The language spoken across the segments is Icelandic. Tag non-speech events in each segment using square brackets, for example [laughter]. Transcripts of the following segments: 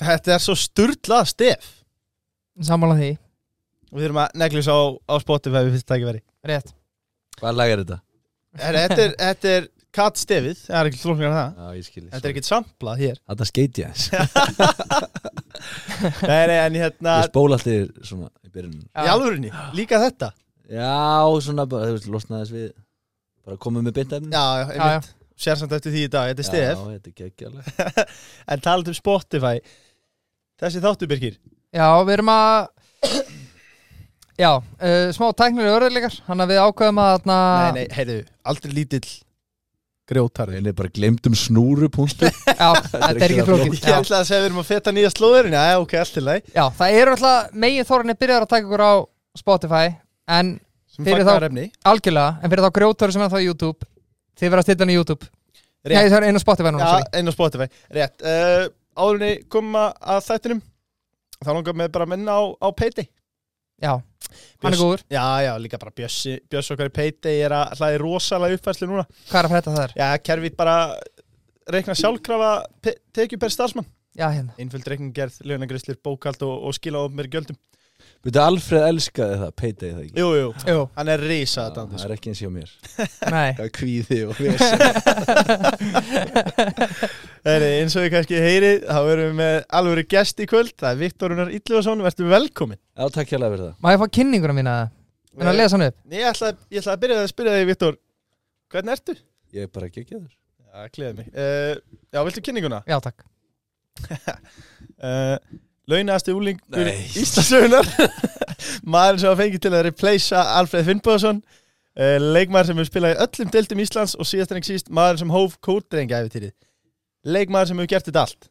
Þetta er svo sturlað stef Samála því, Við þurfum að neglis á, á Spotify við fyrst tækifæri rétt Hvað lag er þetta? Herra, Þetta er, þetta er katt stefið Það er ekki flóknir en það Já, ég skil Þetta er ekkert samplað hér Þetta skeit ég aðeins. Nei, nei, en hérna Ég spóla allir svona í byrjunum Í alvörinni, líka þetta Já, svona bara, þú veist, losnaði þess við Bara komum við beintefni Já, já, Já, já. einmitt Sér samt eftir því í dag, þetta er Já, stef þetta er geggjalega En talað um Spotify Þessi þáttu, Birgir Já, við erum að [coughs] Já, uh, smá tæknilega örðilegar Þannig að við ákveðum að þarna Nei, nei, heyrðu, aldrei lítill grjótarður Einnig bara glemdum snúru punktu Já, þetta er ekki ekki flókið Ég já, ætla að segja við erum að feta nýja slóðurinn Já, ok, allt til læg já, það eru alltaf megin þórinni byrjar að taka ykkur á Spotify En Sem Fyrir fagnar efni algjörlega, en fyrir þá grjótur sem er þá á YouTube Þið verða að stilla hann í YouTube Rétt. Nei, það er einu Spotify núna, Já, sorry einn á Spotify, rétt uh, Áðurinni koma að þættinum Þá langar mig bara að minna á, á Payday Já, hann er Bjöss- góður Já, já, líka bara Bjössi, Bjössi okkar í Payday er að hlaði rosalega uppfærslu núna Hvað er að frétta það er? Já, kerfið bara reikna sjálfkrafa pe- tekjur per starfsmann Já, hérna Einföld reikningerð, lögnagrislir, bókald og, og skila of mér gjöldum Þetta Alfred elskaði það, payday það ekki Jú, jú, Jú, hann er sko. risa þetta Það er ekki eins hjá mér nei Það er kvíði [laughs] og vesen Heri, eins og ég kannski heyrið, þá erum við með alvöru gest í kvöld, það er Viktorunar Illuvason, verður velkomin. Já, takk hérlega fyrir það Má ég fá kynninguna mína? En að lesa hann upp? Ég ætla, ég ætla að byrja að spyrja þig, Viktor, hvernig ertu? Ég er bara geggjaður Já, gleðið mig. Uh, já, viltu kynninguna? Já, takk Uh, Launasti úlingur Nei. Íslandsögunar, maðurinn sem var fengið til að replacea Alfred Finnbóðsson, uh, leikmaður sem hefur spilað í öllum deildum Íslands og síðast en ekki síst maðurinn sem hóf kórdrengja eftir Leikmaður sem hefur gert þetta allt.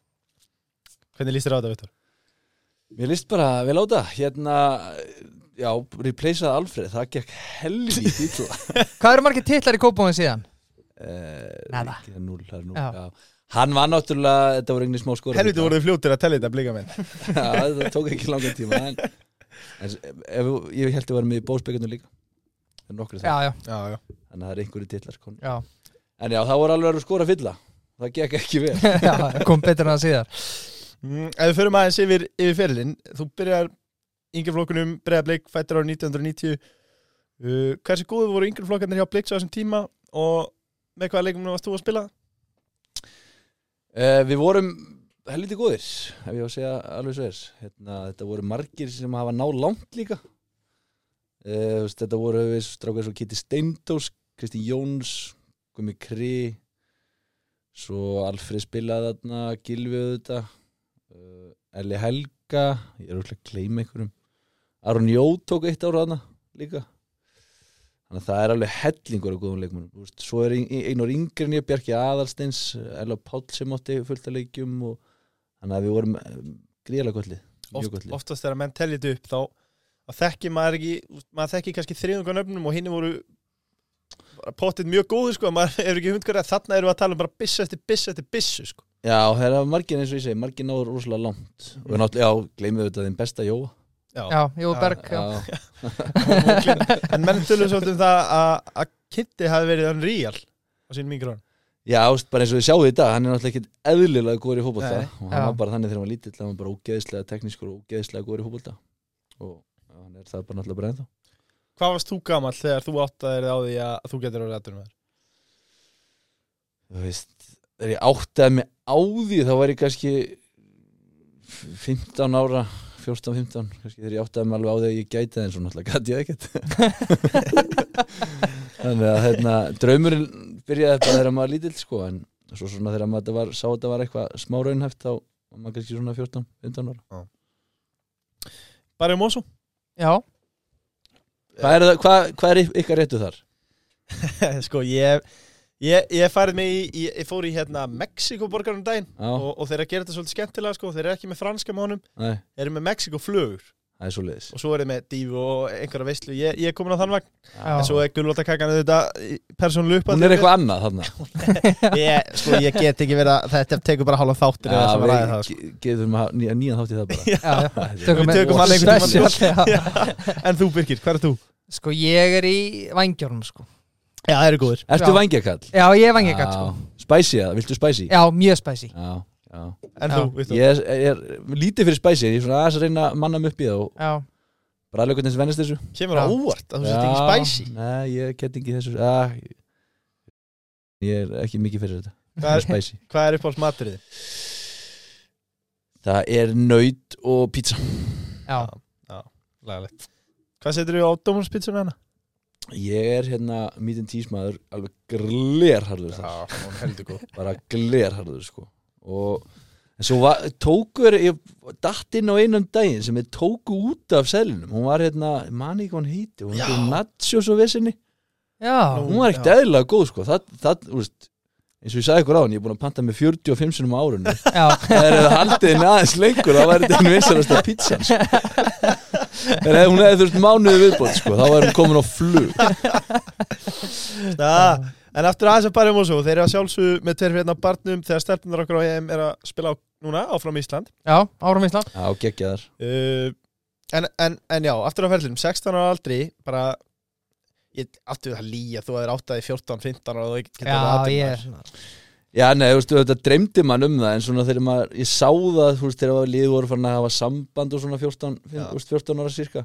Hvernig líst þér á þetta, Viktor? Mér líst bara vel á það Hérna, já, replaceaði Alfred Það gekk helvítið illa Hvað eru margir titlar í kópbóðin síðan? Nada. Nada Núl, það Eh, er núl, Já. já Hann var náttúrulega, þetta voru einnig smá skora Helviti voruð fljótir að tella þetta blika Já, það tók ekki langan tíma en, en ef, ég held að vera með í bóðsbyggjunum líka það er nokkru það, Já, já, Já, já. þannig að það er einhverju dillar konu. já, sko. en já, það voru alveg að skora fylla það gekk ekki vel já [laughs] kom betur en það síðar Mm, ef við förum aðeins yfir, yfir fyrirlinn, þú byrjar yngri flokkunum, breiða bleik, fættir ára 1990. Uh, hversu góðu voru yngri flokkarnir hjá bleiks á þessum tíma og með hvaða leikum varst þú að spila? uh, við vorum helviti góðir ef ég á að segja alveg svo er hérna, þetta voru margir sem hafa ná langt líka uh, þetta voru við strákar svo Kitty Steindós Kristi Jóns, Gumi Kri svo Alfred spilaði þarna, Gilvi auðvitað uh, Elli Helga ég er úrlega að gleyma einhverjum Aron Jó tók eitt ára þarna líka þannig að það er alveg hellingur af góðum leikmönum svo er ein- einar yngri en ég Bjarki Aðalsteins Ella Páll sem átti fullt að leikjum og þannig að við vorum eh, gríðalega gottlið mjög Oft, gottlið oftast þegar menn telja þetta upp þá, þá þekkir maður ekki, maður þekkir kannski þriðungan öfnum og hinni voru bara pottið mjög góðu sko, maður [laughs] er ekki hundkvæða þarna erum við að tala um bara byssu eftir byssu eftir byssu sko. já, það er að margir eins og ég segi margir náður rosalega langt og náttúrulega, já, gleymið auðvitað þinn besta Jóa Já, Jú Já, Berg, já, já, En menn tölum svolítið um það að- að Kitty hafi verið hann ríal á sínum yngri árum. já, ást, bara eins og við sjáum í dag hann er náttúrulega ekkit eðlilega góður í fótbolta Nei, og hann já. var bara þannig þegar hann var lítill hann var bara ógeðislega teknískur og ógeðislega góður í fótbolta og já, hann er það bara náttúrulega bara ennþá Hvað varst þú gamall þegar þú áttaðir þig á því að þú getur orðið aðtunum þér? þú veist, þegar ég áttaði mig á því þá var ég kannski 15 ára 14-15, kannski þegar ég áttaði mig alveg á því að ég gæti það eins og náttúrulega gæti ég það ekkert [laughs] þannig að hérna, draumurinn byrjaði bara þegar maður lítill sko en svo svona þegar maður þetta var, sá að þetta var eitthvað smá raunhæft þá var maður kannski svona 14-15 ára Barri Mósó? já. hvað er, það, hvað, hvað er ykkar réttu þar? [laughs] sko, ég, ég, ég farið mig í, ég, ég fór í hérna Mexikoborgarum daginn Já, og, og þeir að gera þetta svolítið skemmtilega sko, þeir eru ekki með franska mánum, nei, þeir eru með Mexikoflugur það er svo leiðis og svo eru með dífu og einhverja veislu, ég, ég er komin á þann vagn, Já. en svo er gulvóttakakkan þetta persónuleg upp hún er eitthvað annað þarna [laughs] ég, sko, ég get ekki verið að, þetta tekur bara hálfa þáttir eða sem að ræða það sko. við getum að nýja, nýja þátt í það bara já, já. Við tökum hann einhvern tímann Special, já. En þú Birgir, hver er þú? Sko, ég er í vangjörnum, sko Já, það eru góður Ertu Já. vangjakall? Já, ég er vangjarn, sko Spæsi eða, viltu spæsi? Já, mjög spæsi Já, Já. En Já. þú, við þú Ég er, ég er lítið fyrir spæsi, ég er svona aðeins að reyna að manna mig upp í það og Já, bræðlökundins vennist þessu Kemur á Já. óvart að þú sett ekki spæsi Nei, ég get ekki þessu að, Ég er ekki mikið fyrir þetta [laughs] Hvað er, Spæsi hvað er uppáhalds maturðið? Það er nöyt og pizza já, Lagalegt Hvað setur þú á dómarspítsunni hana? Ég er hérna meat and cheese maður alveg glerharður þar hún heldur [laughs] góð bara glerharður sko og en svo var, tóku er ég datt inn á einum daginn sem ég tóku út af selinum hún var hérna, ég man ekki hvað hann heiti hún Já. var nachos og vesinni já, Nú. hún var ekkert Já. eðlilega góð sko það, það, þú veist eins og ég sagði ykkur á hann, ég er búin að panta með 45 sinum á árunni [laughs] já, Það er eða haldið henni aðeins lengur þá væri þetta einu vinsalasta pizzan sko. [laughs] En ef hún hefði þurft mánuði viðbótt sko, þá væri hún komin á flug En aftur aðeins að barjum og svo Þeir eru að sjálfsögðu með tveir hérna barnum Þegar stelpunar okkar á EM er að spila á, núna áfram Ísland já, árum Ísland Já, geggjaðar uh, en, en, en já, aftur á ferlinum 16 ára aldri Bara ég, Aftur það líja, þú hefur áttaði 14, 15 ára og þú getur orðið Já, ég er atvinnumaður. svona Já, nei, þú veist, þetta dreymdi mann um það en svona þegar maður, ég sá það, þú veist, þegar liðið voru farin að hafa samband og svona 14, Já. 15, 14 ára cirka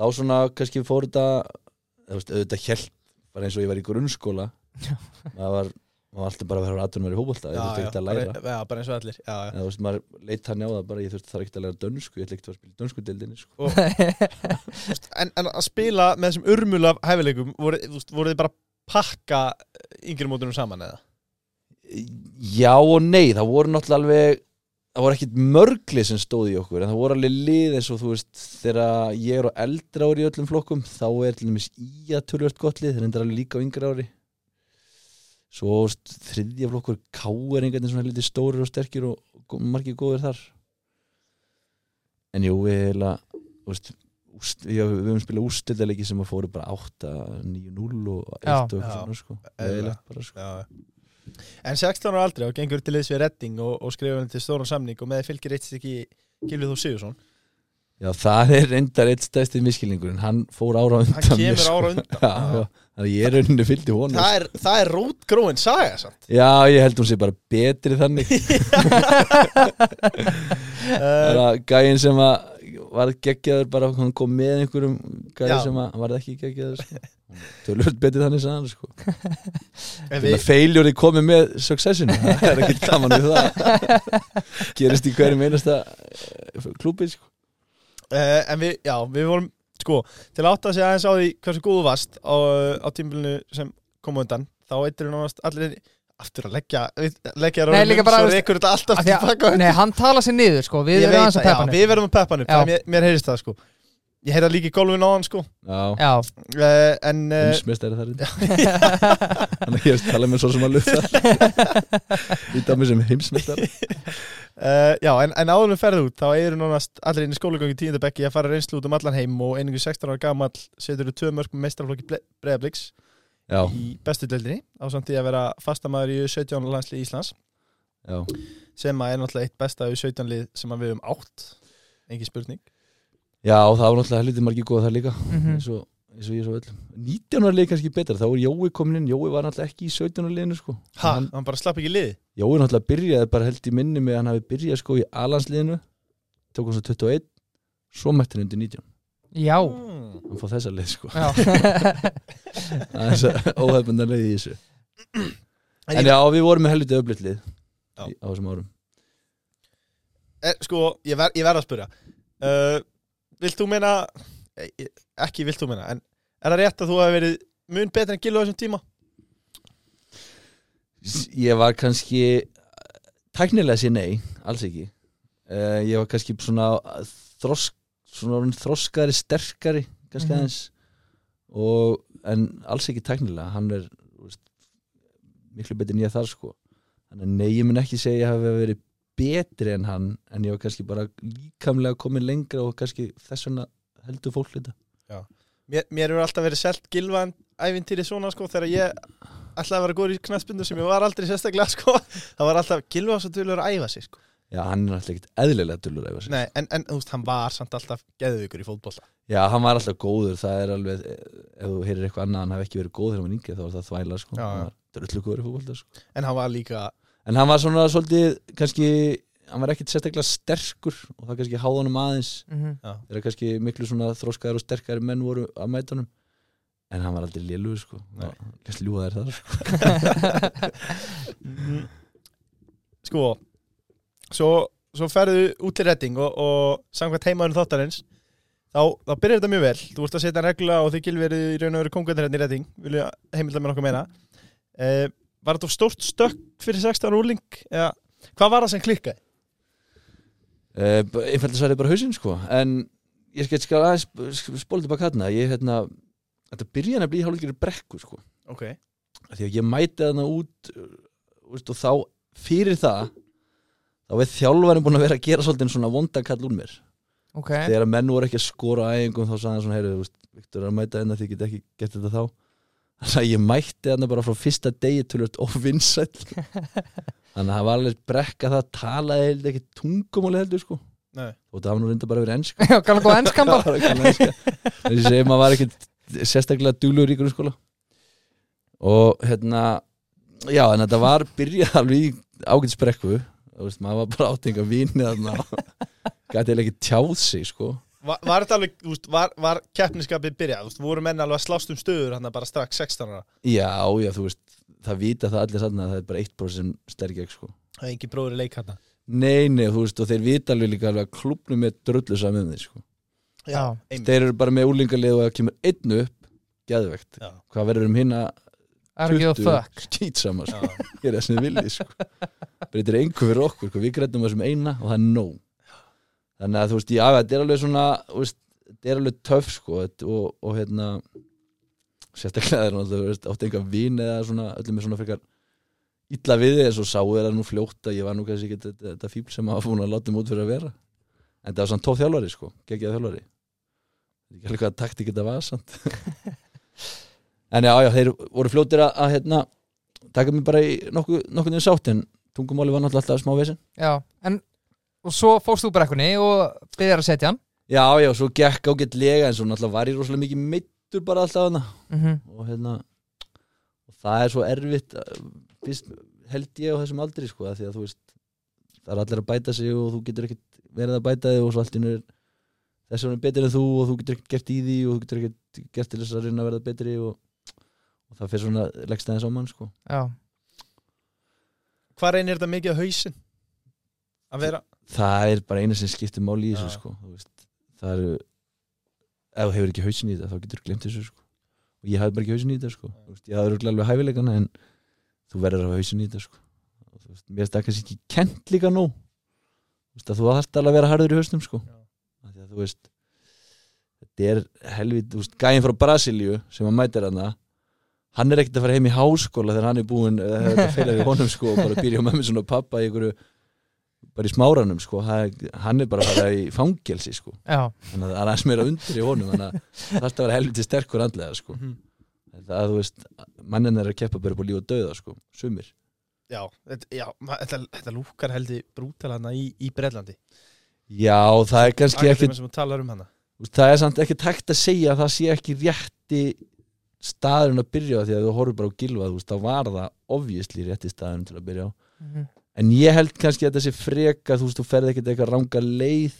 þá svona kannski fór þetta þú veist, auðvitað hjælt bara eins og ég var í grunnskóla maður var, maður var alltaf bara að vera aðtunum verið í hópulta, ég þurfti já, ekki að læra bara, já, bara eins og allir já, já. en þú veist, maður leitt hann á það bara, ég þurfti þar ekki að læra dönsku, ég ætla ekki að spila dönsku deildinni, sko. En, en að spila með þessum urmul af hæfileikum voru, þú veist, voru þið bara að pakka yngri mótunum saman eða? Já og nei, það voru náttúrulega alveg það voru ekkit mörgli sem stóð í okkur en það voru alveg lið eins og þú veist þegar ég er á eldra ári í öllum flokkum þá er til dæmis í að tölvöld gott lið þeir endur alveg líka á yngra ári svo þú veist, þriðja flokkur K er einhvern veginn svona lítið stórir og sterkir og gó- margir góðir þar en jú, við heila þú veist, úst, já, við höfum spilað ústildalegi sem að fóru bara 8, 9, 0 og 1 Já, og eitthvað já. svona sko. Eðlilega. Eðlilegt bara, sko. Já. En 16 ára aldrei og gengur til liðs við Redding og, og skrifa henni til stóran samning og með fylgir eitt stykki Gilvið Þú Sigursson Já, það er reyndar eitt stæðst í miskilningurinn, hann fór ára á undan Hann mér, kemur sko. ára undan Já, já, þannig að ég er rauninni fylgdi honum Það er, það er rótgróin saga [laughs] samt Já, ég held hún sé bara betri þannig [laughs] Það uh, er að gæinn sem að var geggjaður bara, hann kom með einhverjum gæði Já. sem að var ekki geggjaður sko. Tölvöld betri þannig sagði hann sko. en Þannig að við, feiljórið komið með successinu, það er ekkert gaman við það [laughs] Gerist í hverjum einasta klúbi sko. uh, en við, já, við vorum sko, til að átta sig aðeins á því hversu góðu vast á, á tímbilinu sem kom á undan, þá eittir við nánast allir aftur að leggja við- leggja Nei, líka ráðum bara, svo veist- reykur þetta alltaf Af því tilbaka að- Nei, hann tala sér niður, sko Við Ég erum veit aðeins að það, já, peppa hann upp. Við verðum að peppa hann upp, Já. þannig að mér, mér heyrist það sko Ég heyrði það líka í golfinu á hann sko Já, Já, uh, En uh, heimsmeistari þar inn Þannig að ég er að tala með svo sem að lufta Í dæmi sem heimsmeistari Uh, já, en, en áðurum ferðu út, þá eru nánast allir inn í skólagöngi tíundabekki að fara reynslu út um allan heim og einhverju 16 ára gamall setur þú tvö mörg með meistarflokki Breiðabliks Já, í bestu deildinni á samt því að vera fastamæður í 17 landsli Íslands já, sem að er náttúrulega eitt besta í 17 lið sem að við höfum átt, engin spurning. já og það var náttúrulega helviti margir góða þar líka Mm. mhm, eins, og, eins og ég svo öllum 19 ára lið kannski betra, þá er Jói komin inn Jói var náttúrulega ekki í 17 ára liðinu sko Ha, Hann- hann bara slapp ekki í liði. Jói náttúrulega byrjaði bara held í minni með að hann hafi byrjað sko í Alansliðinu tók hann svo 21 svo mætti hann undir 19, já, Mm. hann fóð þessa lið [laughs] sko já aðeins að óhefndan leiði í þessu En En ég- já, við vorum með helviti öflut lið Já. í- á þessum árum Er, sko, ég, ver, ég verð að spyrja. Uh, vilt þú meina, eh, eh, ekki vilt þú meina, en er það rétt að þú hafi verið mun betri en Gillu á þessum tíma? Ég var kannski tæknilega sér nei, alls ekki uh, Ég var kannski svona þrosk, svona orðinn þroskari sterkari, kannski Mhm. aðeins og, en alls ekki tæknilega, hann er þú veist, miklu betri nýja þar sko þannig að nei, ég mun ekki segja að ég hafi verið betri en hann, en ég var kannski bara líkamlega komin lengra og kannski þess vegna heldur fólk þetta Mér, mér hefur alltaf verið selt gilvan ævintýri svona sko þegar ég ætlaði að vera góður í knaspindu sem ég var aldrei sérstaklega [laughs] sko það var alltaf gilva svo tölur að æfa sig sko Já, hann er alltaf ekkert eðlilega dullur að Nei, en, en þú veist hann var samt alltaf geðvökur í fótbolla Já, hann var alltaf góður, það er alveg eh, ef þú heyrir eitthvað annað, hann hafi ekki verið góð þegar hann var yngri þá er það þvæla, sko Já, já. hann var drullu góður í fótbolta, sko en hann var líka en hann var svona svolítið kannski, hann var ekkit sérstaklega sterkur og það kannski háði honum aðeins Mhm. þeirra kannski miklu svona þróskaðar og sterkari menn voru að mæta honum en hann var aldrei lélugur sko Nei. kannski ljúðaðir þar sko. sko svo, svo ferðu út til redding og, og samkvæmt heimaðurinn þáttarins þá, þá byrjar þetta mjög vel þú ert að setja regla og þið gilverið í raun og veru kongundarinn í redding vilja heimildar með nokkuð meina eh, var þetta of stórt stökk fyrir 16 úrling eða hvað var það sem klikkaði? Eh, b- einfalda svarið er bara hausinn sko en ég skal, skal aðeins sp- spóla tilbaka hérna ég hérna þetta byrja hann að bli hálfleikur brekku sko ok, Af því að ég mæti þarna út uh, veist, og þá fyrir það þá er þjálfarinn búin að vera að gera svolítið svona vondakall úr mér Ok, þegar að menn voru ekki að skora á æfingum þá sagði hann svona, heyrðu, þú veist, Viktor er að mæta hérna þið get ekki gert þetta þá þannig að ég mætti hérna bara frá fyrsta degi tölvöld óvinsæll þannig að það var alveg brekka það talaði heldur ekki tungumáli heldur sko Nei. og það var nú reynda bara að vera ensk [laughs] já, kannan góða enskan bara [laughs] þess að segja maður var ekki sérstaklega duglegur í grunnskóla og hérna já en þetta var byrjað alveg í ágætt sprekku veist, maður var bara átinga víni þarna gæti eða ekki tjáð sig sko var, var þetta alveg þú veist, var, var keppniskapið byrjað, þú veist, voru menn alveg að slást um stöður hann bara strax 16 ára já já þú veist það vita það allir sann að það er bara 1% sem sterkja sko það er engin bróður í leik hérna. hann nei nei þú veist og þeir vita alveg líka alveg að klubnum er drullu saman með þeir sko Já. einmitt. þeir eru bara með úlingalið og það kemur einn upp geðvegt Já. hvað verður um hinna Það er ekki það fuck skýtsama Já. gera það sem þið viljið sko. breytir engu fyrir okkur sko. við grætum þessum eina og það er nóg þannig að þú veist, já, þetta er alveg svona þú veist, þetta er alveg töff sko, þetta- og, og hérna sérstaklega er náttúrulega, þú veist, átti enga vín eða svona, öllum er svona frekar illa við þig, en svo sáu þeirra nú fljótt að ég var nú kannski ekki þetta, þetta fíbl sem hafa búin að láta mót fyrir að vera en það var svona tóð þjálfari sko, geggjað þjálfari Ég veit ekki alveg hvað taktik þetta var samt [laughs] en já, já, þeir voru fljóttir að, að hérna, taka mig bara í nokkuð nokkuð niður sátt en tungumáli var náttúrulega alltaf smá vesen Já, en og svo fórst þú brekkunni og byrjar að setja hann já já, svo gekk ágætt lega en svo náttúrulega var ég rosalega mikið meittur bara alltaf hana Mhm. og hérna og það er svo erfitt uh, fyrst, held ég á þessum aldri sko af því að þú veist það er allir að bæta sig og þú getur ekkert verið að bæta þig og svo allt innur þessi hún er betri en þú og þú getur ekkert gert í því og þú getur ekkert gert til þess að reyna að verða betri og, og það fyrir svona leggst aðeins á mann sko Já, hvað reynir þetta mikið á hausinn? að vera það er bara eina sem skiptir máli í þessu Já. sko, þú veist. það eru ef þú hefur ekki hausin í þetta þá getur þú glemt þessu sko. og ég hafði bara ekki hausin í þetta sko. Þú veist, ég hafði örugglega alveg hæfileikana en þú verður að hafa hausin í þetta sko. Og þú veist, mér er þetta kannski ekki kent líka nú þú veist að þú þarft alveg að vera harður í hausnum sko. Já. Af því að, þú veist þetta er helvit þú veist, gæin frá Brasilíu sem að mætir hana hann er ekkert að fara heim í háskóla þegar hann er búinn, eh, þegar þetta feilar í honum sko, og bara býr hjá mömmu sinni og pappa í einhverju bara í smáranum sko, ha- hann er bara að fara í fangelsi sko, já, þannig að það er aðeins meira undir í honum þannig að það þarf að vera helviti sterkur andlega sko, Mhm. það að þú veist mannin er að keppa bara upp á líf og dauða sko, sumir. Já, þetta, já, ma- þetta, þetta lúkar heldi brútal hana í, í Breitlandi Já, það er kannski ekki sem þú talar um hana Þú veist, það er samt ekki takt að segja að það sé ekki rétti staðurinn að byrja á því að þú horfir bara á gilvað þú veist, þá var það obviously rétti staðurinn til að byrja á Mhm. en ég held kannski að þetta sé freka þú veist, þú ferð ekkert eitthvað ranga leið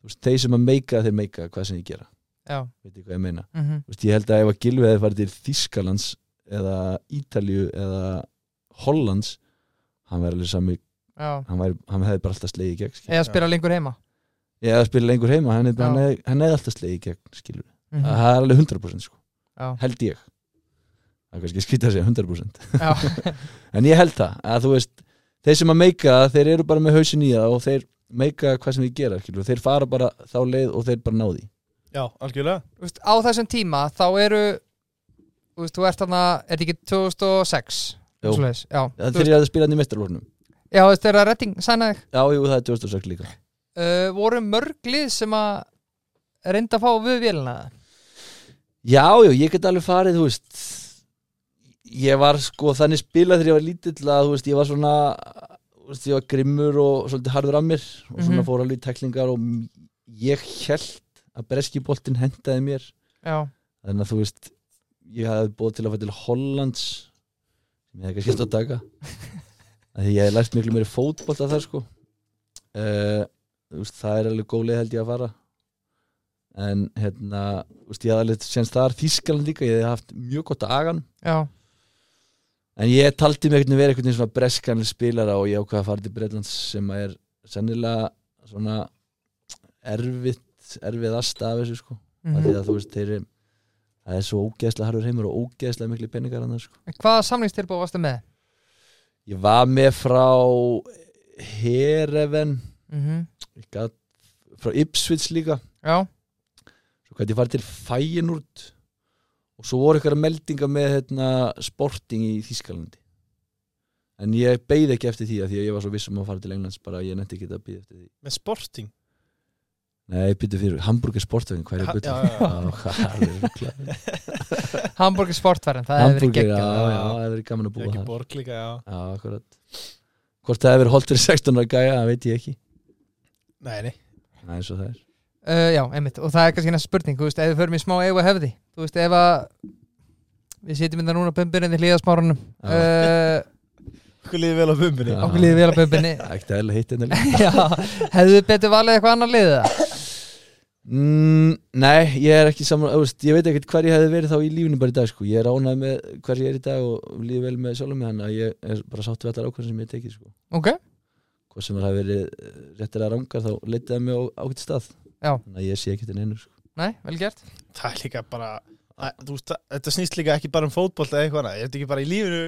þú veist, þeir sem að meika þeir meika hvað sem ég gera, já veit ég hvað ég meina mhm. þú veist, ég held að ef að gilvað hefði farið til Þískalands eða Ítalju eða Hollands hann væri alveg sami Já, hann, væri, hann hefði bara alltaf slegið í gegn skilur. eða spila lengur heima ég hefði spilað lengur heima, hann hefði, Já. hann hefði, hann hefði alltaf slegið í gegn skilur Mhm. það er alveg 100% sko, Já, held ég það er kannski skrítið að segja 100% já, en ég held það, að þú veist þeir sem að meika, það, þeir eru bara með hausin í það og þeir meika hvað sem þeir gera skilur. þeir fara bara þá leið og þeir bara ná því Já, algjörlega Þú veist, á þessum tíma þá eru þú veist, þú ert þarna, er þetta ekki 2006 Jú. svoleiðis, já, það Þú þeir veist, eru að spila hann í mestarlórnum já, þú veist, þeirra redding sænaði já, jú, það er 2006 líka uh, voru mörg lið sem að reynda að fá við vélina já, jú, ég get alveg farið, þú veist ég var sko þannig spilað þegar ég var lítill að þú veist, ég var svona þú veist, ég var grimmur og svolítið harður að mér og svona Mhm. fór alveg í teklingar og m- ég held að breskiboltin hendaði mér já, þannig að þú veist ég hafði búið til að fara til Hollands sem ég hefði kannski eftir að taka Af Því ég hef lært miklu meiri fótbolta þar sko uh, veist, Það er alveg góð leið held ég að fara En hérna þú veist, Ég hef alveg senst þar Þískaland líka Ég hef haft mjög gott að agan já, En ég taldi mig einhvern veginn vera einhvern veginn svona breskan spilara og ég ákvað að fara til Bretlands sem að er sennilega svona erfitt, erfiðast af þessu sko. Mm mhm. Því að þú veist, þeir eru það er svo ógeðslega harður heimur og ógeðslega miklu peningar annars sko. En Hvaða samlingstilbúð varstu með? Ég var með frá Hereven Mhm. ég gat, frá Ipswich líka Já, svo gæti ég farið til Fæinúrt og svo voru ykkur meldinga með hérna, sporting í Þískalandi en ég beið ekki eftir því að því að ég var svo viss um að fara til Englands bara að ég nefndi ekki að beið eftir því Með sporting Nei, byttu fyrir, Hamburg er sportvæðin, hvað er Ha- að byttu? [laughs] já, já, já. Hamburg er sportverðin, það hefur verið Hamburg er, já, geggjað já, það hefur verið gaman að Ég búa ekki þar borg líka, já Já, akkurat Hvort það hefur verið holdt fyrir 16 ára gæja, það veit ég ekki Nei, nei Það er svo það er uh, Já, einmitt, og það er kannski næsta spurning Þú veist, ef við förum í smá eigu að hefði Þú veist, ef að Við sitjum innan núna bumbirinn í hlýðasmárunum Já. uh, Hvað líði vel á bumbunni Já. Okkur líði vel að bumbinni Það er ekkert eðla heitt hérna líka. [laughs] Já, hefðu þið betur valið eitthvað annar liðið það? Mm, nei, ég er ekki saman veist, Ég veit ekkert hver ég hefði verið þá í lífinu bara í dag sko. Ég er ánað með hver ég er í dag og líði vel með sjálfum með hann að ég er bara sáttu við allar ákvæðan sem ég hef tekið sko. Ok, Hvað sem það hafi verið eh, réttir að rangar þá leitið það mig á ákvæmt stað Já. Þannig að ég sé ekkert en einu sko. nei, vel gert Það er líka bara að, þú veist, það- Þetta snýst líka ekki bara um fótbolta eða eitthvað annað. Er þetta ekki bara í lífinu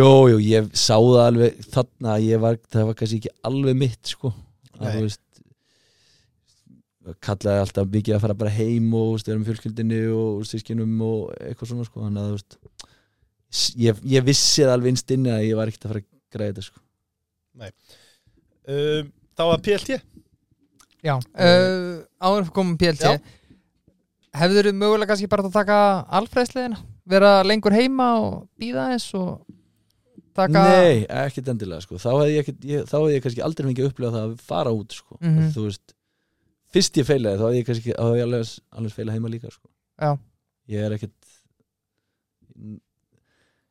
Jú, jú, ég sá það alveg þarna að ég var, það var kannski ekki alveg mitt sko að Nei. þú veist það kallaði alltaf mikið að fara bara heim og þú veist, vera með fjölskyldinni og sískinum og eitthvað svona sko þannig að þú veist s- ég, ég vissi það alveg innst inni að ég var ekkert að fara að græða þetta sko um, Þá var PLT Já, uh, áður fyrir komum PLT Já. Hefðu þið mögulega kannski bara átt að taka alfræðsliðina? Vera lengur heima og býða eins og taka Nei, ekkert endilega sko þá hefði ég, ekkert, ég, þá hefði ég kannski aldrei fengið að upplega það að fara út sko Mhm. þú veist, fyrst ég feilaði þá hefði ég kannski, þá hefði ég alveg, alveg feilað heima líka sko Já, ég er ekkert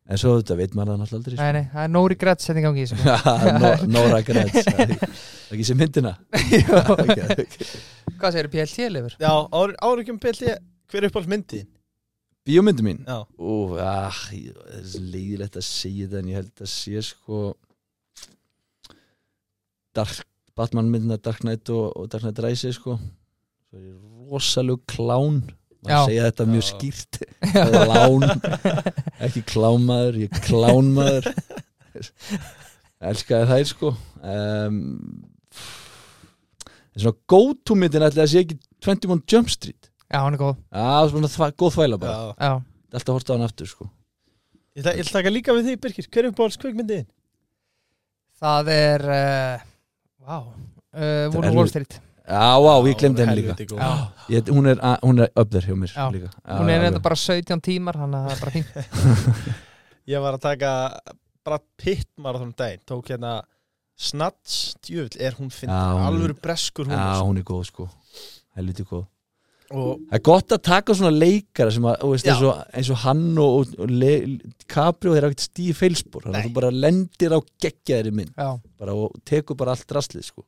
en svo þetta veit maður það náttúrulega aldrei nei, nei, það er no regrets setning gangi [laughs] í þessu [laughs] sko. Nóra Græts ekki sem myndina Jú. okay. Hvað segir PLT-lifur? Já, áður áður ekki um PLT Hver er uppáhalds myndið? bíómyndu mín Já, Ú, ah, ég- það er svo leiðilegt að segja þetta en ég held að sé sko Dark, Batman myndina Dark Knight og, og Dark Knight Rises sko svo er ég rosalug klán Já. maður segja þetta mjög Já. skýrt [laughs] klán, ekki klámaður ég er klánmaður elskaði þær sko um, en svona go-to myndin ætli að sé ekki 21 Jump Street Já, hann er góð Já, svona þva, góð þvæla bara já Já. alltaf horta á hann aftur sko Ég ætla ég ætla að taka líka við þig, Birkir Hver er uppáhalds kvikmyndið? Það er uh, Vá uh, Wolf er- of Wall Street Já, vá, ég glemdi henni líka Já. ég, hún, er, a- hún er up there hjá mér Já. líka Já, Hún er hérna alveg. reynda bara 17 tímar Þannig að það er bara fínt Ég var að taka Brad Pitt marathon um daginn Tók hérna Snats Djöfull, er hún finn Já, hún- Alvöru breskur hún Já, sko. hún er góð sko Helviti góð Og Það er gott að taka svona leikara sem að, þú veist, Já. eins, og, eins og hann og, og, og le, Capri og þeir eru ekkert stíði feilspor þannig að Nei. þú bara lendir á geggjaðri mynd Já, bara, og tekur bara allt rastlið sko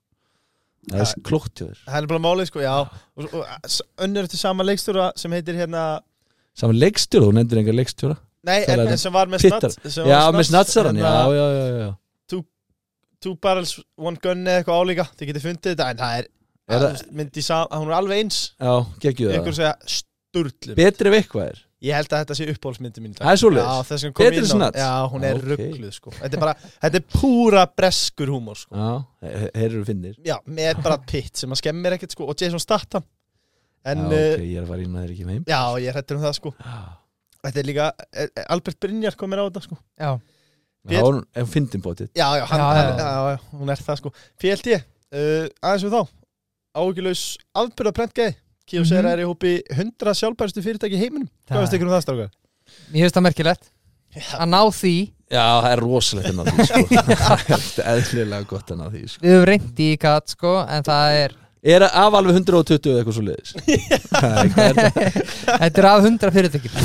Það er Já. klókt hjá þér það er bara málið sko, já Og, og s- önnur til sama leikstúra sem heitir hérna Saman leikstjóra, þú nendir enga leikstjóra Nei, Það er en, en þetta. sem var með Pittar. Snats sem Já, var með snatsaran, já, hérna, já, já, já. Two barrels, one gun eða eitthvað álíka Þið getið fundið þetta, en það er, að, Er það- þú veist, myndi sam, að Hún er alveg eins já geggjuð Ykkur það segja sturlum Betri ef eitthvað er Ég held að þetta sé uppáhaldsmyndi mín í dag. Það er svoleiðis? Já, þess vegna kom ég Betri inn á snats? Já, hún er Ok. ruggluð sko Þetta er bara, þetta er púra breskur húmor sko Já, þeir eru finnir Já, með [laughs] bara pitt sem að skemmir ekkert sko Og Jason Statham En, eh, Já, ok, ég er að fara inn að þeir ekki með uh, heim já, ég hrættur um það sko Já. Þetta er líka, eh, eh, Albert Brynjar komir á þetta sko já Björn- Já, hún er fyndin bótið Já, já, hann, Já, já, já. já. já, hún er það sko PLT, uh, aðeins við þá Áhyggjulaus afbyrða prentgæði Kíu segir Mhm. að er í hópi 100 sjálfbæristu fyrirtæki í heiminum Það- Hvað veist ykkur um það, strákar? Mér finnst það merkilegt Já, Að ná því Já, það er rosalegt en að því [laughs] sko. Það er ekkert eðlilega gott en að því sko. Við höfum reyndi í katt sko En það er [laughs] Er að af alveg 120 [laughs] eða eitthvað svo leiðis Þetta er af 100 fyrirtökjum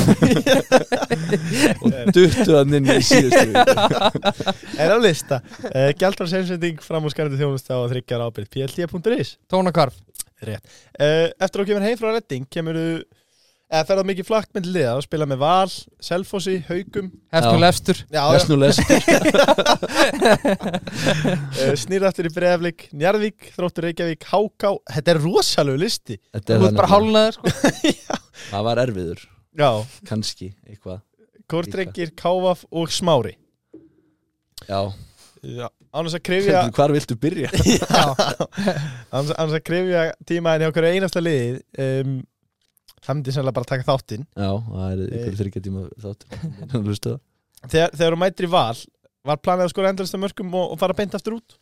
og duttu hann inn í síðustu viku. er á lista uh, Gjaldfars heimsending fram úr skarandi þjónusta og þryggjar ábyrð plt.is Tónakvarf uh, Eftir að þú kemur heim frá Redding kemur þú eða ferðað mikið flakk með liða og spila með Val, Selfossi, Haugum Hefst Já. nú lefstur já, já, Lesnu les uh, snýrættur í Breðaflik Njarðvík, Þróttur Reykjavík, Háká Þetta er rosalegu listi Þetta Þú er ert bara þannig. hálnaður sko Það var erfiður, Já, kannski eitthvað Kortrengir, Kávaf og Smári Já, Já, án þess að krifja hvar viltu byrja? Annars annars að krifja tímaðin hjá hverju einasta liðið um, Það myndi sannlega bara taka þáttinn Já, það er ykkur þryggja tíma [laughs] þáttur Hann Eh. hlusta það Þegar, þegar þú mætir í val Var planið að skora endalista mörgum og, og fara beint aftur út?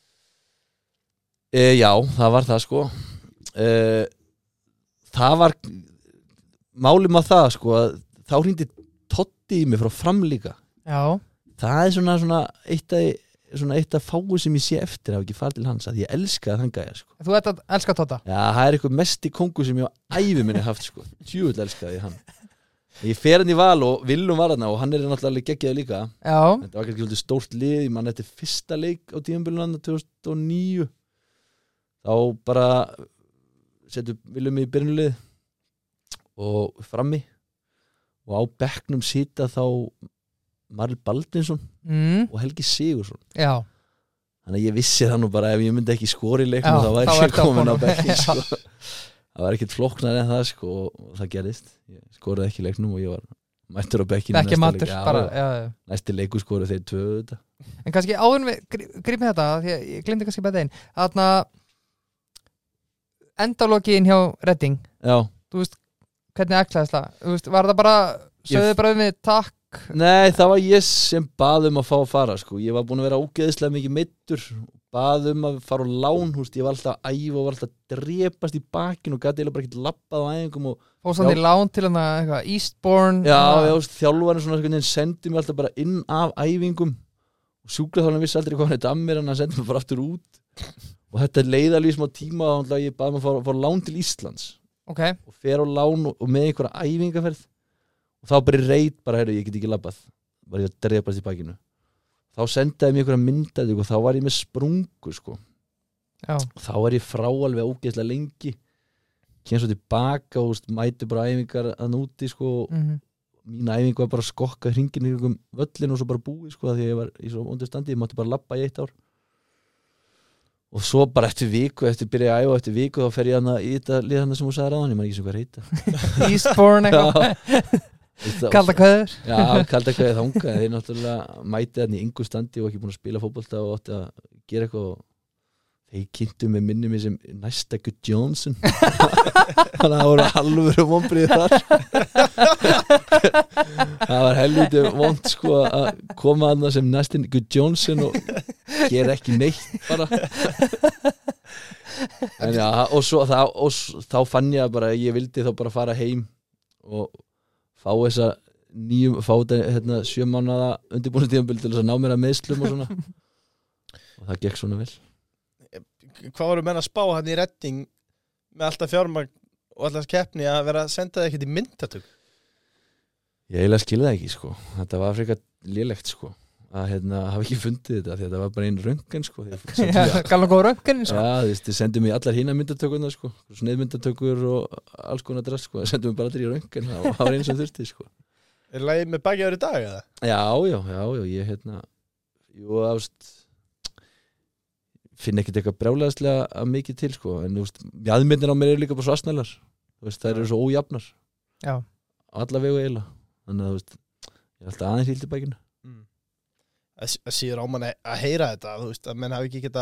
e, Já, það var það sko e, Það var Málum að það sko að Þá hrýndi Totti í mig frá framlíka Já, Það er svona, svona eitt að Svona eitt að fáu sem ég sé eftir Haf ekki farið til hans að ég elska að hann gæja sko þú ert að elska Tóta Já, það er eitthvað mesti kongu sem ég á ævi minni haft sko Tjúvill elskaði ég hann Ég fer hann í val og Viljum var hann og hann er náttúrulega alveg geggjaði líka Já, Þetta var kannski svolítið stórt lið, ég man þetta er fyrsta leik á tíðanbjörnlanda 2009 þá bara setjum viljum í byrjunlið og frammi og á bekknum sita þá Marl Baldinsson mm, og Helgi Sigursson já þannig að ég vissi það nú bara ef ég myndi ekki skori í Já, leiknum þá þá væri ég ertu á komin á honum. bekkin sko. það var ekkert flóknar en það sko, og það gerðist, ég skoraði ekki í leiknum og ég var mættur á bekkinu Ekki matur bara, já, já. næsti leiku skoraði þeir tvö þetta En kannski áður en við grí- grípum þetta af Því að ég glemdi kannski bara þeim Þarna Endalokiðin hjá Redding Já, Þú veist, hvernig æklaðist það Þú veist, var það bara Söðu bara við mig takk Nei, það var ég sem bað um að fá að fara sko. Ég var búin að vera ógeðislega mikið meittur bað um að fara á lán húst. Ég var alltaf að æfa og var alltaf að drepast í bakinn og gæti eiginlega bara ekkert labbað á æfingum og Fóðsandi Já. lán til hann að eitthvað Eastbourne já, svona- já, húst, þjálfarinn svona einhvern veginn sendi mér alltaf bara inn af æfingum og sjúklaþálan vissi aldrei hvað hann þetta að mér en hann sendi mér bara aftur út og þetta leiða alveg í smá tíma og náttúrulega ég bað um að fara, fara á lán til Íslands Ok, og fer á lán og, og með einhverja æfingaferð og þá bara í reit bara, heyrðu, ég get ekki labbað var ég að drepast í bakinu þá sendaði mér einhverja myndaði og þá var ég með sprungu sko. já, og þá var ég frá alveg ógeðslega lengi kemst svo tilbaka og veist, mæti bara á æfingar að núti sko. og mhm, mín æfing var bara að skokka hringin í einhverjum völlin og svo bara búið sko, af því að ég var í svo undir standi, ég mátti bara labba í eitt ár og svo bara eftir viku eftir byrja að æfa eftir viku þá fer ég hana í þetta lið hana sem hún sagði ráðan, ég maður ekki sem hvað reyta [laughs] Eastbourne eitthvað Kalda kveður Já, kalda hvað ég þanga Þeir náttúrulega mætið hann í yngu standi og ekki búin að spila fótbolta og átti að gera eitthvað og þeir kynntu með minni mig sem næsta Good Johnson þannig að það voru halvur vombrið þar það var helviti vond sko að koma að það sem næstin Good Johnson og gera ekki neitt bara en já, og, svo, þá, og s- þá fann ég að bara að ég vildi þá bara fara heim og fá þessa nýjum, fá þetta hérna, sjö mánada undirbúinu tíðanbíl til þess að ná mér að meðslum og svona [laughs] og það gekk svona vel Hvað voru menn að spá hann í Redding með alltaf fjármagn og alltaf keppni að vera að senda það ekkert í myndatug ég eiginlega skilði það ekki sko þetta var frekar lélegt sko að hérna, hafa ekki fundið þetta því að þetta var bara einn röngan sko [laughs] því að sendu mér- Kaldan góð röngin sko. Já, þú veist, þið sendum mér allar hína myndatökurna sko, sneiðmyndatökur og alls konar drast sko, það sendum mér bara allir í röngan það var- það var eins og þurfti sko Er lagið með bakjaður í dag eða? Já, já, já, já, ég hérna Jú, ást finn ekkert eitthvað brjálæðislega að mikið til, sko, en þú veist jæðmyndir á mér eru líka bara svo asnælar þú veist, þær eru svo ójafnar Já. Á alla vegu eiginlega, þannig að þú veist ég er alltaf aðeins hýldi bækinu Mm. Það síður á manni að heyra þetta þú veist að menn hafi ekki geta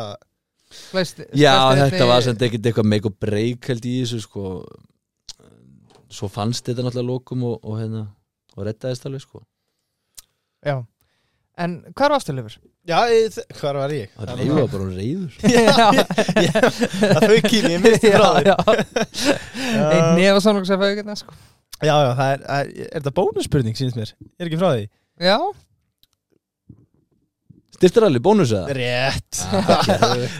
Flest, Já, flestir þetta einnig- var sem ekkert eitthvað make og break held í þessu, sko svo fannst þetta náttúrulega lókum og, og hérna, og reddaðist alveg, sko Já, en hvað er [laughs] afturlefur? Já, ég- þ- hvar var [laughs] ég? það reyfa bara um reyður Já, Það þau kýni, ég misti frá þér já Einn nefn og samlokur sem fæði getna sko Já, já, það er, er, er þetta bónusspurning, sínst mér? Ég er ekki frá því? Já, Styrtir alveg bónus eða? Ah, Rétt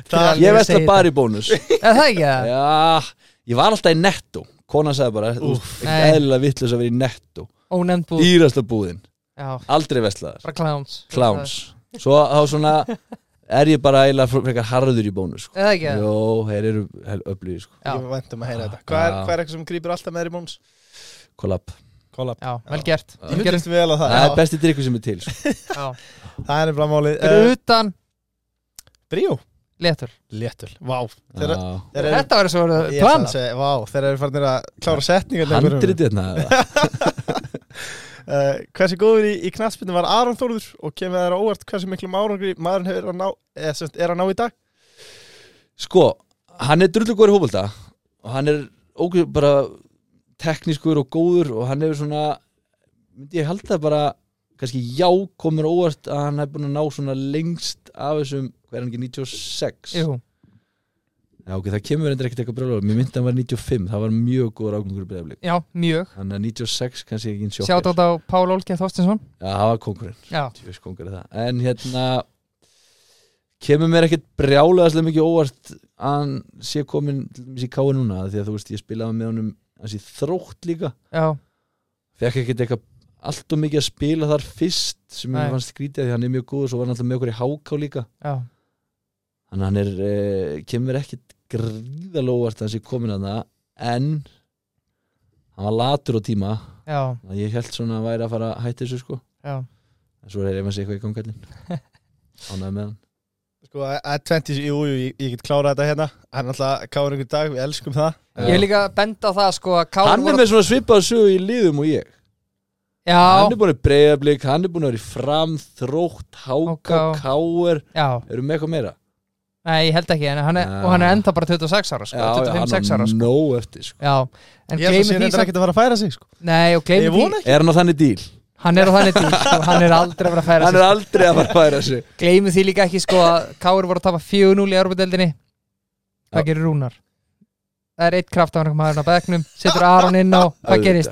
Það- Ég Ég veist segi það bara í bónus er það ekki það? Já, ég var alltaf í netto Kona sagði bara, Úff. úf, Nei. eðlilega vitlega að vera í netto Ónefnd búð Dýrasta búðin Já, aldrei veslaðar bara clowns kláns svo þá svona er ég bara eiginlega fr- frekar harður í bónus sko. Eða ekki það? Jó, þeir eru öflýði sko. Já, Ég væntum að heyra þetta Hvað er, Já. hvað er eitthvað sem grýpur alltaf með þér í móns? kollab Kollab já, vel gert Já. Vel Ég gert. hundist vel á það það já. er besti drikku sem er til sko. Já. Það er nefnilega málið Fyrir uh, utan Bríó letur Léttul Vá Þeir Já. þeir eru Þetta verður svo verið Ég ætla að planað segja, Vá Þeir eru farinir að klára setningar handritið þarna, eða? uh, Hversu góður í, í knattspinnu var Aron Þórður og kemur þær á óvart hversu miklum árangri maðurinn hefur að ná, eða, sem sagt, er að ná í dag sko, hann er drullu góður í fótbolta og hann er ógur bara teknískur og góður og hann hefur svona myndi ég halda bara kannski já komur óvart að hann hefur búin að ná svona lengst af þessum, hvað er hann ekki 96 Jú, Já, ok, það kemur reyndar ekkert eitthvað brjólar Mér myndi að hann var 95, það var mjög góður ákvöngur breyðablik já, mjög Þannig að 96 kannski ekki eins Sjátt sjokkur á Pál Olgeir Þorstinsson Já, það var kongurinn, Já, tjóðis kongur er það En hérna Kemur mér ekkert brjálega slega mikið óvart að hann sé komin til dæmis í káin núna af Því að þú veist, ég spilaði með honum hans í þrótt líka já, Fekk ekkert eitthvað allt og mikið að spila þar fyrst sem Nei. mér fannst skrítið af því að hann er mjög góð svo var hann alltaf með okkur í háká líka já þannig að hann er, eh, kemur ekkit gríðalega óvart að hann sé komin að það en hann var latur á tíma Já, að ég held svona að hann væri að fara að hætti þessu sko já, en svo er hann sé eitthvað í gangallin [laughs] ánægði með hann Sko, að 20, jú, jú, ég, ég get klárað þetta hérna Hann er alltaf káður einhver dag, við elskum það ég vil líka benda á það sko að Kári hann er með svona svipað sögu í liðum og ég hann Já, er búin að breyða blik, hann er búin að vera í fram þrótt, háka, HK. káer já, eru með eitthvað meira nei, ég held ekki en hann er, Já. Ah. og hann er enda bara 26 ára sko, 25-6 hann ára sko. nóg eftir sko Já, en Ég held að sé gleymið því reyndar samt ekkert að fara að færa sig, sko Nei, og Ég gleymið vona því ekki er hann á þannig díl, Hann er á þannig díl, sko, hann er aldrei að vera að færa hann sig er aldrei að fara að færa sig Gleymið því líka ekki sko að Kári voru að tapa 4-0 í Európa-deldinni Hvað gerir Rúnar? Það er eitt kraft af hann maðurinn á bekknum Setur Aron inn á, [laughs] hvað gerist?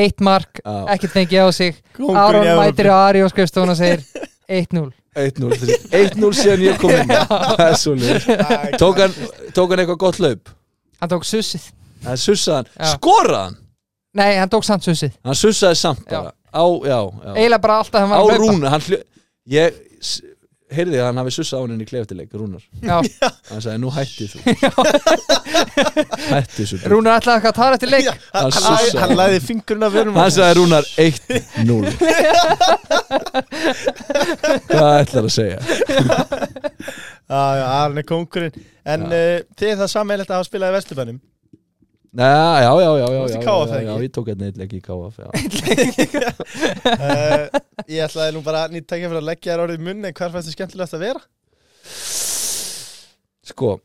Eitt mark, Já. ekkert fengið á sig Kóngurinn í Aron Evrópu. mætir á Ari og skrifstofun og segir 1-0 1-0 þessi- 1-0 síðan ég kom [laughs] inn það er svo leið Æ, tók hann, tók hann eitthvað gott laup Hann tók sussið hann sussaði Já. hann, skoraði hann Nei, hann tók samt sussið hann sussaði samt bara á, já, já. Eiginlega bara alltaf hann á var að Rúnar hann hljó, ég s- heyrði að hann hafi sussað á hann inn í kleftileik Rúnar, Já, hann sagði nú hætti [laughs] þú hætti þessu Rúnar. Rúnar ætlaði eitthvað að tala eftir leik [laughs] Já, hann, Hann hann, sussaði. hann læði fingurinn af vörum hann sagði Rúnar [laughs] 1-0 hvað ætlar að segja Já, já, Aron er kóngurinn En Já. uh, þið er það sammeilegt að hafa spilað í Vestlubænum Næ, já, já, já, já, Þú varst já, í KF, já, ekki? já, ég tók hérna einn eitt leik í KF [laughs] já. uh, Ég ætlaði nú bara að nýtt tækja fyrir að leggja þér orðið í munni Hvar fæstu skemmtilegt að vera? sko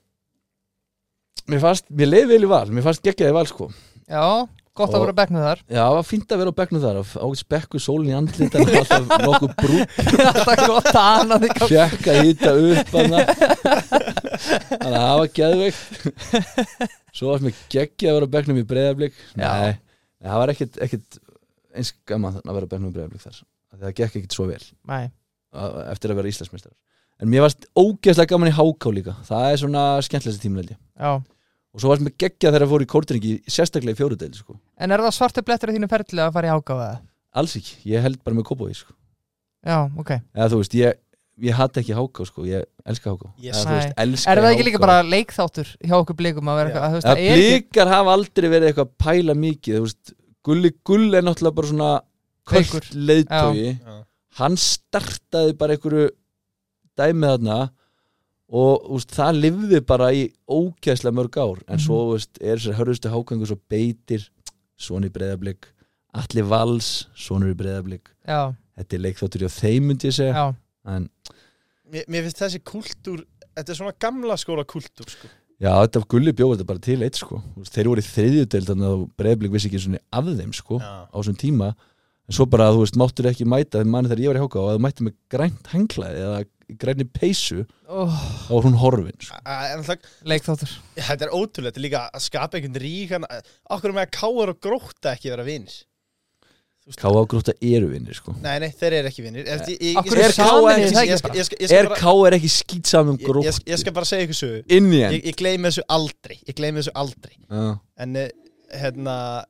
mér fannst, mér leið vel í val mér fannst geggjaði val sko Já, gott Og- að voru bekknum þar [laughs] já, það var fínt að vera á bekknu þar ágætt spekku sólin í andlit [laughs] en alltaf nokkuð brúk Alltaf gott að hann að þig fjekk að hýta upp hana. þannig að það var geðveikt svo varst mér geggjaði að vera á bekknum í breyðablík nei, nei, það var ekkit, ekkit eins gaman að vera á bekknum í breyðablík þar Af því það gekk ekkit svo vel Nei, að- eftir að vera Íslandsmeistar en mér varst ógeðslega gaman í háká líka það er svona skemmtilegsta tíminn held ég já og svo varst mér geggjað þegar að fóru í kórdringi sérstaklega í fjóruðdeil sko. En er það svartu blettur í þínu ferli að fara í ágáfa það? alls ekki, ég held bara með kópói sko. Já, ok. eða þú veist, ég, ég hatt ekki háká sko. ég elska háká Yes. eða, þú veist, elska Er það ég ekki líka HK. bara leikþáttur hjá okkur blikum að vera Já. eitthvað, að þú veist, eða, það er ekki blíkar hafa aldrei verið eitthvað að pæla mikið þú veist, gulli gull er náttúrulega bara svona Veikur. kvöld leiðtói Já. hann startaði bara einhverju dæmið þarna og úst, það lifði bara í ógæslega mörg ár en svo Mhm. úst, er þessar hörðustu hákangu svo beitir svona í breyðablík allir vals, svona í breyðablík Já, þetta er leikþáttur hjá þeim myndi ég segja já, en Mér, mér finnst þessi kultúr Þetta er svona gamla skóla kultúr sko. já, þetta gulli bjóð þetta bara til eitt sko úst, þeir voru í þriðjudeld þannig að breyðablík vissi ekki svona af þeim sko Já. á þessum tíma en svo bara, þú veist, máttur ekki mæta þegar manni þegar ég var í háka og að þú mætti með grænt henglaði eða grænni peysu oh, þá var hún horfin sko. Æ, en það- leikþáttur. Þetta er ótrúlega, þetta er líka að skapa einhvern ríkan Okkur með að káar og gróta ekki vera vinnir K.A. og Grótta eru vinnir sko. Nei, nei, þeir eru ekki vinnir Ég ég- Af ég- ég- hverju er ég- KR saminu ég- það ekki- ekki ég- bara? ég- ég- Er ég- K.A. er ekki skýtsam um Ég ég- Gróttu ég skal bara segja ykkur sögu inn í henn ég, ég gleymi þessu aldrei ég gleymi þessu aldrei Já, en eh, hérna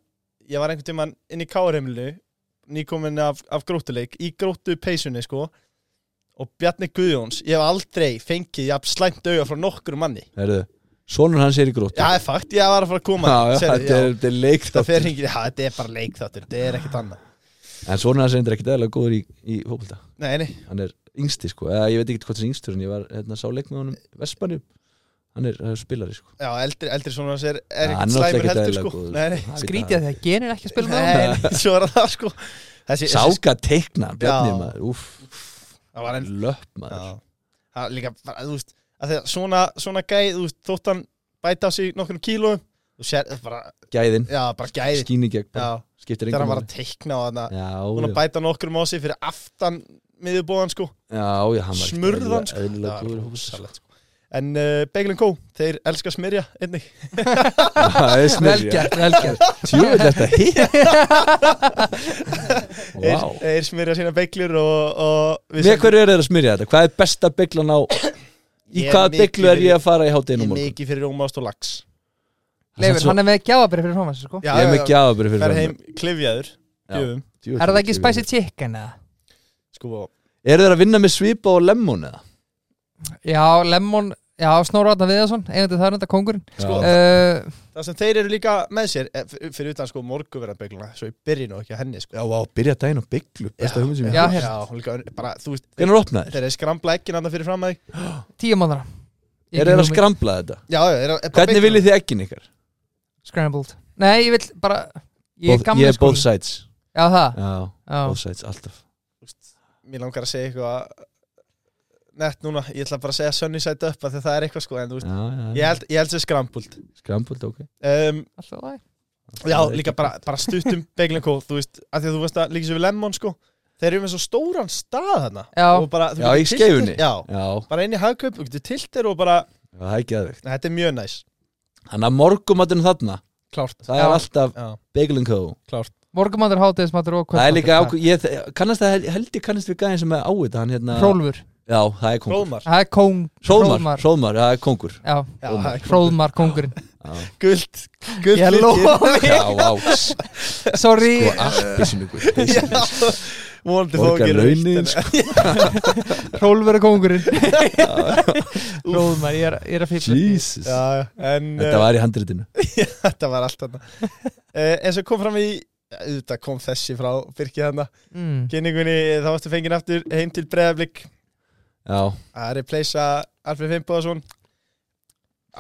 ég var einhvern tímann inn í káarheimilinu nýkomin af, af gróttuleik í gróttu peysunni sko og Bjarni Guðjóns, ég hef aldrei fengið jafn slæmt auga frá nokkrum manni Herðu, sonur hans er í gróttu Já, fakt, ég var að fara að koma já, já, Sérðu, þetta er, þetta er leik það fer hringið, já, þetta er bara leikþáttur, þetta er ekkert annað En sonur hans er ekkert eðalega góður í, í fókbalta Nei, nei, Hann er yngsti sko, eða ég veit ekki hvort það er yngstur en ég var, hérna, sá leik með honum Vespanum Hann er, hann er spilari sko já, eldri, eldri svona hans er, Já, er ekkert hann slæmur náttúrulega ekkert heldur eðlilega sko góður, Nei, nei, sko. Skrítið að það genir ekki að spila með honum nei, nei, svo er það sko þessi, þessi, Sáka teikna, Bjarni Já. maður, úff það var enn Löpp maður Já. Það er líka, bara, þú veist að þegar svona, svona gæð, þú veist, þótt hann bæta á sig nokkrum kílóum þú sér, það er bara, Gæðin, já, bara gæði skín í gegn já, bara, þegar skiptir engum hann var að teikna á þarna, Já, hún að já, bæta nokkrum á sig fyrir aftan miðjubóðan, sko, já, já, hann var smurðan, sko eðlilega Það var góður í fótbolta, rosalegt, sko En uh, Beglin Kó, þeir elska smyrja einnig. sko. Það er smurðan Velgjart, velgjart Tjúvel þetta [laughs] hitt Vá Þeir, þeir smyrja sína beglur og, og Með hverju er þeir að smyrja þetta? Hvað er besta bygglan á Í Ég er hvaða mikið bygglu er ég að fara í Ég hátinu er morgun? mikið fyrir ómást og lax Leifur, hann er með gjáabrið fyrir framvæmst sko. Já, Ég er með gjafabri fyrir Fer framan heim klifjaður, Já. gjöfum mig. Er það ekki Djöfull, spicy chicken eða? Sko, Eru þeir að vinna með svipa og lemmon eða? Já, lemon, já, Snorra Atna Viðarsson Eigandi það er þetta kongurinn Sko, Já. uh, það sem þeir eru líka með sér eh, f- fyrir utan sko morguverðarbegluna svo ég byrji nú ekki að henni sko Já, vá, byrja daginn á bygglu Besta hugmynd sem ég já, hérna. hef. já, hún líka, bara, þú veist Hvernig er opnað þeir? þeir eru skrambla ekkin annað fyrir fram að þig Tíu mánara Eru þeir að skrambla þetta? já, já, er, er Hvernig viljið þið ekkin ykkar? Scrambled Nei, ég vil bara Ég er Both- gamli ég er sko both sides Já, það Já, Já, both sides, alltaf mér langar að segja eitthvað nett núna, ég ætla bara að segja sunny side up af því að það er eitthvað sko, en þú veist Já, já, ég held, ég held sér skrambult Skrambult, ok um, alltaf það já, líka bara, bara stuttum beglingkó, þú veist, að því að þú veist að líka sér við lemon sko, þeir eru með svo stóran stað þarna Já. og bara, þú Já, getur í tyllt skeifunni. þér- já, Já, bara inn í hagkaup, þú getur tiltir og bara, það er ekki aðvegt þetta er mjög næs Þannig að morgumatinn þarna klárt, Það er Já. alltaf já, Bagel Co klárt Morgumatur, hátíðismatur og Það er líka kvöldmatur. ákveð ég, Kannast það, held ég kannast við gæðin sem er á þetta Hann hérna Hrólfur Já, það er kongur Hróðmar Það er kóng Hróðmar, Hróðmar, það er kongur Já, Já, Hróðmar. það er Hróðmar kongurinn Já, Guld, guld Ég [laughs] lofa mig já, ah, á, sko, Sorry appi sinu [laughs] Mónandi fá Borga ekki rautt, launin, en- sko Hrólfur er [laughs] kongurinn Hróðmar, ég er, ég er að fýta Jesus Já, já, en uh, Þetta var í handritinu þetta var allt [laughs] þarna uh, En svo kom fram í Þetta kom þessi frá Birki þarna mm. Kynningunni, eh, þá varstu fenginn aftur heim til Breiðablík Já, að replacea Alfred Fimboðason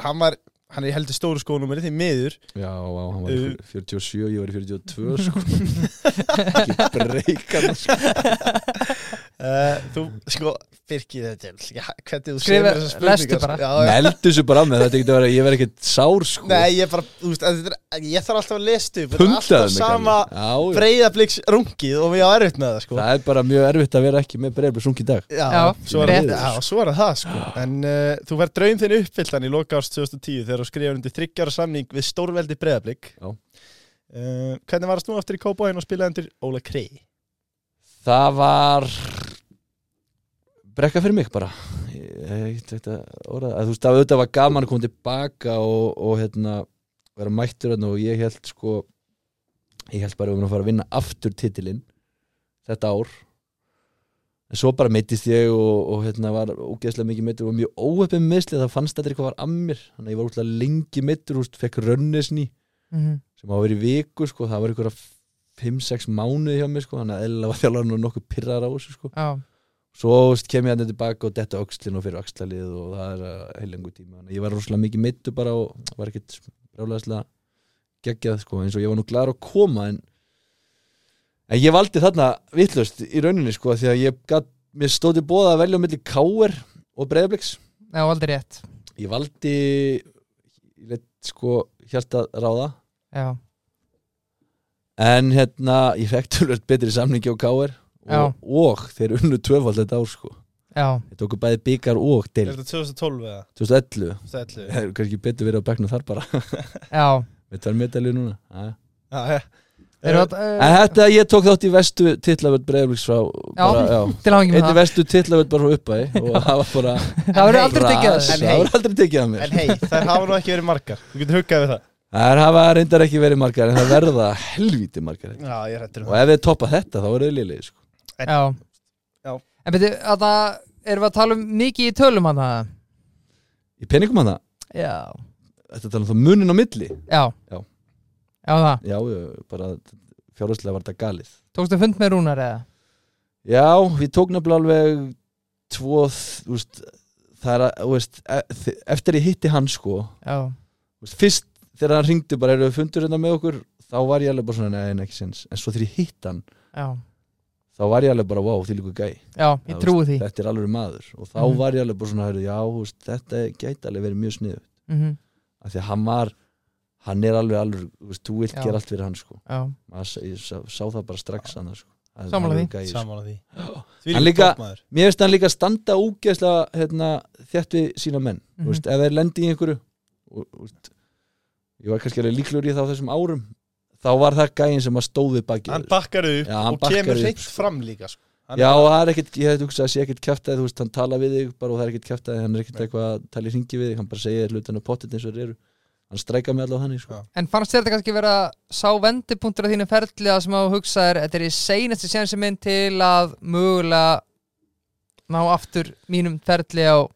Hann var, hann er í heldur stóru skónumri því miður já, á, hann var var í 47, ég var í 42 sko [laughs] Ekki breykan sko. uh, Þú, sko, Birki þetta er ekki hæ- Hvernig þú Skrifa- semur þessar lestu spurningar, sko. bara. Já, já. Meldu þessu bara á mig, þetta getur að vera Ég verð ekkert sár sko Nei, ég bara, þú veist, að þetta er- ég þarf alltaf að lesta upp þetta er Pundaðu Alltaf mig, sama Kalli. Já, já. breyðabliks rungið og við á erfitt með það sko Það er bara mjög erfitt að vera ekki með breyðblik sung í dag Já, Já, svo, er, rétt. já, svo er það sko En uh, þú verð draum þinn uppfylltan í loka árs 2010 þegar þú skrifur undir þryggjara samning við stórveldi breyðablík Já. Uh, hvernig var að snúa aftur í kópáinn og spila undir Óla Krei? Það var brekka fyrir mig bara ég, ég, þetta, orða, að, þú veist, það auðvitað var gaman að koma tilbaka og, og hérna, vera mættur hérna, og ég held sko ég held bara að við erum að fara að vinna aftur titilinn þetta ár en svo bara meittist ég og, og hérna var ógeðslega mikið meittur og mjög óöppið meðslið það fannst þetta eitthvað var að mér þannig að ég var útla lengi meittur úst, fekk rönnisni Mhm. sem hafa verið í viku sko, það var einhverja 5-6 mánuði hjá mér sko, þannig að eðlilega var þjálfarinn og nokkuð pirrar á þessu sko. Já, svo veist, kem ég hann tilbaka og detta öxlin og fyrir öxlalið og það er heilengu tíma þannig að ég var rosalega mikið mittu bara og var ekkit rálaðislega geggjað sko, eins og ég var nú glæður að koma en, en ég valdi þarna vittlust í rauninni sko, því að ég gat, mér stóði bóða að velja á milli K.R. og Breiðabliks já, aldrei rétt ég valdi ég let, sko, hjarta ráða Já, En hérna, ég fekk tölvöld betri samningi á KR Já. og, og þeir unnu tvöfald þetta ár sko já, Þeir tóku bæði byggar og Er deil þetta 2012 eða? 2011 [laughs] 2011? Það eru kannski betur verið á bekknu þar bara [laughs] já Við tveir medalju núna Jæja. Já, já. Eru Eh, að, uh, En þetta ég tók þátt í vestu titlavöld breyðlíks frá bara, já. Til áhengi með Einni það vestu titlavöld bara frá uppæði og það var bara Það verður En aldrei tekið að ras, þessu En Það hey. var aldrei tekið að mér En hei, þær hafa nú ekki verið margar Þú getur huggað við það Það hafa reyndar ekki verið margar en það verða helvítið margar Já, ég er hættur um og ef þið toppa þetta þá er auðlilið sko. Já, Já. En betur, að það erum við að tala um mikið í tölum hann það Í peningum hana, Já þetta tala um það munin á milli Já Já. Já, það, Já, ég- bara fjárhastlega var þetta galið tókstu fund með Rúnar eða? Já, við tók nefnilega alveg tvo, þ- þú veist það er að, þú veist, e- þi- eftir ég hitti hann sko, Já þú veist, fyrst þegar hann ringdi bara eru við fundur hérna með okkur þá var ég alveg bara svona, neina ekki sinns en svo þegar ég hitt hann, Já, þá var ég alveg bara, wow, því líku gæ já, ég Já, trúi því þetta er alveg maður og þá Mhm. var ég alveg bara svona, heyrðu, já, þú veist, þetta gæti alveg verið mjög sniðu mm af því að hann var, hann er alveg alveg, þú veist, þú vilt Já. gera allt fyrir hann sko. Já, maður sá, ég sá, sá það bara strax hann sko. Hann- Sammála hann því. er gæi, sko. Samála því Hann Því líka- líka maður mér finnst hann líka standa úgeðslega hérna, þjætt við sína menn mm Mhm. veist, ef þeir lendi í einhverju og, og, veist, ég var kannski alveg líklur í það á þessum árum þá var það gæin sem að stóði baki Hann bakkar upp Já, hann og bakkar kemur upp, hreitt sko. fram líka sko. Hann Já, er og það er ekkert, ég hefði hugsað að sé ekkert kjæftæði, þú veist, hann tala við þig bara og það er ekkert kjæftæði, hann er ekkert Nei. eitthvað að tala í ringi við þig, hann bara segir hlutin og pottit eins og þeir eru, hann streika með allavega þannig, sko. Já. En fannst þér þetta kannski vera sá vendipunktur á þínu ferli að sem að hugsa þér þetta er í seinasti sénsi minn til að mögulega ná aftur mínum ferli á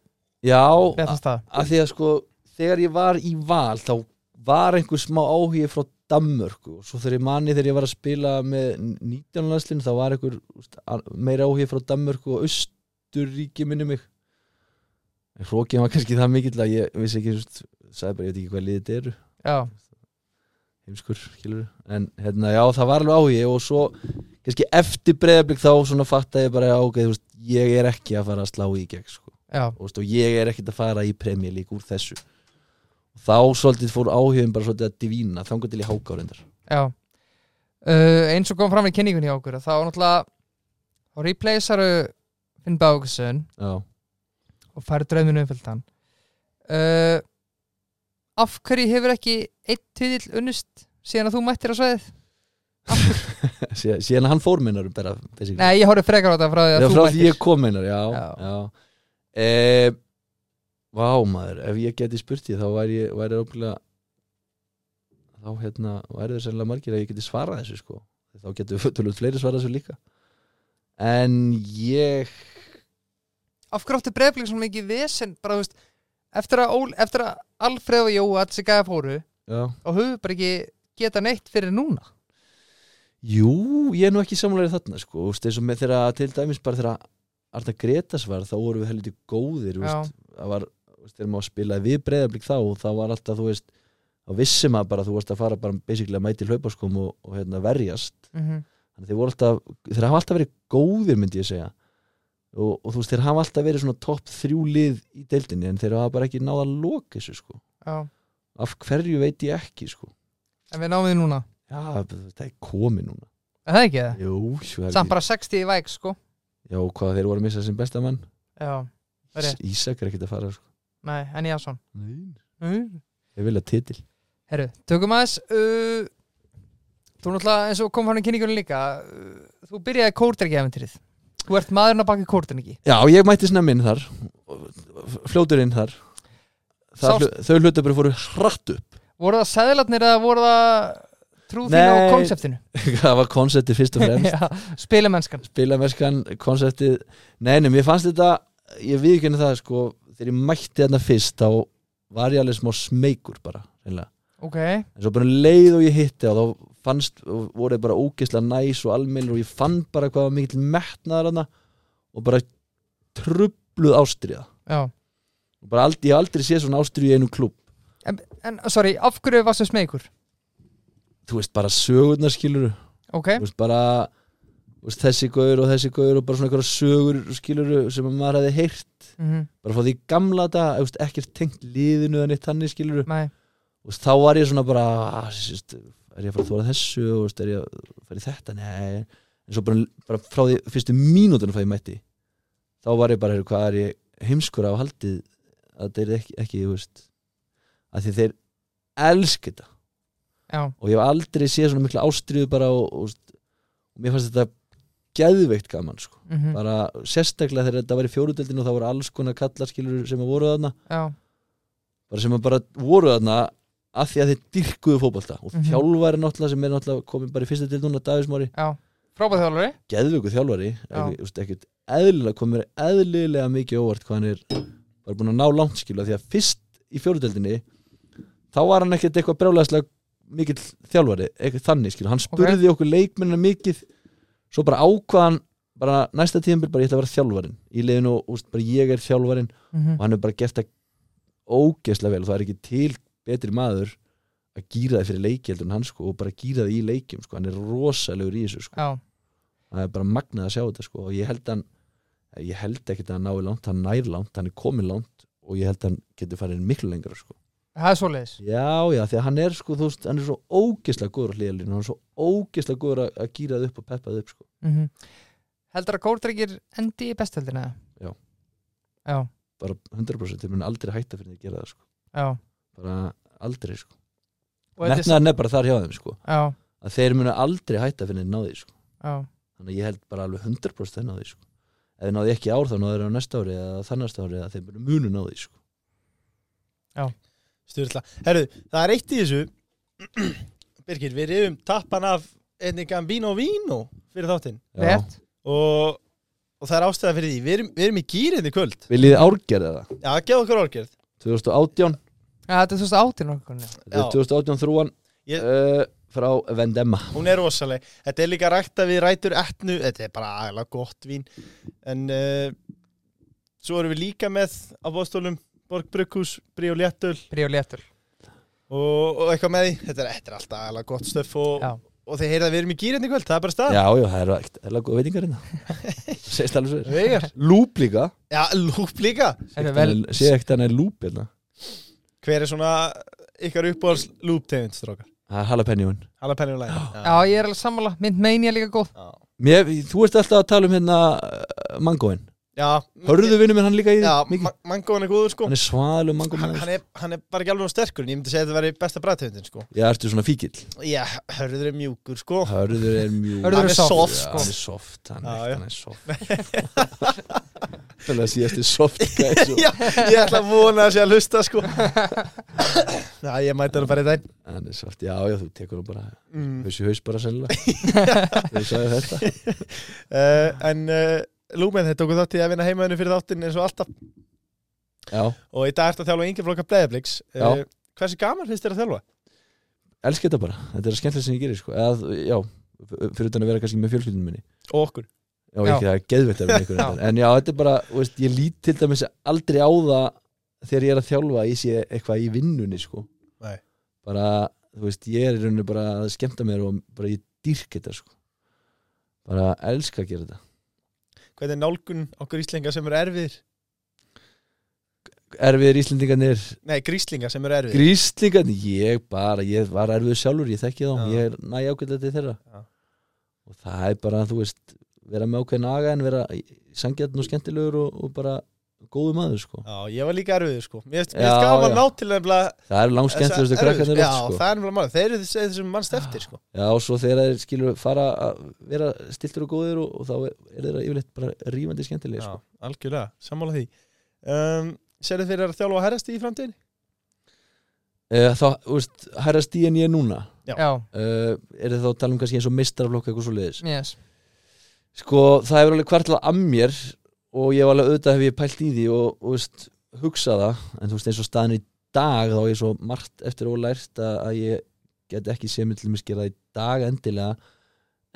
Já, betra stað a- af því að sko, þegar ég var í val, þá var einhver smá áhugi frá Danmörku og svo þegar ég mani þegar ég var að spila með 19. landslinu, þá var einhver þú veist, a- meira áhugi frá Danmörku og Östuríki minni mig. En hrókið var kannski það mikill að ég vissi ekki, þú veist, sagði bara, ég veit ekki hvað liðið þetta eru. Já, heimskur, skilur en hérna, já, það var alveg áhugi og svo kannski eftir breyðablík þá svona fatta ég bara, já, ok, þú veist, ég er ekki að fara að slá í gegn, sko já, og, veist, og ég er ekkert að fara í Premier League úr þessu og þá svolítið fór áhugin bara svolítið að divína, þangar til í háká reyndar já uh, Eins og kom fram í kynningunni hjá okkur þá náttúrulega þá replacearu Finn Bákesson [laughs] já, og færi drauminu umfylgdan uh, Af hverju hefur ekki einn titill unnust síðan að þú mættir á svæðið? Síðan- síðan hann fór minnar bara, basically. Nei, ég horfði frekar á þetta frá því að já, þú frá mættir því ég kom minnar, já, Já. já. E, vá, maður, ef ég geti spurt því, þá væri ég, væri óbúinlega þá, hérna, væri það sennilega margir að ég geti svarað þessu, sko þá [laughs] getur tölvöld fleiri svarað þessu líka en ég af hverju átti breyflik svona mikið vesen bara þú veist eftir að, Ól, eftir að Alfreð og Jóa alls í gæða fóru já, og höfum bara ekki geta neitt fyrir núna jú, ég er nú ekki samlega þarna, sko, þú veist, eins og með þeirra til dæmis bara þeirra Arna Gretas var þá vorum við helviti góðir, þú veist, já, það var þú veist, þegar maður spilaði við breyðablík þá og það var alltaf, þú veist þá vissi maður bara að þú varst að fara bara basically að mæti hlaupaskum og, og hérna, verjast mm þannig að þeir voru alltaf, þeir hafa alltaf verið góðir myndi ég segja og, og þú veist, þeir hafa alltaf verið svona topp þrjú lið í deildinni en þeir hafa bara ekki náða að loka þessu sko, já. af hverju veit ég ekki sko, en við náum því núna já, þetta er komið núna er það ekki það? jú, jú, það er samt ekki- bara 60 í væk sko já, og hvað þeir voru að missa sem besta mann já, Það er rétt. Ísak er ekkert að fara sko, nei, en Jansson Nei. mm. þeir vilja titil herru, tökum aðeins uh, þú náttúrulega eins og kom hann í kynningunni líka uh, þú byrjaði kórdryggi eventrið þú ert maðurinn að baka kórdryggi Já, ég mætti snemmi inn þar fljótur inn þar það, Sást- hlu- Þau hlutabur fóru hratt upp [laughs] voru það sæðlarnir eða voru það trúðin á Nei. konseptinu Það var konseptið fyrst og [laughs] fremst Já, spilamennskan Spilamerskan, konseptið Nei, nei, mér fannst þetta Ég viðkynni það, sko Þegar ég mætti þarna fyrst Þá var ég alveg smá smeykur bara Einlega ok, En svo bara um leið og ég hitti og þá fannst, og voru þeir bara ógeðslega næs og almennir og ég fann bara hvað var mikill metnaðar hana og bara trubluð ástriða já og bara aldrei, ég hef aldrei séð svona ástriðu í einum klub En, en sorry, af hverju varstu smeykur? þú veist bara sögurnar skilur Ok, þú veist bara þú veist, þessi gaur og þessi gaur og bara svona einhverja sögur skilur sem að maður hefði heyrt mm bara frá því gamla þetta, þú veist, ekkert tengt liðinu en eitt þannig skilur nei, og þá var ég svona bara ah, þú veist, er ég að fara að þóra þessu og þú veist, er ég að fara í þetta, nei en svo bara, bara frá því fyrstu mínútur frá því ég mætti þá var ég bara, heyrðu, hvað er ég heimskur á haldið að þetta er ekki, ekki þú veist að því þeir elska þetta já, og ég hef aldrei séð svona mikla ástriðu bara og, og, og mér fannst þetta geðveikt gaman sko. mm bara sérstaklega þegar þetta var í fjóruðeldinu og það voru alls konar kallarskilur sem að voru þarna já, bara sem að bara voru þarna af því að þeir dyrkuðu fótbolta og Mhm. þjálfari náttúrulega sem er náttúrulega komið bara í fyrsta til núna dagismári, já, frábæð þjálfari geðvöku þjálfari Já. ekki, þú veist, ekkert eðlilega komið mér eðlilega mikið á óvart hvað hann er bara búin að ná langt skilu af því að fyrst í fjóruðeldinni þá var hann ekkert eitthvað brjálæðislega mikill þjálfari, ekkert þannig skilu hann Ok. spurði okkur leikmennina mikið svo bara ákvaðan bara næsta tíðanbyrg bara ég ætla að vera þjálfarin í liðinu og úst, bara ég er þjálfarin og hann hefur bara gert það ógeðslega vel og það er ekki til betri maður að gýra það fyrir leiki heldur en hann sko og bara gýra það í leikjum sko, hann er rosalegur í þessu sko já, það er bara magnað að sjá þetta sko og ég held hann, ég held ekki að hann nái langt hann nær langt, hann er komin langt og ég held hann getur farið miklu lengra sko það er svoleiðis já, já, því að hann er sko þú veist, hann er svo ógeðslega góður á hlýðalínu hann er svo ógeðslega góður að, að gýra það upp og peppa það upp sko mm heldur að kórdrengir endi í bestöldina Já. já, bara 100% þeir mun aldrei hætta fyrir að gera það sko já, bara aldrei sko Og þetta er samt- metnaðan er bara þar hjá þeim sko já, að þeir munu aldrei hætta fyrir náði sko. já, þannig að ég held bara alveg 100% þeir náði sko. ef þeir náði ekki í ár þá náður á næsta ári eða þannast ári eða þeir munu munu náði sko. Styrla. Herru, það er eitt í þessu [clears throat] Birgir, við rifum tappan af einni Gambino Vino fyrir þáttinn rétt og, og það er ástæða fyrir því Við erum, við erum í gýrinni kvöld Viljið þið árgerða það? Já, gefa okkur orgerð 2018, já, þetta er svo áttir nokkur þetta er Já. 2018 þrúan Ég- uh, frá Vendemma Hún er rosaleg Þetta er líka rækta við rætur etnu Þetta er bara aðlega gott vín En uh, svo erum við líka með á bóðstólum Borg Brukhus, Brí og Léttul bríu léttur og, og eitthvað með því Þetta er, þetta er alltaf aðlega gott stöf og, já, og þeir heyrða að við erum í gýrinni kvöld Það er bara stað Já, já, það eru ekkert eða góða [laughs] veitingar hérna Sést alveg svo Veigar. Lúp líka Já, lúp líka þetta er vel Sé ekkert hann er lúp hérna Hver er svona ykkar uppbóðs lúp tegund, strókar? Það er halapenjón Jalapeno læri já, ég er alveg sammála, mynd meini er líka góð Já, Mér, Þú ert alltaf að tala um hérna uh, mangóin já Hörðu vinnum hann líka í Já, mikið ma- mangóin er góður sko Hann er svaðalum mangó hann, hann, er, hann er bara ekki alveg á sterkur en ég myndi segja að þetta væri besta bræðtegundin sko Já, ertu svona fíkill Já, hörður er mjúkur sko [laughs] Hörður er mjög Hörður er soft, sko. Hann er soft, hann, Já, er, já. hann er soft Þannig að síðast er [laughs] soft guys og, Já, ég ætla að vona að sé að hlusta [laughs] sko Já, ég mæti hann bara í dæn Hann er soft, já, já, þú tekur hann bara mm. Haus í haus bara [laughs] sennilega Þegar ég sagði þetta uh, En uh, Lúmen, þetta okkur þáttið að vinna heimaðinu fyrir þáttinn eins og alltaf Já, og í dag ertu að þjálfa yngir flokka bleiðabliks Já. Hversu gaman finnst þér að þjálfa? elski þetta bara Þetta er skemmtilegt sem ég gerir, sko Eða, Já, fyrir utan að vera kannski með fjölskyldunum minni Og okkur Já, ekki það er geðveitt að vera með ykkur Já. reyndar. En já, þetta er bara, þú veist, ég lít til dæmis aldrei á það þegar ég er að þjálfa að ég sé eitthvað í vinnunni, sko Nei. bara, þú veist, ég er í rauninu bara að skemmta mér og bara ég dýrk þetta, sko bara elska að gera þetta Hvernig er nálgun okkur íslinga sem eru erfiðir? Erfiðir Íslendingarnir, Nei, gríslinga sem eru erfiðir gríslingarnir ég bara, ég var erfiður sjálfur, ég þekki þá Já. ég er næ ágætlega til þeirra Já. og það er bara, þú veist vera með ákveðin aga en vera sangjarn og skemmtilegur og, og bara góðu maður, sko Já, ég var líka erfiður sko Mér finnst mér Já, finnst gaman já. að ná til nefnilega það eru langt skemmtilegustu Þessa erfiðu, krakkarnir Já, oft, sko. það er nefnilega málið, þeir eru þessi- þessum mannst eftir sko. Já, og svo þegar þeir skilur fara að vera stiltur og góðir og, og þá er, er þeirra yfirleitt bara rífandi skemmtilegir Já, sko. algjörlega, sammála því um, Serðu fyrir að þjálfa herrasti í framtíðin? uh, Þá, þú veist, hæra stíðin ég er núna já, uh, er þið þá að tala um kannski eins og mistaraflokk eitthvað svo leiðis yes, Sko, það hefur alveg hvartlað að mér og ég hef alveg auðvitað hef ég pælt í því og, og þú veist, hugsa það en þú veist, eins og staðan er í dag þá er ég svo margt eftir ólært að, að ég get ekki séð mér til mér skera í dag endilega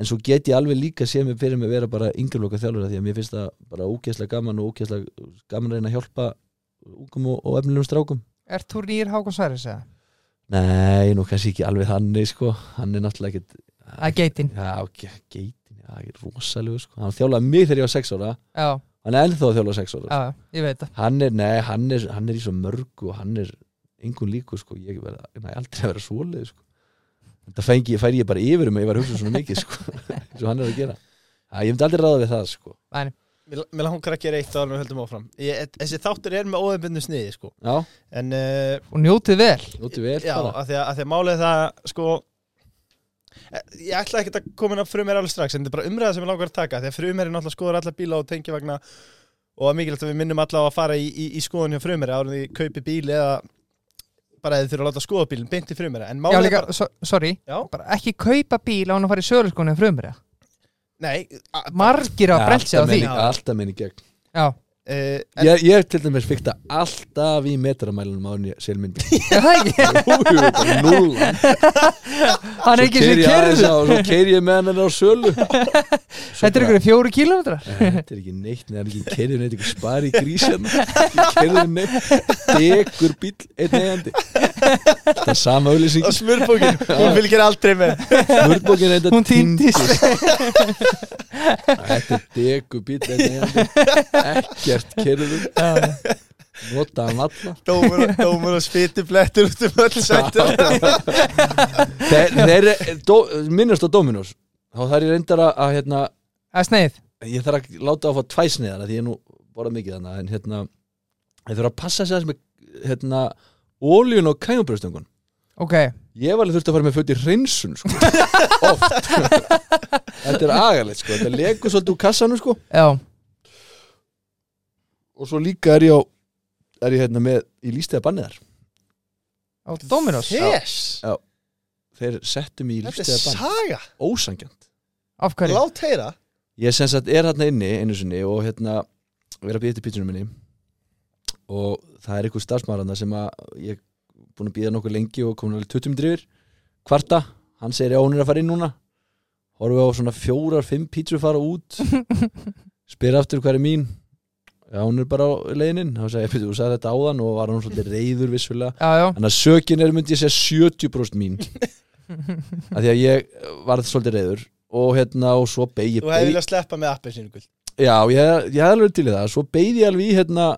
en svo get ég alveg líka séð mér fyrir mig vera bara yngjörloka þjálfur því að mér finnst það bara ógeðslega gaman og ógeðslega gaman að reyna að hjálpa ungum og, og efnilegum strákum er þú rýr Hákon Sværis eða? Nei, nú kannski ekki alveg þannig sko hann er náttúrulega ekkit að geitin, Já, ge- geitin, já, ég er rosalegu sko hann þjálfaði mig þegar ég var sex ára já, hann er ennþá að þjálfa sex ára já, já, ég veit það hann er, nei, hann er, hann er í svo mörgu og hann er engun líku sko ég verða, næ, aldrei að vera svoleið sko þetta fengi, færi ég bara yfir um að ég var að hugsa svona mikið sko, [laughs] eins og hann er að gera að ég myndi aldrei ráða við það sko Mér mér langar að gera eitt áður en við höldum áfram ég, Þessi þáttur er með óðeinbundu sniði sko. já, En uh, og njótið vel, notu vel já, bara af því að, að því að málið er það sko eh, Ég ætla ekkert að koma inn á frumir alveg strax En þetta er bara umræða sem ég langar að taka Þegar frumir er náttúrulega skoður alla bíla og tengjavagna Og það er mikilvægt að við minnum alla á að fara í, í, í skoðun hjá frumir Árið því kaupi bíl eða bara að þið þurfa að láta skoða bílinn beint í frumera en Já, málið er líka, bara, so, sorry, Já. bara ekki kaupa bíl á hann að fara í sögurskónu frumri nei a- Margir hafa brent sig á alltaf því minni- Já. Alltaf minni gegn Já, eh, en, Ég, ég til dæmis fikta alltaf í metramælunum á henni sér minn bíl. Já, það ekki Jú, jú, bara núll. Hann er ekki sem keyri ég aðeins kerðu á- Svo keiri ég með hennar á [laughs] sölu Svo Þetta er bara, ykkur fjóri kílómetrar eh, Þetta er ekki neitt, neða ekki keiri neitt ykkur spari grís hérna Ég keiri neitt, degur bíl einn eigandi Það er sama auðlýsing og [laughs] smurfbókin, hún fylgir aldrei með Smurðbókin eitthvað Hún týndist Þetta er degur bíl einn eigandi Ekkert keiri Nota hann alla dómur, og- dómur og spytu blettur út um öll sættur Þeir, þeir dó, minnast á Dominos Þá þarf ég reyndar að, að hérna, Það er sneið ég þarf að láta á að fá tvæsniðana því ég er nú borða mikið þannig en hérna, ég þarf að passa sér aðeins með hérna, óljun og kæmumbröðstöngun Ok, ég var alveg þurfti að fara með föt í hreinsun [laughs] sko. oft þetta er agalegt, sko. þetta legur svolítið úr kassanum sko. já og svo líka er ég á er ég hérna með í lístega banniðar Á Dominos yes, þeir settu mig í þetta lístega er bann saga ósangjant Af hverju? lát heyra ég sem sagt er hérna inni einu sinni og hérna vera að býða til pítsunum minni og það er einhver starfsmaðurna sem að ég er búin að býða nokkuð lengi og komin alveg 20 drifir kvarta, hann segir já hún er að fara inn núna horfum við á svona fjórar, fimm pítsur fara út spyr aftur hvað er mín já hún er bara á leiðinin þá segir ég, "Bíddu, þú sagði þetta áðan og var hann svolítið reyður vissulega Já, já, Þannig að sökin er myndi ég segja 70% mín af því að ég varð svolítið reyður og hérna og svo beig ég þú hefði beig- viljað sleppa með appið sinu gull Já, ég, ég hef alveg til í það Svo beigði ég alveg í hérna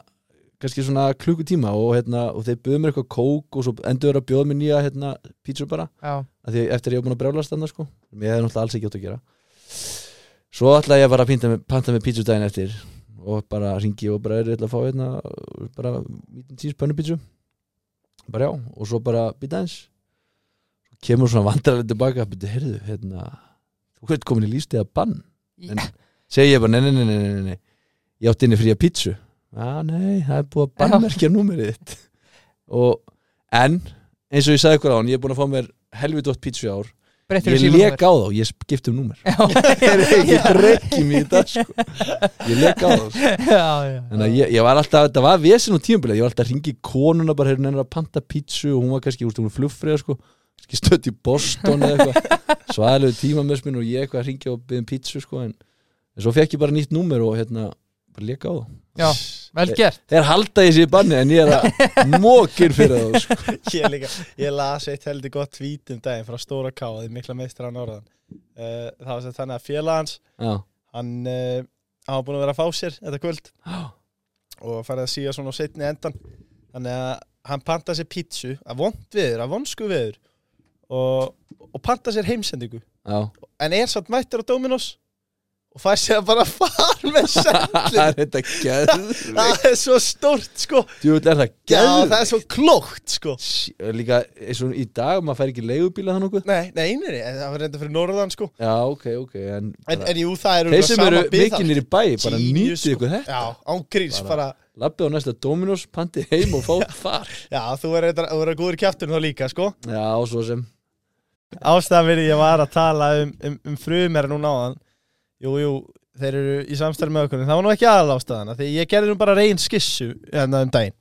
kannski svona klukkutíma og, hérna, og þeir buðu mér eitthvað kók og svo endur að bjóða mér nýja hérna, pítsur bara já af því eftir að ég var búin að brjálast þannig sko ég hefði náttúrulega alls ekki átt að gera svo ætlaði ég bara að panta með, panta með pítsu daginn eftir og bara ringi og bara er ég ætla að fá hérna bara mítinn tíns pönnupítsu bara já og svo bara býta eins kemur svona vandrarlega tilbaka byrju, heyrðu, hérna, þú ert komin í lífstíða bann en segi ég bara, nei, nei, nei, nei, nei, nei, nei. ég átti inni fría pítsu já, nei, það er búið að bannmerkja númerið þitt og, en eins og ég sagði ykkur á hann, ég er búin að fá mér helvitótt pítsu í ár Breyttur ég lék á þá, ég skipti um númer [laughs] Já, [laughs] ég brekki mig í dag sko. ég lék á þá sko. já, já þannig að ég, ég var alltaf, þetta var vesen og tímabilið ég var alltaf að ringi konuna bara hérna að panta pítsu og hún var kannski, þú veist, hún var flugfriða sko kannski stött í Boston eða [laughs] eitthvað svaðilegu tímamösmin og ég eitthvað að ringja og byggja um pítsu sko en, en svo fekk ég bara nýtt númer og hérna bara lék á þá Já, vel Eh. gert þeir halda ég sér banni en ég er að mókin fyrir þá sko. [laughs] ég, líka, ég las eitt heldur gott tweet um daginn frá Stóra K því mikla meistra á norðan uh, það var sem þannig að félagans já, hann, uh, hann var búin að vera að fá sér þetta kvöld Já. og farið að síga svona á setni endan þannig að hann pantaði sér pítsu að vond viður, að vonsku viður og, og pantaði sér heimsendingu já. en er satt mættur á Dominos og fær sér að bara [laughs] far með það sendin [laughs] er þetta geðvikt það er svo stórt sko jú, er það Já, það geðvikt er svo klókt sko Sí- líka eins og í dag maður fær ekki leigubíla það nokkuð Nei, nei, nei, nei, en það var reynda fyrir norðan sko já, ok, ok en, En, bara, en jú, það eru þeir sem sama eru biðhald. mikið nýri bæ bara Genius, nýtið sko. ykkur þetta Já, án gríns bara, lappið á næsta Dominos, pantið heim [laughs] og fátt far Já, þú er reyndar- þú verður góður í kjæftunum þá líka sko já, svo sem Ástæðan verið ég var að tala um, um, um frumera núna áðan Jú, jú, þeir eru í samstæðan með okkur en Það var nú ekki aðal ástæðan Þegar ég gerði nú bara reyn skissu hérna um daginn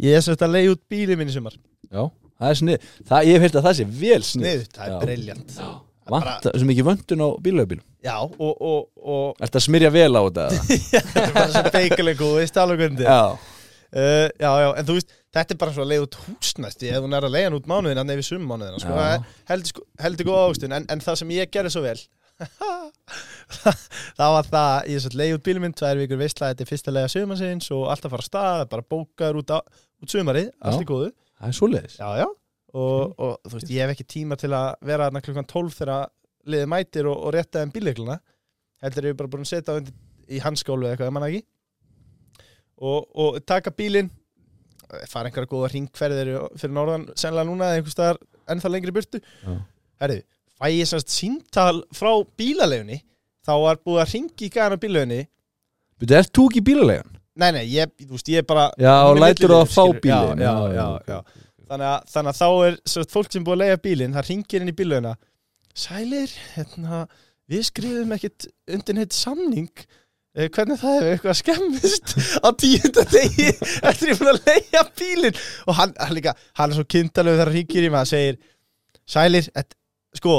Ég er svolítið að leiði út bílið minni sumar já, það er snið það, ég hef heyrt að það sé vel snið Sniðut, það er briljant Vant, sem ekki vöndun á bílaugubíl Já, og, og, og [laughs] Ertu að smyrja vel á þetta? þetta er bara svo beikuleg og veist alveg hvernig þetta er. já, Uh, já, já, en þú veist, þetta er bara svo að leiða út húsnæsti ef hún er að leiða hann út mánuðin að nefnir sum mánuðina sko. Já. Það er heldur, sko- heldur góð águstun en, en það sem ég gerði svo vel [laughs] það var það að ég satt leiði út bílum minn tvær vikur veistla þetta er fyrsta leiða sumarsins og allt að fara af stað bara bókaður út, á, út sumarið allt í góðu það er svoleiðis já, já. Og, og þú veist, ég hef ekki tíma til að vera þarna klukkan 12 þegar liðið mætir og, og rétta þeim bíleikluna heldur ég bara búin að setja á undir, í hanskólu eða eitthvað, ef mann ekki og, og taka bílinn eh, fara einhverja góða ringferðir fyrir norðan, sennilega núna eða einhvers staðar ennþá lengri í burtu Já. herðu, fæ ég semst síntal frá bílalegunni þá var búið að ringi í gæðan á bílalegunni Býttu, ert þú ekki í bílaleigan? nei, nei, ég, þú veist, ég er bara Já, Hún er og lætur þú milliliður, að fá skilur. bílinn já, já, já, já. þannig að, þannig að þá er svo, sagt, fólk sem búið að leiða bílinn, það ringir inn í bíluna Sælir, hérna við skrifum ekkit undir neitt samning Eh, hvernig það hefur eitthvað skemmist [laughs] á tíunda degi eftir ég búin að leiða bílinn og hann, hann líka, hann er svo kynntalegu þegar hann ringir í mig að segir Sælir, et, sko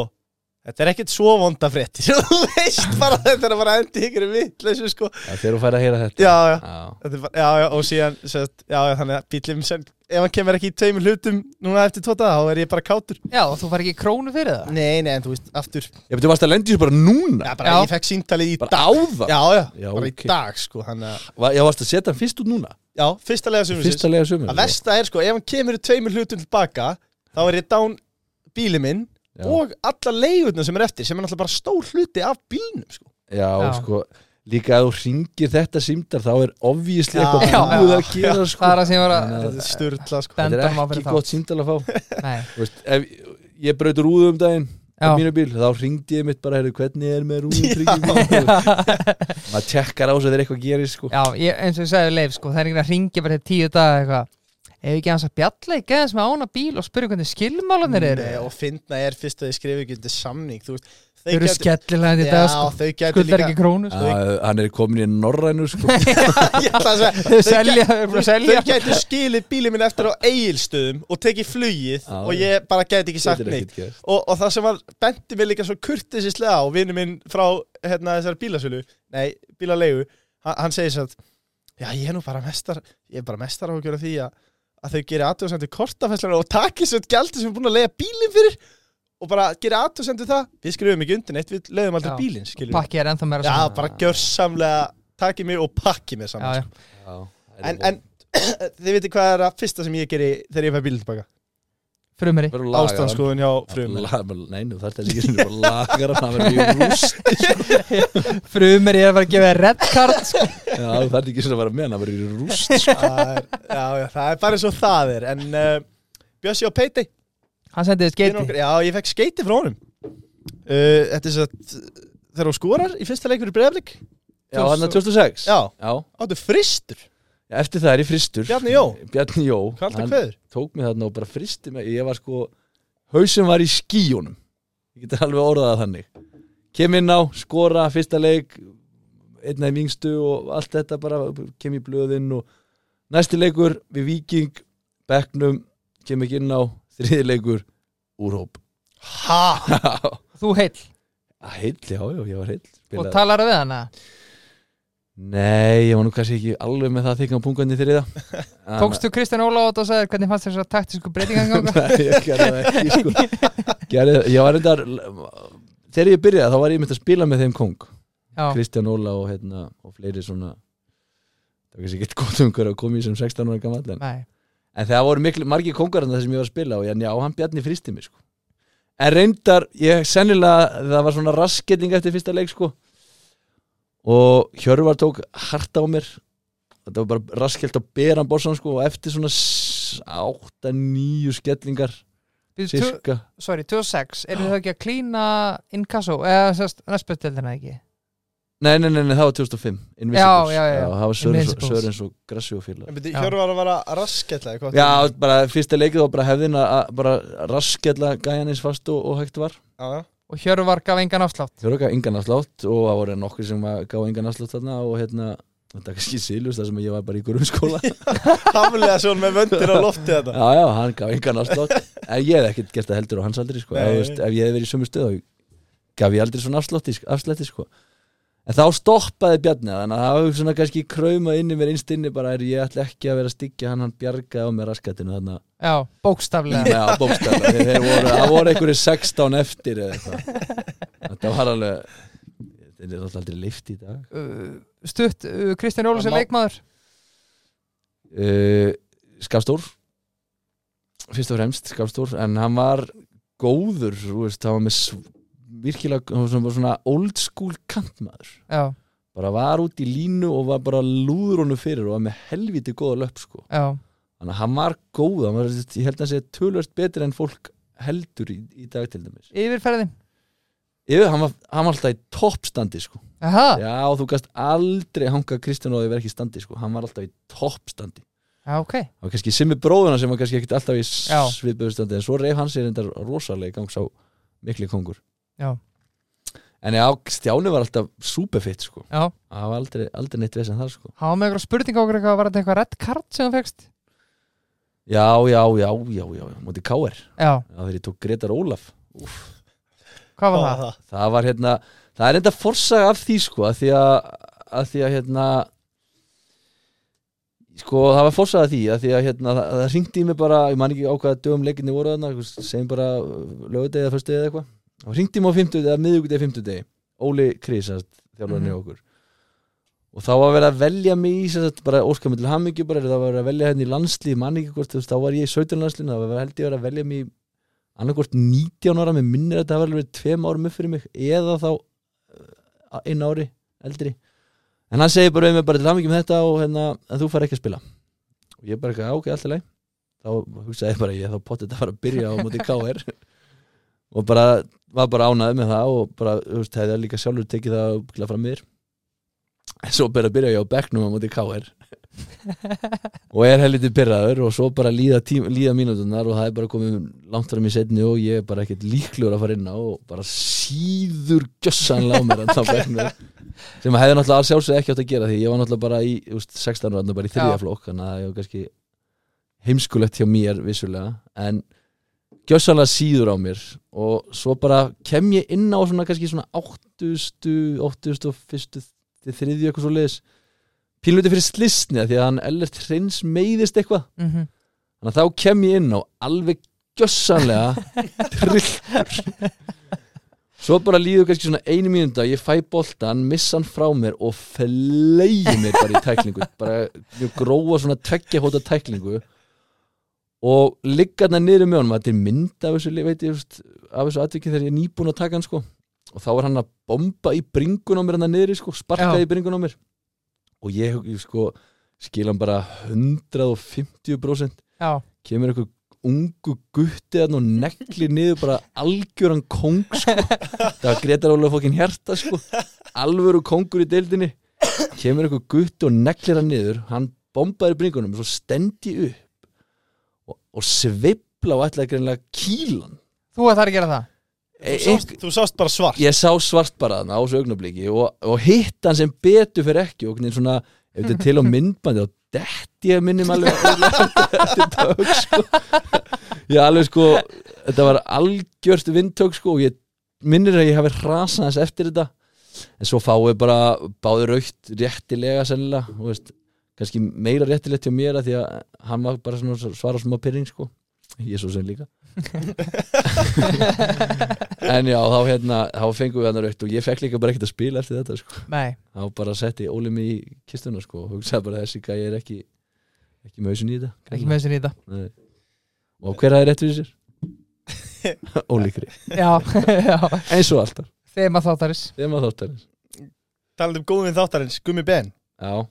þetta er ekkit svo vonda fréttir [laughs] þú veist bara að þetta er bara endi ykkur vitleysu sko Já, þegar þú fær að heyra þetta já, já, Já. Þetta er bara, já, já, og síðan sérst, já, já, þannig að bílum sem ef hann kemur ekki í tveimur hlutum núna eftir tvo daga, þá er ég bara kátur Já, og þú fær ekki krónu fyrir það Nei, nei, en þú veist, aftur Já, Ég betur varst að lendi þessu bara núna bara Já. ég fekk síntalið í dag Bara áða Já, já, Já, bara ok. í dag, sko þannig að, Va- Já, varst að setja hann fyrst út núna já, fyrsta lega sem Fyrsta lega sömur Að versta er, sko, ef hann kemur í tveimur hlutum tilbaka þá er ég dán bílið minn Já. og alla leigurnar sem er eftir sem er náttúrulega bara stór hluti af bílnum, sko Já, Já. sko Líka að þú ringir þetta símdar þá er obvísli Já. eitthvað Já. búið að gera sko. Það er það sem ég var að Þannig Þetta er sturla, sko Ben- Þetta Benda honum á er fyrir ekki það. gott símdal að fá Nei, Þú veist, ef, ég braut rúðu um daginn á já, mínu bíl, þá ringdi ég mitt bara heyrðu, hvernig er með [laughs] rúðutryggingu maður tekkar á þess að þeir eitthvað gerir sko. já ég, eins og ég sagði við Leif sko, það er einhvern að ringja bara til tíu daga eitthvað Ef ekki hans að bjalla í geðans með ána bíl og spyrja hvernig skilmálanir eru Nei, og finna er fyrst að ég skrifa ekki undir samning Þú veist, Þau eru gætu- skellilega í Já, dag sko, þau gætu skuldar líka ekki krónu sko. Já, hann er komin í norrænu [laughs] sko. Ég ætla að segja, Þau selja, þau eru búin að Þau selja gætu skilið bílið minn eftir á eigilstöðum og tekið flugið Já, og ég bara gæti ekki sagt Þetta er neitt ekkert gert. og, og það sem var, benti mér líka svo kurtisislega á vinnu minn frá hérna, þessari bílasölu, nei, bílalegu hann, hann segir svo að já, ég er nú bara mestar, ég er bara mestar á að gera því að, að þau gera aðtöðsendur kortafæslar og taki svo gældi sem er búin að leiða bílinn fyrir og bara gera aðtöðsendur það, við skrifum ekki undir neitt, við leiðum aldrei Já. bílinn, skiljum Pakki er ennþá meira já, saman. bara gjörsamlega taki mig og pakki mig saman, já, já. Já, það en, er en [coughs] þið veitir hvað er að fyrsta sem ég geri þegar ég fæ bílinn tilbaka Frumeri Verður að laga ástandskoðun hjá hann. frum La- bara- Nei, nú þarf þetta ekki sinni bara lagar hann, hann verður í rúst Frumeri er bara að gefa þér red card sko. Já, þú þarf ekki sinni að vera með hann, hann verður í rúst það er, já, já, það er bara eins og það er en uh, Bjössi og Peiti Hann sendi þér vinur skeiti okkar- já, ég fekk skeiti frá honum uh, þetta er svo að þegar hún skorar í fyrsta leik fyrir breyðaflik Já, hann er 2006 já, Já, áttu fristur eftir það er ég fristur Bjarni Jó. Bjarni Jó, kallt hann að kveður tók mig þarna og bara fristi mig Ég var sko, hausum var í skíunum Ég geti alveg orðað það þannig Kem inn á, skora, fyrsta leik Einn af yngstu og allt þetta bara Kem í blöðinn og Næsti leikur við Víking Becknum, kem ekki inn á Þriði leikur, [laughs] úrhóp ha, Þú heill Heill, já, já, ég var heill og Spilaði- talar við hana Nei, ég var nú kannski ekki alveg með það þykkan pungandi þriða [laughs] Tókstu Kristján Óláð og sagði hvernig fannst þér þessar taktísku breytingang Nei, ég gerði það ekki sko. gerði, Ég var reyndar Þegar ég byrjaði þá var ég myndi að spila með þeim kong Já, [laughs] Kristján Óla og, hérna, og fleiri svona Það var kannski ekkert gott um hverju að koma í sem 16 ára gamall en, nei en það voru miklu, margir kongar en það sem ég var að spila og ég, já, hann bjarni fristi mig sko. En reyndar, ég sennilega það var svona rasketting eftir fyrsta leik sko. og Hjörvar tók hart á mér þetta var bara raskelt á beran borsan sko, og eftir svona 8-9 skellingar Býtu, tu- Cirka Sorry, 2006, eru þau ekki að klína inkasso, eða sérst næstbjörndeldina ekki Nei, nei, nei, nei, það var 2005 Invincibles Já, já, já. Það var Sörens, Invincibles. Sörens og Grassi og félag en byrju, Já. Hjörvar var að raskella eitthvað. Já, bara fyrsta leikið var bara hefðin að að bara raskella gæjan eins fast og, og hægt var já, já. og Hjörvar gaf engan afslátt Þau voru ekki engan afslátt og það voru nokkur sem að gá engan afslátt þarna og hérna Þetta er kannski sílust þar sem ég var bara í grunnskóla Já, haflega svona með vöndir á lofti þetta já, hann gaf engan afslátt En ég hef ekkert gert það heldur á hans aldrei sko. Nei, ef, þú nei. veist, ef ég hef verið í sömu stöð þá gaf ég aldrei svona afslátti, afslátti sko. En þá stoppaði Bjarni þannig að það hafði svona kannski krauma inni mér innst inni bara er ég ætla ekki að vera að styggja hann hann bjargaði á mér raskatinu þannig að Já, [laughs] bókstaflega Já, bókstæðlega, þeir, þeir voru, það voru einhverju 16 eftir eða eitthvað Þetta var alveg Þetta er alltaf aldrei lift í dag Uh, Stutt, uh, Kristján Óláð sem Það má- leikmaður uh, Skafstór Fyrst og fremst Skafstór En hann var góður, þú veist, hann var með sv- virkilega, hann var svona- svona old school kantmaður Já, bara var út í línu og var bara lúður honum fyrir og var með helviti góða löpp sko já, þannig að hann var góð, hann var, ég held að hann sé tölvöld betur en fólk heldur í, í dag til dæmis yfirferðin Jú, hann var, hann var alltaf í toppstandi sko. Aha, Já, þú gast aldrei hanga Kristján og þau verið ekki í standi sko. Hann var alltaf í toppstandi Já, ok, og kannski Simmi bróðuna sem var kannski ekkit alltaf í Já. sviðböðustandi en svo reyf hans er endar rosalega í gang sá mikli kongur Já. en já, Stjáni var alltaf superfitt sko, já það var aldrei, aldrei neitt vesen þar sko, Há með eitthvað spurning á okkur eitthvað Var þetta eitthvað redd kart sem þú fegst? já, já, já, já, já mútið K.R. Já, Já, þegar ég tók Gretar Ólaf [laughs] hvað var það? [laughs] það var hérna, það er enda forsaga af því sko, að því að, að því að hérna sko, það var forsaga af því að því að hérna, það, það ringdi í mig bara ég man ekki á hvaða dögum leikinni voru þarna einhvers- segjum bara lögudegi eða föstudegi eða eitthvað og ringdi í mig á fimmtudegi eða miðugudegi fimmtudegi Óli Krís, þjálfarinn í Mhm. okkur og þá var verið að velja mig í sem sagt, bara óskamil til hammingju bara það var verið að velja henni í landslið man ekki hvort, þú veist, þá var ég í 17 landslið það var verið- held ég verið að velja mig í annarkvort 19 ára, mér minnir að þetta hafa alveg verið tveim árum upp fyrir mig, eða þá uh, einu ári eldri en hann segir bara við mig bara til hamingjum þetta og hérna, en þú fær ekki að spila og ég bara, eitthvað, "Já, ok, allt í lagi þá hugsaði ég bara, ég þá potið að fara að byrja á móti KR [laughs] og bara, var bara ánaði með það og bara, þú veist, hefði líka sjálfur tekið það og glað fram yfir en svo bara byrja ég á bekknum á móti KR og er helviti byrraður og svo bara líða, tím, líða mínútunar og það er bara komið langt fram í setni og ég er bara ekkert líklegur að fara inn á og bara síður gjössanlega á mér þarna á bekknum. sem hefði náttúrulega að sjálfsög ekki átt að gera því ég var náttúrulega bara í þú veist, 16 ára bara í Já. þriðja flokk þannig að það er kannski heimskulegt hjá mér vissulega en gjössanlega síður á mér og svo bara kem ég inn á svona kannski svona 80 81 til þriðju eitthvað svo leiðis pínluti fyrir slisni því að hann ellert hreins meiðist eitthvað Mm -hmm. þannig að þá kem ég inn á alveg gjössanlega trillur svo bara líður kannski svona einu mínúnda ég fæ boltan, missa hann frá mér og fleiði mér bara í tæklingu bara mjög gróa svona tveggja hóta tæklingu og ligga hann niður með honum þetta er mynd af þessu, veit ég, þú veist, af þessu atvikið þegar ég er nýbúin að taka hann sko og þá var hann að bomba í bringun á mér hann niður sko, sparkaði Já. í bringun á mér og ég, ég sko skil hann bara 150% Já, kemur einhver ungu gutti þarna og negli niður bara algjöran kong sko. það var Gretar Ólaf fokkin hjarta sko. alvöru kongur í deildinni kemur einhver gutti og neglir hann niður hann bombaði bringunum og svo stendi ég upp og, og sveifla og ætlaði greinlega kílan þú að það er að gera það Þú sást, þú sást bara svart E- ég sá svart bara þarna á þessu augnabliki og, og hitt hann sem betur fyrir ekki og hvernig svona, ef þetta er til á myndbandi þá dett ég minnum alveg þetta högg sko ég alveg sko, þetta var algjört vindtök sko og ég minnir að ég hafi rasað hans eftir þetta en svo fáið bara báður aukt réttilega sennilega og veist, kannski meira réttilegt hjá mér að því að hann var bara svona svara smá pyrring sko ég er svo sem líka en já, þá hérna þá fengum við hann raukt og ég fekk líka bara ekkert að spila eftir þetta sko, Nei, þá bara setti Óli mig í kistuna sko, og hugsaði bara þessi gæi er ekki ekki með hausin í þetta ekki með þessi nýta Nei. og hver að það er [laughs] rétt fyrir sér? Óli Kri Já, [laughs] já, eins og alltaf, þema þáttaris þeim að þáttarins Talandi um góðum við þáttarins, Gummi Ben já,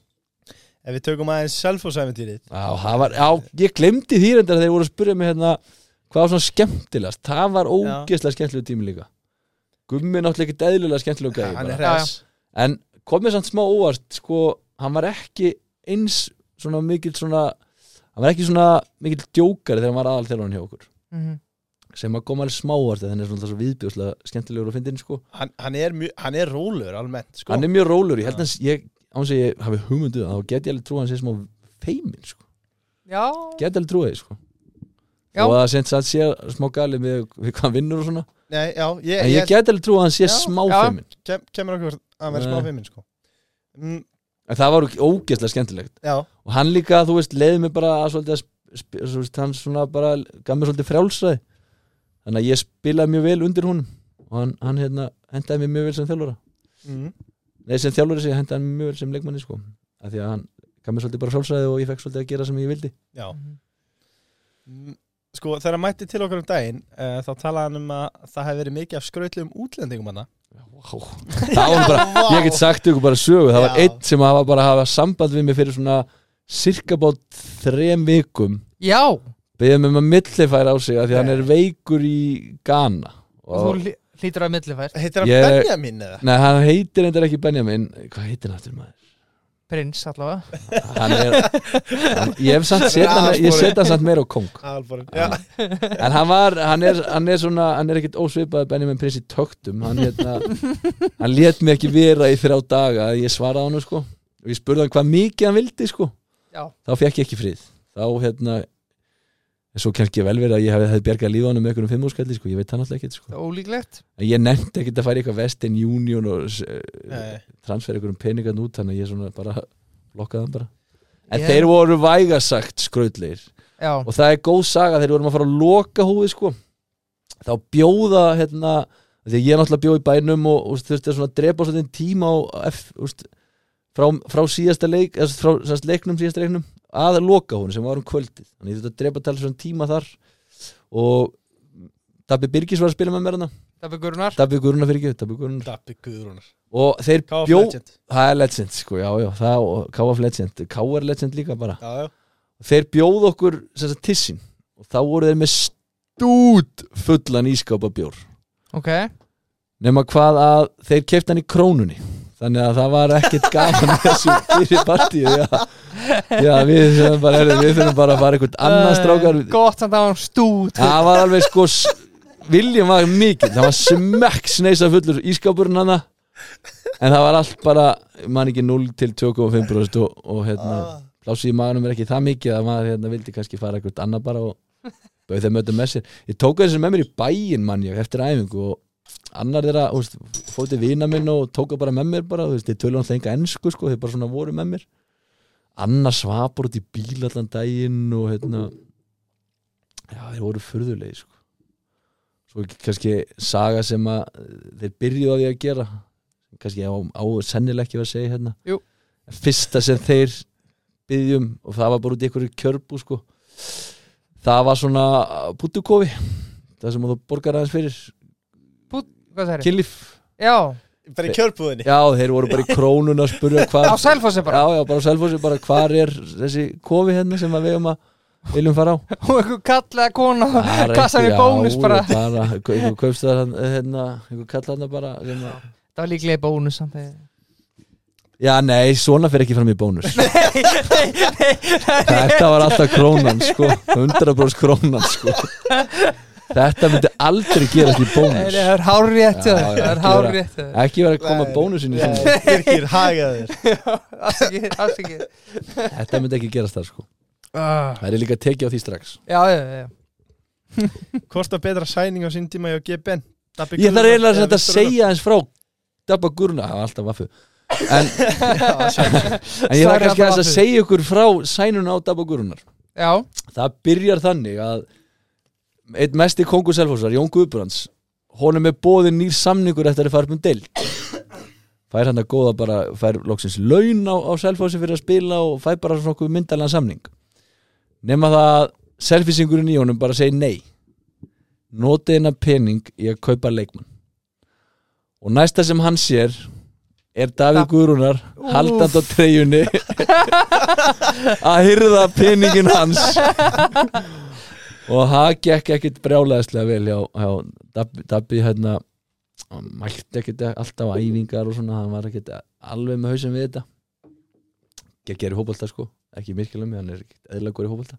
Ef við tökum aðeins selfosæfintýrið já, það var, já ég glemdi því reyndar að þeir voru að spyrja mig hérna hvað var svona skemmtilegast, það var ógeðslega skemmtilegu tími líka Gummi er náttúrulega ekki eðlilega skemmtilegu gæi bara. Hann er Já, já. hress en komið samt smá óvart sko, hann var ekki eins svona mikill svona hann var ekki svona mikill djókari þegar hann var aðal þjálfarinn hjá okkur mm sem að koma alveg smá óvart þannig er svona svo viðbjóðslega skemmtilegur að finna inn sko. Hann, hann, er mjö, hann er rólur almennt sko. hann er mjög rólur, ég held hans ég, án sem ég hafi hugmynduð þá get ég alveg trú að hann sé smá feimin sko. Já, get alveg trú að því sko. Já. og að sem sagt sé smá galið við, við hvað hann vinnur og svona Nei, já, ég, en ég, ég, get alveg trú að hann sé Já, smá já. feimin kem, kemur okkur að vera Nei. smá fimmin sko. mm, en það var ógeðslega skemmtilegt Já, og hann líka, þú veist, leiði mig bara að svolítið að sp- sp- þú veist, hann svona bara gaf mér svolítið frjálsræði þannig að ég spilaði mjög vel undir hún og hann, hann hérna, hendaði mér mjög vel sem þjálfara mm, nei, sem þjálfari sig, hendaði mér mjög vel sem leikmanni sko, af því að hann gaf mér svolítið bara frjálsræði og ég fekk svolítið að gera sem ég vildi já. Mm, Sko, þegar hann mætti til okkur um daginn uh, þá talaði hann um að það hefði verið mikið af skrautlegum útlendingum hann wow. það var bara, ég get sagt ykkur bara sögu það var Já. einn sem hafa bara hafa samband við mig fyrir svona sirkabátt þrem vikum já beðið mig um að millifæra á sig af því að hann er Nei. veikur í Ghana og þú lí- hlýtur að millifært Heitir hann Ég- Benjamin eða? Nei, hann heitir endur ekki Benjamin Hvað heitir hann aftur maður? prins allavega hann er [laughs] hann, ég hef samt set hann ég set hann samt meira á kong Alborin, já [laughs] en hann var, hann er, hann er svona hann er ekkert ósvipaði Benjamin Prince í töktum hann, hérna, hann let mig ekki vera í þrjá daga að ég svaraði hann sko. og ég spurði hann hvað mikið hann vildi sko. Já. þá fekk ég ekki frið þá hérna en svo kannski vel verið að ég hefði hef bjargað lífa hann með einhverjum fimmúskalli, sko. ég veit hann alltaf ekkert Það sko. er ólíklegt En ég nefndi ekkert að fara í eitthvað Western Union og Nei. uh, transfera einhverjum peningarn út þannig að ég svona bara lokkaði hann bara en Ég- þeir voru vægasagt skrautleir Já, og það er góð saga þegar við vorum að fara að loka húfið sko þá bjóða hérna því að ég náttúrulega bjóð í bænum og, og þurfti að svona drepa svona tíma á, F, úst, frá, frá síðasta leik eða frá sannst, leiknum síðasta leiknum að loka hún sem var um kvöldið þannig ég þurfti að drepa tala svona tíma þar og Dabbi Birgis var að spila með mér hana það er gurunar Dabbi Guruna fyrir ekki Dabbi Guruna Dabbi Guðrúnar og þeir Káf bjó Legend það er legend sko já já það og KF legend KF legend líka bara Já, já þeir bjóð okkur sem sagt, tissin og þá voru þeir með stút fullan ískápa bjór Ok, nema hvað að þeir kefti hann í krónunni þannig að það var ekkert gaman í þessu fyrir partíu já, já við, sem bara, heyrðu, við þurfum bara að fara einhvern annan strákar Eh, gott samt að hann stút það var alveg sko s- viljum var mikið, það var smekk sneisa fullur ískápurinn hann en það var allt bara, man ekki 0 til 2,5% og, og hérna Ah. plásið í maganum er ekki það mikið að maður hérna vildi kannski fara eitthvað annað bara og bauð þeim öllum með sér ég tók þessu með mér í bæinn mann ég eftir æfingu og annar þeirra þú veist, fór til vina minn og tóka bara með mér bara, þú veist, ég tölum alltaf enga ennsku sko, þeir bara svona voru með mér annar svapur út í bíl allan daginn og hérna já, þeir voru furðulegi sko svo ekki kannski saga sem að eh, þeir byrjuðu að því að gera kannski á, á sennileg ekki að segja hérna Jú. fyrsta sem þeir byggjum og það var bara út í einhverju kjörbu sko. það var svona putukofi það sem þú borgar aðeins fyrir Hvað það er? killif Já, Bara í kjörbúðinni já þeir voru bara í krónun að [laughs] spurja hvað á sælfósi bara já já bara á selfossi bara hvar er þessi kofi hérna sem að við um að viljum [laughs] fara á Og einhver kallaða kona Það er Kassan einhver- í bónus já, bara bara einhver kaupst það hérna einhver kalla hérna bara sem að Það var líklega í bónus samt eh. þegar- Já, nei, svona fyrir ekki fram í bónus [laughs] [laughs] Þetta var alltaf krónan, sko 100% krónan, [laughs] sko Þetta myndi aldrei gerast í Nei, bónus Það er hár rétt Já, Það já, er ekki hár vera- rétt Ekki vera að koma Nei. bónusin í svona Birgir hagaður Afsakið Þetta myndi ekki gerast það, sko Já, Það er líka tekið á því strax já, já Hvort að betra sæning á sín tíma hjá GBN Dabbi Ég Guðrúnar þarf eiginlega eða sem þetta að Viktor segja eins frá Dabba Gurna, það var alltaf vaffu En, en ég Sorry, þarf kannski alltaf aðeins að vaffu. segja ykkur frá sænuna á Dabba Gurnar Já, það byrjar þannig að einn mesti kongur selfhúsar, Jón Guðbrands honum er bóðin nýr samningur eftir að fara upp um deild fær hann að góða bara, fær loksins laun á, á selfhúsi fyrir að spila og fær bara svona okkur myndalega samning nema það að selfhýsingurinn í honum bara segir nei notið hennar pening í að kaupa leikmann og næsta sem hann sér er Davíð Guðrúnar haldand á treyjunni [laughs] að hyrða peningin hans og það gekk ekkit brjálæðislega vel hjá, hjá Dabbi, Dabbi hérna hann mælti ekkit alltaf á æfingar og svona, hann var ekkit alveg með hausum við þetta geggjar í hópalta sko, ekki myrkjulemi hann er ekkit eðlilega góður í hópalta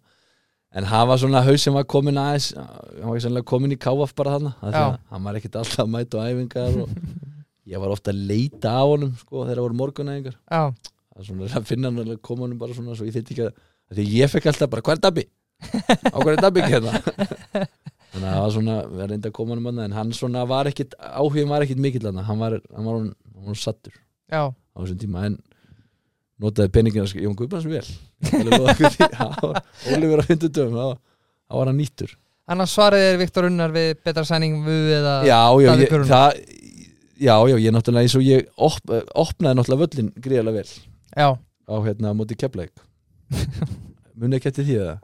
en hann var svona haus sem var komin aðeins uh, hann var ekki sannlega komin í káaf bara þarna af því Já. að hann var ekkit alltaf að mæta á æfingar og ég var ofta að leita á honum sko, þegar það voru morgunæfingar já að svona að finna hann að koma hann bara svona svo ég þyrfti ekki að af því ég fekk alltaf bara hvað er Dabbi? á hvað er Dabbi ekki hérna? þannig að það var svona við reyndi að koma hann manna en hann svona var ekkit áhugin var ekkit mikill hann hann var hann var hann, hann var sattur Já, á þessum tíma en notaði peningina sko, Jón Guðbrands vel Ég skal alveg lofa ykkur því. [laughs] Það var- Ólífur á fyndutöfum þá þá var hann nýttur annars svarið er Viktor Unnar við betra sæning við eða já já Daði ég, Guðrún. það, já já ég náttúrulega eins og ég op, opnaði náttúrulega völlin greiðlega vel já. á hérna á móti keflæk munið ekki eftir því eða?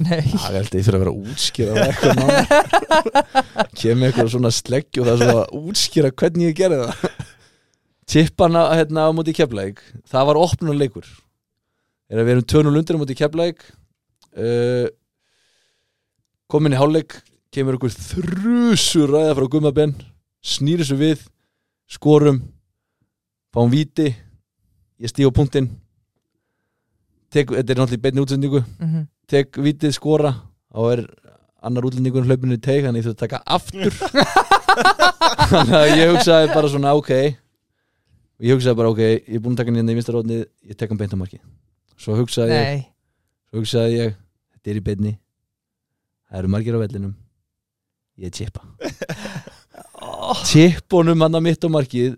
nei Já, ég held að ég þurfa að vera að útskýra það eitthvað nánar Kemur eitthvað svona sleggju og það er svona að útskýra hvernig ég gerði það Tippan á- hérna á móti keflæk Það var opnuleikur Er að við erum tönul undir á móti keflæk uh, Komin í hálfleik Kemur okkur þrjusur ræða frá gummabenn Snýri svo við Skorum Fáum víti Ég stíg á punktinn tek, þetta er náttúrulega í beinni útsendingu Mhm. tek vitið skora og er annar útlendingur hlaupinu í teik þannig ég þurfti að taka aftur þannig að ég hugsaði bara svona ok ég hugsaði bara ok ég er búin að taka hann hérna í vinstarótni ég tek hann beint á marki svo hugsaði, ég, Nei, svo hugsaði ég þetta er í beinni það eru margir á vellinum [laughs] ég tippa tippunum hann að mitt á markið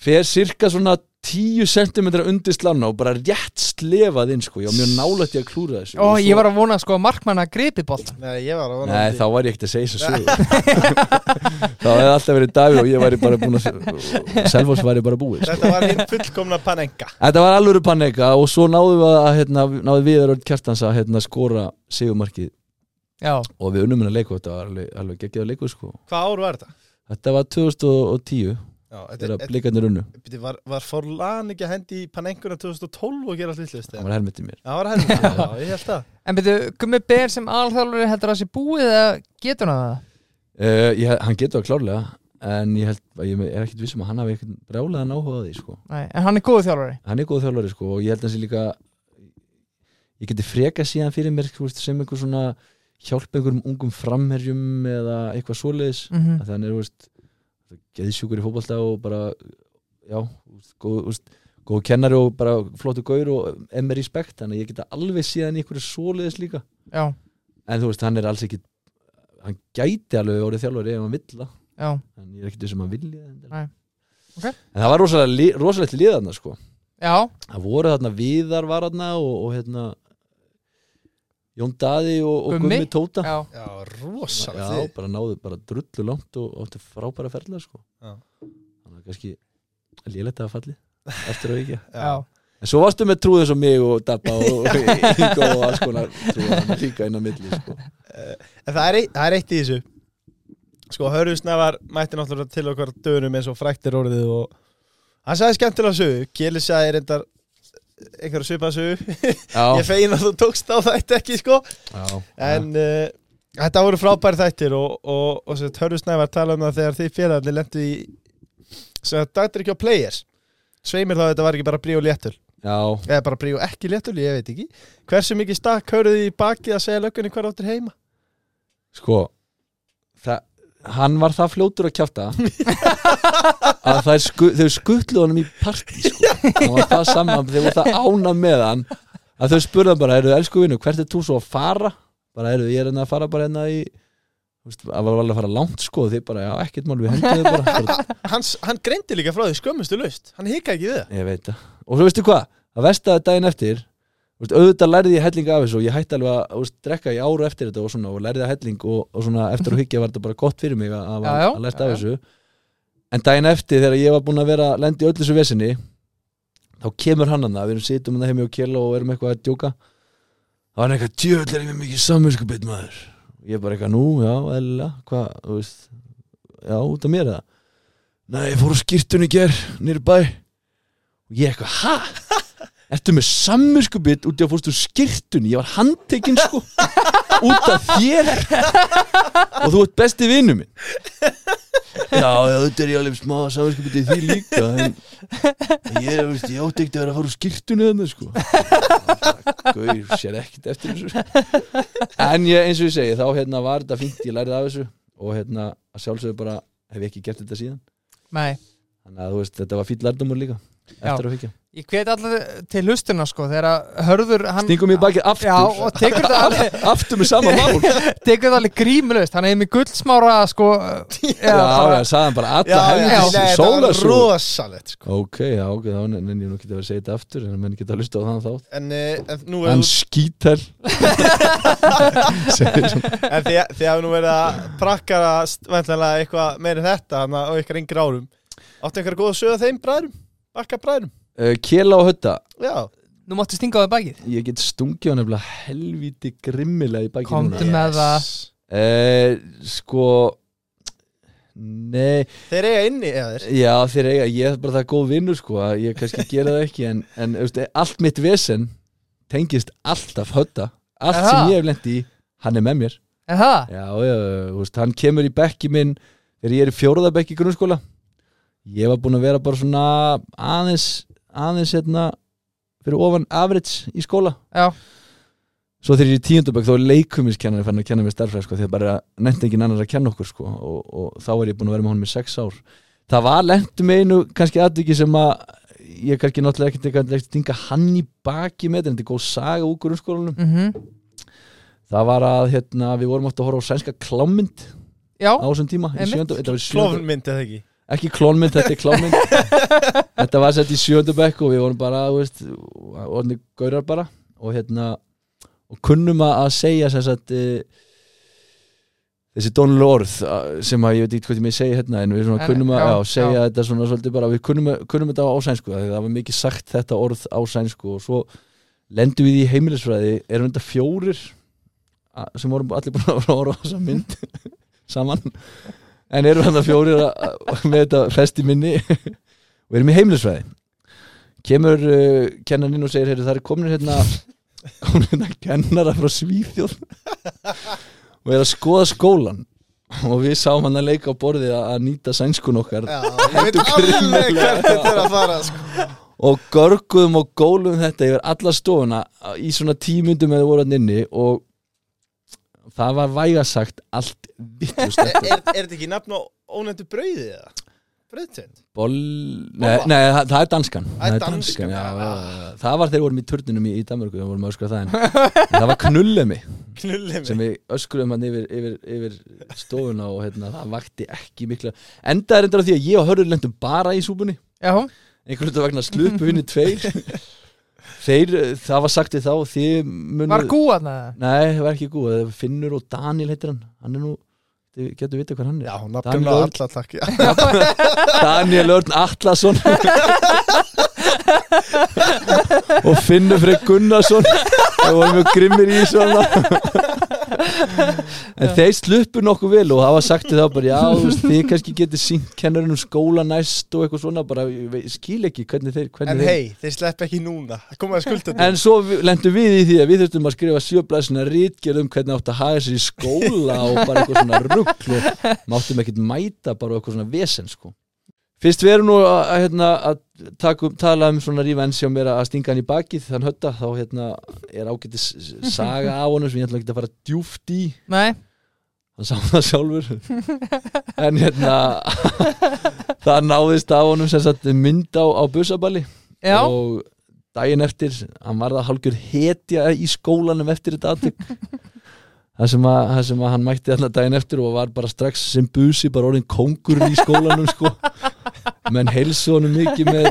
fer cirka svona 10 cm undir slanna og bara rétt slefað inn sko, ég var mjög nálægt í að klúra þessu Ó, Og ég svo- var að vona sko að markmanna gripi boltan Nei, ég var að vona Nei, því. þá var ég ekkert að segja þessu [laughs] sögur Þá hefði alltaf verið Daví og ég væri bara búin að Selfoss væri bara búið sko. Þetta var hinn fullkomna panenga Þetta var alvöru panika og svo náðum við að hérna, náðum við að kjartans að hérna, skora sigumarkið Já, og við unnum hennar leiku þetta var alveg, alveg geggjað leiku sko. Hvað ár var þetta? Þetta var 2010 Já, þetta, þegar þetta, blikarnir unnu þetta var, var Forlan ekki að hendi í panenguna 2012 og gera allt vitlaust, Það eða? var helmetið mér Það var henni, já, ég held það en byrju, Gummi Ber sem alþjálfur heldur að sé búið eða getur hann það? uh, ég, Hann getur það klárlega en ég, held, ég er ekkert vissum að hann hafi eitthvað brjálega náhuga á því sko. Nei, en hann er góðu þjálfari hann er góð þjálfari sko og ég held að hans er líka ég geti freka síðan fyrir mér sko, veist, sem einhver svona hjálpa einhverjum ungum framherjum eða eitthvað svoleiðis mm mm. þannig er veist, geðsjúkur í fótbolta og bara já, veist, góð, veist, góð kennari og bara flottu gaur og emmer í spekt þannig að ég geta alveg síðan í einhverju svoleiðis líka Já, en þú veist, hann er alls ekki hann gæti alveg orðið þjálfari ef hann vill það já, en ég er ekkert þessum að vilja Nei. Ok. en það var rosalega, li- rosalegt liðarna sko já, það voru þarna Viðar var þarna og, og hérna Jón Daði og, og Gummi? Gummi Tóta já Já, rosalega já, þið bara náðu bara drullu langt og og áttu frábæra ferðla sko. Já. þannig að kannski léletta að falli eftir að ekki Já, en svo varstu með trúðið sem mig og Dabba og Ingo og alls konar trúðan líka inn á milli sko. En það er, eitt- það er eitt í þessu Sko, Hörður Snævar mætti náttúrulega til okkar dönum eins og fræktir orðið og hann sagði skemmtilega sögu Kjeli sagði reyndar einhverja svipa sögu Ég já, fegin að þú tókst á þetta ekki, sko já, já. En uh, þetta voru frábæri þættir og, og, og, og Hörður Snævar tala um það þegar þið félagarnir lendu í sem að dagtir ekki á players Sveimir þá að þetta var ekki bara brí og léttul já. eða bara brí og ekki léttul, ég veit ekki Hversu mikið stakk hörðuð í bakið að segja löggunni hvar áttur heima? sko það, hann var það fljótur að kjáta að þær sku, þau skutlu honum í partí sko. hann var það saman, þau voru það ána með hann að þau spurða bara, eru elsku vinnu hvert er þú svo að fara bara eru, ég er hérna að fara bara hérna í þú veist, að var alveg að fara langt sko þið bara, já, ekkert mál við hendum þau bara, bara hann, hann greindi líka frá því skömmustu laust hann hika ekki við það ég veit það, og svo veistu hvað að vestaði daginn eftir þú veist, auðvitað lærði ég helling af þessu og ég hætti alveg að þú veist, drekka í áru eftir þetta og, svona, og lærði að helling og, og svona, [laughs] eftir að hyggja var þetta bara gott fyrir mig að, að, Já, já, að lært já, af já. þessu en daginn eftir þegar ég var búin að vera lendi í öllu þessu vesinni þá kemur hann að það, við erum sittum hérna að heimi og kjela og erum eitthvað að djóka þá er hann eitthvað djöðlega með mikið samvinskupið maður ég er bara eitthvað nú, já, eðlilega hvað, þú veist, já, út af mér eða nei, ég fór á skýrtun í ger nýri bæ og ég eitthvað, ha? Ertu með samvinskupið út í að fórstu skýrtun ég var handtekinn sko út af þér og þú ert besti vinnu minn já, já, þetta er ég alveg smá samvinskupið í því líka en ég, er, veist, ég átti ekkert að vera að fara úr skýrtunni þannig sko Gauður sér ekkert eftir þessu En ég, eins og ég segi, þá hérna var þetta fínt Ég lærið af þessu og hérna að sjálfsögðu bara hef ég ekki gert þetta síðan nei Þannig að þú veist, þetta var fínt lærdumur líka Eftir að higgja Ég hvet allir til hlustina sko þegar að hörður hann Stingum ég bakið aftur Já, og tekur þetta alveg Aftur með sama [laughs] mál Já, tekur þetta alveg grímulöst hann er með gullsmára sko [laughs] Já, já, sagðan bara alla já, Nei, helgis þetta var Sólasú rosalegt sko. Ok, já, ok, þá nenni ég nú ekki að vera að segja þetta aftur En menn geta að hlusta á þann þátt en, eh, en nú er Hann skítel Segir svona en þið, þið hafið nú verið að prakkara væntanlega eitthvað meira en þetta hana, og ykkar yngri árum áttu einhverja góða sögða þeim bræðrum bakka bræðrum Uh, Kela og Hötta já Nú máttu stinga á það bakið Ég get stungið á nefnilega helvíti grimmilega í bakið Komdu með það. Eh, sko Nei, þeir eiga inni eða þeir já þeir eiga Ég er bara það góð vinnur sko að Ég kannski gera það ekki En, en þú veist, allt mitt vesen Tengist alltaf hötta Allt Aha. sem ég hef lent í, hann er með mér Er það? Já, já, þú veist, hann kemur í bekki minn Þegar ég er í fjóraða bekki í grunnskóla Ég var búinn að vera bara svona Aðeins, aðeins hérna fyrir ofan average í skóla já, svo þegar ég er í tíundabökk þá er leikumiskennari fann að kenna mér starfræð sko, því að bara nefndi engin annar að kenna okkur sko, og, og þá er ég búin að vera með honum í sex ár það var lengt með einu kannski aðviki sem að ég kannski náttúrulega ekkert ekkert ekkert dinga hann í baki með þetta en þetta er góð saga úr grunnskólanum mhm, það var að hérna, við vorum átt að horfa á sænska klámynd já á þessum tíma í Einmitt. sjöndu, þetta var í sjöndu- Klófmynd eða ekki ekki klónmynd, þetta er klónmynd [laughs] þetta var sett í sjöndu bekk og við vorum bara, þú veist, orðinni gaurar bara og hérna og kunnum að að segja sem sagt e, þessi dónuleg orð a- sem að ég veit ekki hvað ég með segja hérna en við svona En, kunnum að já, já, segja já. þetta svona svolítið bara, við kunnum, að- kunnum þetta á sænsku af því það var mikið sagt þetta orð á sænsku og svo lendum við í heimilisfræði erum þetta fjórir a- sem vorum allir búin að voru á þessa mynd [laughs] saman en erum þetta fjórir að- að- með þetta fest í minni og erum í heimilisfræði kemur uh, kennaninn og segir heyri, það er komin hérna komin hérna kennara frá Svíþjóð og er að skoða skólan og við sáum hann að leika á borði að að nýta sænskun okkar Já, ég veit alveg hvert þetta er að fara sko. og görguðum og góluðum þetta yfir alla stofuna í svona tímundum eða voru hann inni og það var vægasagt allt vittlust er, er, er þetta ekki nafn á ónefndu brauði eða? Brauðtönd? Boll... Nei, nei, það, það er danskan Það er danskan, já, já. já, já, já. Það var þeir vorum í turninum í, í Danmarku Það vorum að öskra það en en það var knullemi Knullið mig sem við öskruðum hann yfir, yfir, yfir stofuna og hérna, það vakti ekki mikla Enda er endur á því að ég og Hörður lendum bara í súpunni já, einhvern veginn vegna slupu vinni tveir Þeir, eh, það var sagt við þá þið munu var gúan að Nei, það var ekki gú, Finnur og Daniel heitir hann Hann er nú, þið getur vitað hvað hann er Já, nafnum á Örn. alla takk já. Daniel Örn Atlason og Finnur Freyr Gunnarsson það voru mjög grimmir í svona en þeir sluppu nokkuð vel og hafa sagt þið þá bara já, þú veist, þið kannski getið sínt kennarinn um skóla næst og eitthvað svona bara, ég veit- skil ekki hvernig þeir hvernig En þeir- hei, þeir slepp ekki núna [laughs] Komum að skulda þetta En svo vi- lentum við í því að við þurftum að skrifa sjöblæsina rítgerð um hvernig átt að haga sér í skóla og bara eitthvað svona ruggl og máttum ekkert mæta bara og eitthvað svona vesen sko. Fyrst við erum nú að, að, hérna, að taka um, tala um svona rífens hjá mér að stinga hann í bakið þann hötta þá hérna, er ágætis saga á honum sem ég ætla ekki að fara djúft í nei, hann sá það sjálfur en hérna [laughs] það náðist á honum sem sagt mynd á, á busaballi já, og daginn eftir hann var það hálfgjör hetja í skólanum eftir þetta aðtök það sem, að, það sem að hann mætti þarna daginn eftir og var bara strax sem busi bara orðin kóngurinn í skólanum sko. menn heilsu honum mikið með,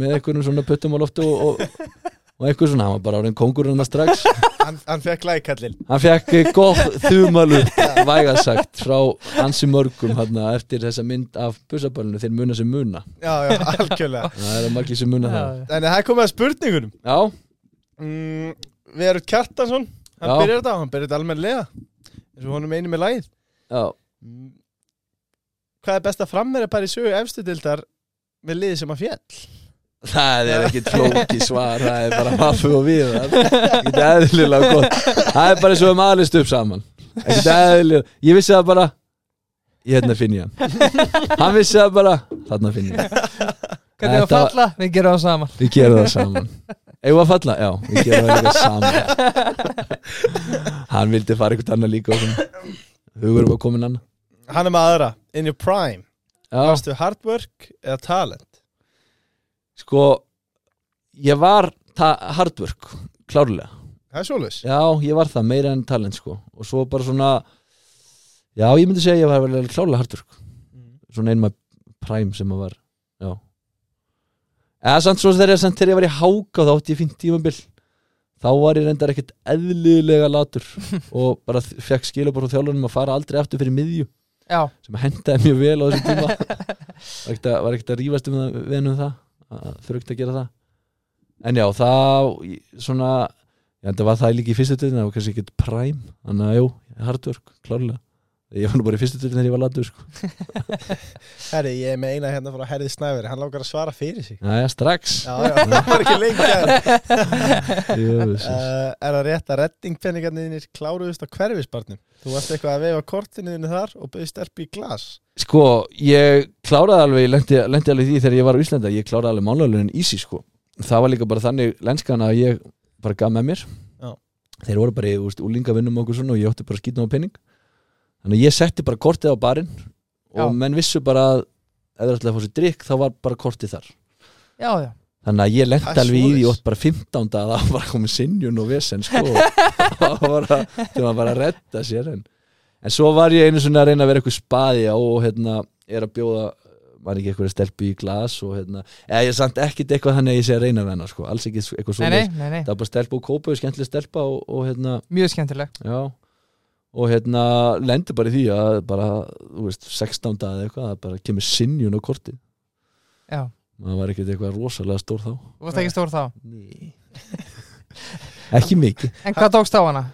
með einhverjum svona puttum á loftu og, og, og einhver svona, hann var bara orðin kóngurinn hann strax Hann, hann fekk lækallin hann fekk gott þumalu vægasagt frá hansi mörgum hana, eftir þessa mynd af busaballinu þeir muna sem muna Já, já, algjörlega það er margir sem muna það En það er komið að spurningunum já, mm, Við erum Kjartansson Hann Já. byrjar þetta, hann byrjar þetta almennlega eins og honum einu með lagið já Mm. Hvað er best að frammeyra bara í sögu efstu dildar með liði sem að fjall? Það er ekkit flóki svar Það er bara maffu og við Ekkit eðlilega gott Það er bara eins og við maðurlist upp saman Ekkit eðlilega Ég vissi það bara Ég hérna finn ég hann Hann vissi það bara Þarna finn ég hann hvernig að Þetta var- falla við gerum það saman Við gerum það saman Eigum við að falla? Já, við gerum það líka saman Hann vildi fara eitthvað annað líka og svona. Hugur var komin annað Hann er með aðra, in your prime Já, Vastu hard work eða talent? sko Ég var ta- hardwork Klárlega Það er svoleiðis Já, ég var það, meira enn talent sko og svo bara svona já, ég myndi segja að ég var vel klálega hardur sko. svona einma prime sem að var já eða samt svo þegar ég, samt þegar ég var í háka þá átti ég fínt tímabil þá var ég reyndar ekkert eðlilega latur og bara þ- fekk skilabór á þjálfunum að fara aldrei aftur fyrir miðju já, sem hendaði mjög vel á þessum tíma var ekkert að, var ekkert að rífast um það við um það, að þurfti að gera það en já, það svona, já, þetta var það líka í fyrstu dildin það var kannski ekkert prime, þannig að jú hardwork, klárlega ég var nú bara í fyrstu dildin þegar ég var latur sko. Herri, ég er með eina hérna frá Herði Snæveri Hann langar að svara fyrir [laughs] sig já, já, strax Já, já, það var ekki [laughs] lengi að uh, Jöfus. Eh, Er það rétt að reddingpenningarniðinir kláruðust á hverfisbarnum? Þú varst eitthvað að veifa kortinuðinu þar og bauði sterpi í glas sko, ég kláraði alveg ég lendi, lendi alveg í því þegar ég var á Íslanda, ég kláraði alveg mánlöflunin easy sko það var líka bara þannig lenskan að ég bara gaf með mér Já. þeir voru bara í úst, úlingavinnum og okkur svona og ég átti bara skýtna á penning þannig að ég setti bara kortið á barinn og Já. menn vissu bara að ef þeir ætlaði að fá sér drikk þá var bara kortið þar já, já þannig að ég lendi Það er alveg í því svoleiðis. og bara 15 að það var komið sinjun og [laughs] vesen sko það var að, það var bara að redda sér en. en svo var ég einu svona að reyna að vera eitthvað spaði á og hérna er að bjóða var ekki eitthvað stelpu í glas og hérna, eða ég er samt ekkit eitthvað þannig að ég sé að reyna við hennar sko, alls ekki eitthvað nei, svona nei, nei, nei. það var bara stelpa og kópa, skemmtileg stelpa og, og hérna, mjög skemmtileg já og hérna, lendi bara í því að bara, þú veist, 16 dag eða eitthvað, að bara kemur sinjun á kortið já. maður var ekkert eitthvað rosalega stór þá þú varst ekki stór þá Nei Ekki mikið [laughs] en hvað tókst á hana?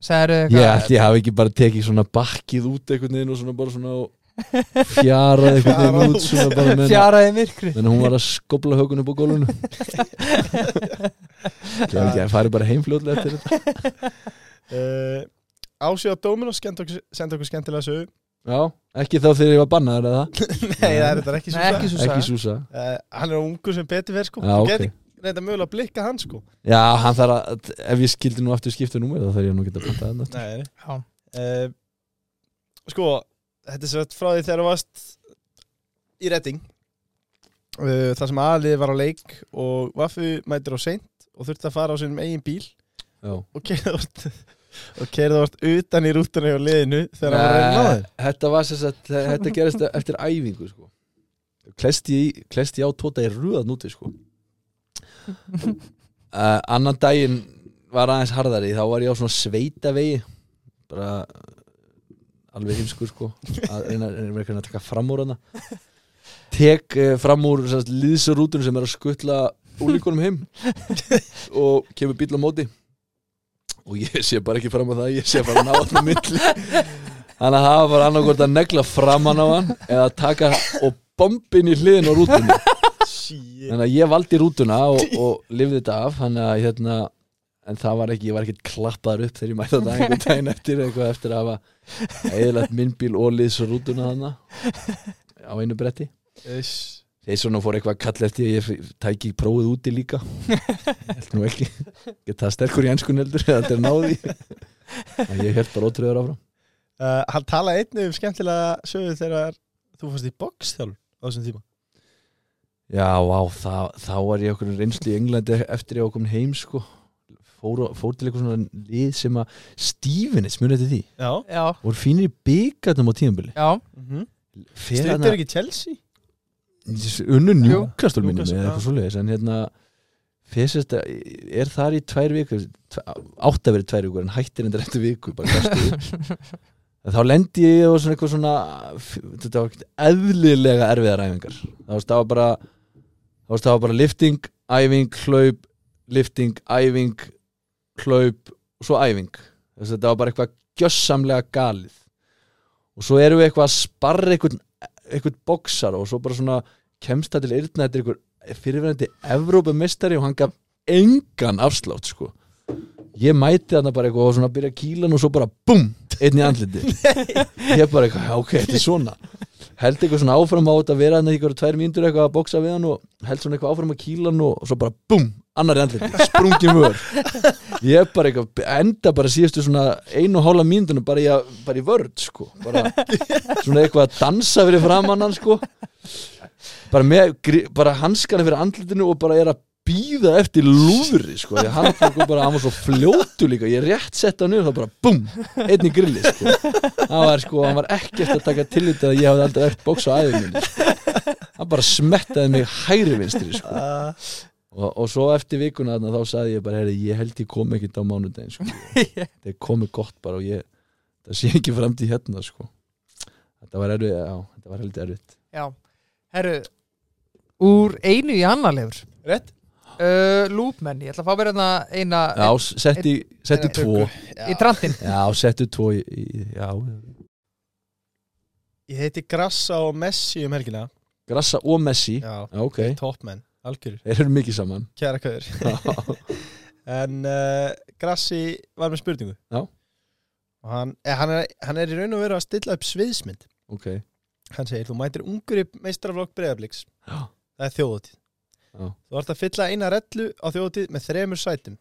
Særu, Ég ætti ég hafi ekki bara tekið svona bakkið út einhvern veginn og svona bara svona og fjarað einhvern Fjarað veginn út út. svona bara meðan- fjaraði myrkri meðan hún var að skobla högun upp á gólfinu Það er ekki að fara bara heimfljóðlega eftir þetta uh, Ásíð á Dominos sendi okkur, sendi okkur skemmtilega sögu Já, ekki þá þegar ég var bannaður eða það Nei, það er þetta ekki svo Nei, ekki Súsa. Ekki Súsa uh, Hann er ungu sem betur verð sko Já, Þú ok. geti reynda mögulega að blikka hann sko Já, hann þarf að, ef ég skildi nú aftur skipta númer þá þarf ég nú að geta að panta þetta Nei já, uh, Sko, þetta er svært frá því þegar þú varst í redding uh, þar sem aðlið var á leik og Vaffu mætir á seint og þurfti að fara á sinum eigin bíl Já og keirða vart og keirða vart utan í rútunni á liðinu þegar hann var að reyna á þeim Nei, Þetta var sem sagt, þetta gerist eftir æfingu sko. klesti, í- klesti á tóta í röðan úti [laughs] sko. uh, Annan daginn var aðeins harðari þá var ég á svona sveitavegi bara alveg heimskur sko að reyna, reyna, reyna, reyna að taka fram úr hana tek uh, fram úr sem sagt, liðsrútun sem er að skutla úlíkunum heim og kemur bíl á móti og ég sé bara ekki fram á það ég sé bara ná allir milli þannig að það var annarkvort að negla framan á hann eða taka og bombin í hliðin á rútunni Shit. þannig að ég valdi rútuna og, og lifði þetta af þannig að hérna en það var ekki, ég var ekkert klappaður upp þegar ég mætti þetta einhvern daginn eftir eitthvað eftir að hafa eðilegt minnbíl og liðs rútuna þarna á einu bretti Iss. þeir svona fór eitthvað að kalla eftir að ég tæki prófið úti líka held nú ekki ég það sterkur í enskun heldur eða þetta er náði en ég held bara ótröður áfram Uh, hann talaði einnig um skemmtilega sögu þegar þú fórst í boxþjálf á þessum tíma. já, vá, það, þá var ég okkur reynslu í Englandi eftir ég var komin heim sko. fór, fór til eitthvað svona lið sem að Stífinis, mjög eftir því Já. já, voru fínir í byggarnum á tíðanbili já, Mm Mhm. -hmm. Fer þarna- er ekki Chelsea? unnu Jú. njúkastur mínum Newcastle, eða já. eitthvað svoleiðis en hérna fesist að er þar í tvær vikur tv- átt að vera í tvær vikur en hættir endur eftir viku bara gastu [laughs] þá lendi ég og svona eitthvað svona f- þetta var ekkert eðlilega erfiðar æfingar þá varst það var bara þá varst það var bara lifting, æfing, hlaup lifting, æfing hlaup og svo æfing þess að þetta var bara eitthvað gjössamlega galið og svo erum við eitthvað að sparra eitthvað, eitthvað boksar og svo bara svona kemst það til yrna þetta er eitthvað fyrirverandi Evrópumistari og hann gaf engan afslátt sko ég mæti þarna bara eitthvað og svona byrja kílan og svo bara búm, einn í andliti ég bara eitthvað, já, ok, þetta er svona held eitthvað svona áfram á þetta að vera þannig eitthvað tvær mínútur eitthvað að boksa við hann og held svona eitthvað áfram að kílan og svo bara búm, annar í andliti, sprungi vör ég bara eitthvað, enda bara síðustu svona einu og hálfa mínútur bara, í að- bara í vörð sko bara, svona eitthvað að dansa fyrir framann hann sko bara, með, gri- bara hanskana fyrir andlitinu og bara er að býða eftir lúðri sko, því að hann tók bara, hann var svo fljótu líka, ég rétt sett hann upp þá bara búm, einn í grilli sko hann var sko, hann var ekkert að taka tillit að ég hafði aldrei eftir bóks á æðinni sko. hann bara smettaði mig hægri vinstri sko Uh, og, og svo eftir vikuna þarna þá sagði ég bara, heyri, ég held ég kom ekkert á mánudaginn [laughs] sko. það komið gott bara og ég það sé ekki framtíð hérna sko þetta var erfið, já, þetta var heldur erfið já herru, úr einu í annar lefur Rétt? uh, lúpmenn, ég ætla að fá mér hérna eina já, setti, setti einn- tvo í trantinn já, setti tvo í, í, já, Ég heiti Grassa og Messi um helgina. Grassa og Messi já, Já. ok, Topmenn, algjörur, þeir eru mikið saman kæra kæður. já, [laughs] En uh, Grassi var með spurningu. Já. Og hann, eh, hann, er, hann er í raun og veru að stilla upp sviðsmynd. ok Hann segir, þú mætir ungur í meistaraflokk breyðabliks. Já. Það er þjóðutíð. Já. Þú vart að fylla eina rellu á þjóðtíð með þremur sætum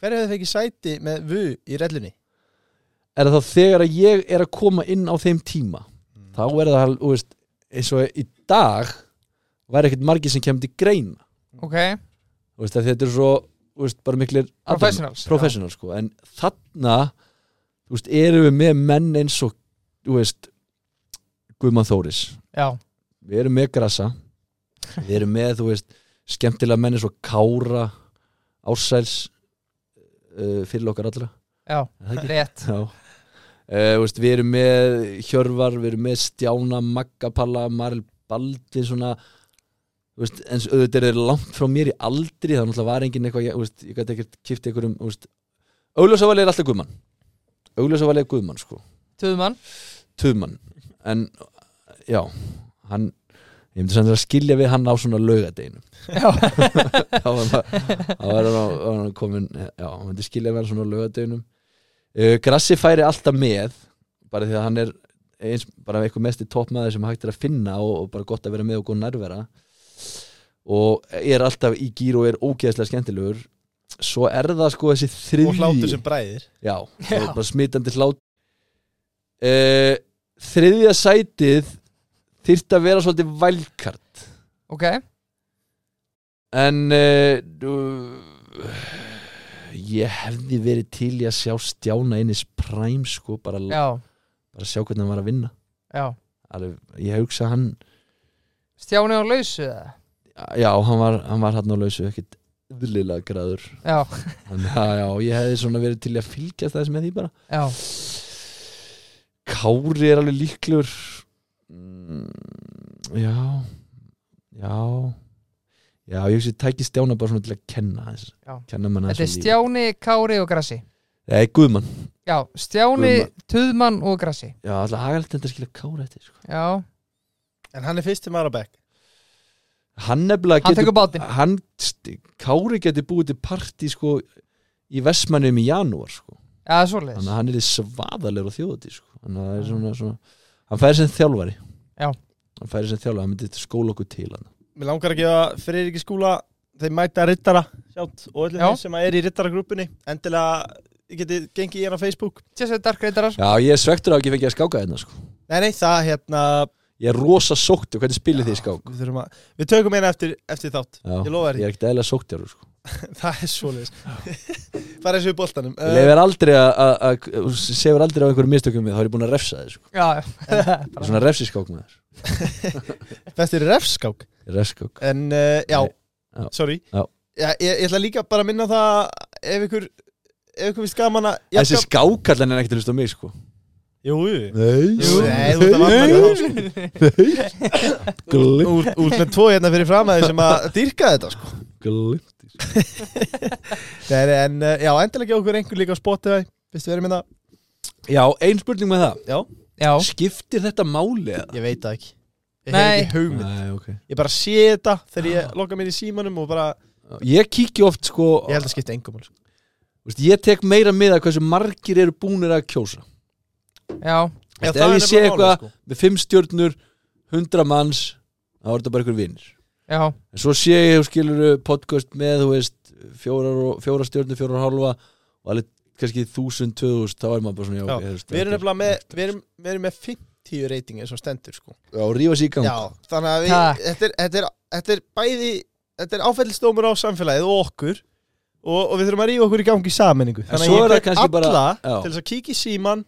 Hver hefur fengið sæti með vu í rellunni? er það þá þegar að ég er að koma inn á þeim tíma Mm. þá er það, þú veist, eins og í dag væri ekkert margir sem kemur til greina ok, þú veist, af því þetta er svo, þú veist, bara miklir adam- Professionals, já. professionals sko. en þarna, þú veist, erum við með menn eins og, þú veist Guðmann Þóris já, við erum með grassa við erum með, þú veist, skemmtilega menn eins og Kára Ársæls uh, fyrir okkar allra já, Er það ekki? rétt Já uh, veist, Við erum með Hjörvar, við erum með Stjána, Maggapalla, Maril Baldi svona þú veist, en s- auðvitað er þeir langt frá mér í aldri það náttúrulega var engin eitthvað ég, þú veist, ég gæti ekkert kipt einhverjum þú veist, augljósavali er alltaf guðmann augljósavali er guðmann sko Töðumann, tuðmann en já, hann ég myndi sem að skilja við hann á svona laugadeginum já, [laughs] þá var hann- þá var hann á- var hann komin já, hann myndi skilja með hann svona á lögadöginum uh, Grassi færi alltaf með bara því að hann er eins, bara einhver mest í toppmaður sem hægt er að finna og, og bara gott að vera með og góð nærvera og er alltaf í gýr og er ógeðslega skemmtilegur svo er það sko þessi þriðji Og hlátur sem bræðir já, Já. já. bara smitandi hlát uh, þriðja sætið þyrfti að vera svolítið vælkart ok En uh, du- ég hefði verið til í að sjá Stjána einnis præm sko, bara, já, bara sjá hvernig hann var að vinna já, Alveg, ég hugsa hann Stjáni á lausu eða? já, hann var, hann var hann á lausu ekkit yðlilega græður já, þannig að já, ég hefði svona verið til í að fylgjast þess með því bara já, Kári er alveg líklegur mm, já já já, ég hugsa ég tæki Stjána bara svona til að kenna þess, Já. kenna manna þetta er Stjáni, Kári og Grassi Nei, Guðmann já, Stjáni, Guðmann. Töðumann og Grassi Já, alltaf hagalegt þetta skilja kára eftir sko. já, En hann er fyrst til Marabæk Hann nefnilega hann tekur bátinn hann, st- Kári getur búið til partí sko, í Vestmannum í janúar sko. já, Þannig svoleiðis, að hann er svaðalegur á þjóðutí sko. Þannig að það er svona, svona Hann færi sem þjálfari Já. Hann færi sem þjálfari, hann myndi skóla okkur til hann Mér langar að gefa Friðriki skúla Þeir mæta rittara sjátt Og öllum Já. þeir sem er í rittaragrúppinni Endilega ég geti gengið í hann á Facebook tjessið darkreitarar Já, ég er svektur á ekki fengið að skáka hérna sko. Nei, nei, það hérna Ég er rosa sóktur, hvernig spilið þið í skák við, þurfum að, við tökum eina eftir, eftir þátt Já, Ég lofa Ég þér er ekkert eðla sóktur sko. því [laughs] Það er svoleiðis Það er eins og í boltanum Ég lefur aldrei að- að að- sefur aldrei á einhverjum mistökum við, þá er ég búin að refsa þið sko. já, já. Ég er Svona refsiskák með þér Þetta er Eh, refskák Refskák En uh, já, Nei, já. sorry Já. Já, ég, ég ætla líka bara að minna á það ef ykkur, ef ykkur finnst gaman að Þessi skákallan er ekkert að hlusta á mig sko Jú, jú Nei, Jú, nei, þú ert að vanda með þá sko. Úr, úr með tvo hérna fyrir fram að þið sem að dýrka þetta sko. Glimt Nei, nei, en eh, já, endilega ekki okkur einhver líka á Spotify Vistu verið minna? Já, ein spurning með það Já, já, Skiptir þetta máli eða? ég veit það ekki Ég hef Nei. ekki hugmynd Ah. Nei, ok Ég bara sé þetta þegar ég loka mér í símanum og bara Ég kíkja oft sko Ég held að skipta engum sko. veist, Ég tek meira með að hversu margir eru búnir að kjósa já, Já, Veist, það Ef er ég sé nefnilega málið, eitthvað sko. með fimm stjörnur hundra manns þá er þetta bara einhver vinnir já En svo sé ég, þú skilur, podcast með þú veist, fjórar, og- fjórar stjörnur, fjórar og hálfa og alveg kannski þúsund, tvöðust, þá er maður bara svona já, Já, okay, þú veist, Við erum þetta er- nefnilega með, við erum, við erum með 50 rating eins og stendur sko. Já, og rífa sér í gang Já, þannig að við, Takk. þetta er, þetta, er, þetta er bæði Þetta er áfællistómur á samfélagið og okkur og, og við þurfum að rífa okkur í gangi í sammenningu Þannig svo að er það ég hvet kannski bara- alla Já. til þess að kíkja í [gasps] síman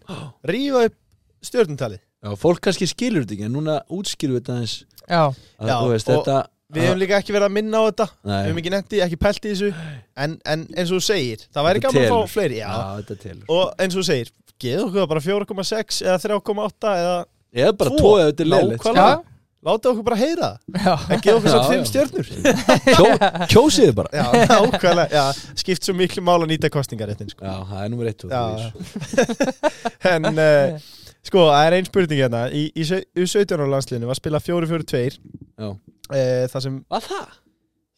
rífa upp stjörnumtalið Já, fólk kannski skilur þetta ekki en núna útskýrur þetta aðeins já, að, Já, þú veist, og þetta, Við hefum líka ekki verið að minna á þetta nei, Við hefum ekki netti, ekki pælt í þessu en, en eins og þú segir, það væri Þetta gaman að telur. fá fleiri já. já, þetta telur Og eins og þú segir, geð okkur það bara 4,6 eða 3,8 eða Ég er bara Tvo. tóið að þetta er leiðilegt nákvæmlega já, Láta okkur bara heyra það já. En geð okkur svo Já, 5 já. stjörnur [laughs] Kjó, Kjósið þið bara Já, [laughs] nákvæmlega, já, skipt svo miklu mál að nýta kostningaréttin sko. Já, það er nummer eitt og Já. það er- [laughs] En uh, sko, það er ein spurning hérna Í, í sau- U17 á landsliðinu var spilað 4-4-2 Já. Eh, Það sem, Var það?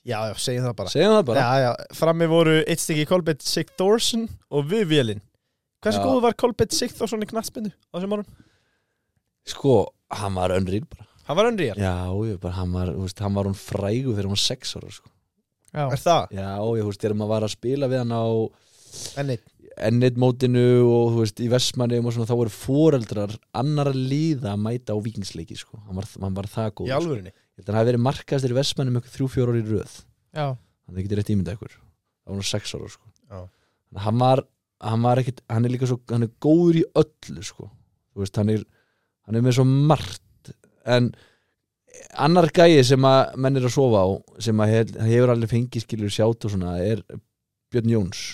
já, já, segjum það bara Segjum það bara Já, já, frammi voru eitt styggi Kolbett Sigþórsson og Vivielin Hversu Já. góð var Kolbett Sigþórsson í knattspindu á þessum árum? Sko, hann var önrýr bara Hann var önrýjar Já, ég bara, hann var, þú veist, hann var hún frægu þegar hún var sex ára, sko. já, Er það? Já, ég, þú veist, þegar maður var að spila við hann á En neitt N1 mótinu og, þú veist, í Vestmannum og svona, þá voru foreldrar annar að líða að mæta á vikingsleiki, sko. Hann var, hann var það góð, Í alvörinni Ég held að hann hafi verið markastir í Vestmannum ykkur þrjú, fjóra ári í röð. já, Þannig getið rétt ímynda ykkur. Það var hún sex ára, sko. Já. Þannig að hann var, hann var ekkit, hann er líka svo, hann er góður í öllu, sko. Þú veist, hann er, hann er með svo margt, en annar gæi sem að menn er að sofa á, sem að hef, hefur alveg fengið skilur sjátt og svona, er Björn Jóns.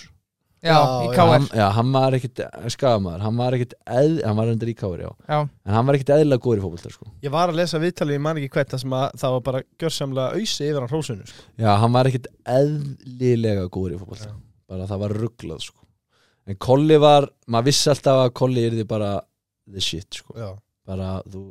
já, í Já, KR Hann, já, hann var ekkit, skafamaður, hann var ekkit eð, hann var endur í káir, já. já, En hann var ekkit eðlilega góður í fótbolta, sko. Ég var að lesa viðtalið, ég man ekki hvert Það sem að það var bara gjörsamlega ausi yfir hann hrósunu sko. Já, hann var ekkit eðlilega góður í fótbolta bara það var rugglað sko. en Kolli var, maður vissi alltaf að Kolli er því bara the shit sko. Já bara þú,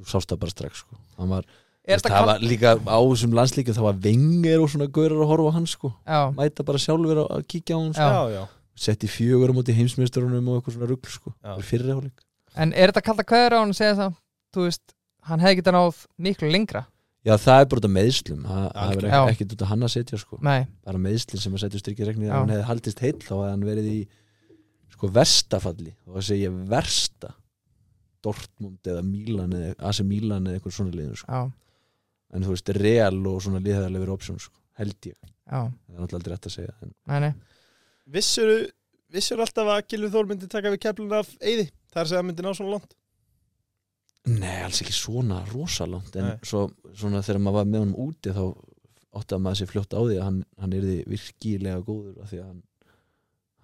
þú sást það bara strax sko. Hann var, er veist, þetta það kall var líka á þessum landslíkjum það var vengir og svona gaurar að horfa á hann sko. já, mæta bara sjálfur að, að kíkja á hann Já. sko. Já, já setti fjögur á móti heimsmeisturunum og eitthvað svona rugg sko. Já. fyrirháling en er þetta kallt að kveður á hann og segja það þú veist, hann hefði getað náð miklu lengra Já, það er bara út af meðslum það, það er Já. ekki, ekkit út af hann að setja sko. nei, bara meðslinn sem að setja strikki regnið Já. ef hann hefði haldist heill þá hefði hann verið í sko verstafalli og það segja versta Dortmund eða Milan eða AC Milan eða eitthvað svona liðinu sko. já, en þú veist Real og svona liðhæðarlega verið option sko. held ég, já, það er alltaf aldrei rétt að segja en, nei, nei Vissuru, vissuru alltaf að Gilvi Þór myndi taka við keflun af Eyði Það er að segja að myndi ná svona langt nei, alls ekki svona rosalangt en Nei. svo, svona þegar maður var með honum úti þá áttaði maður sér fljótt á því að hann, hann yrði virkilega góður af því að hann,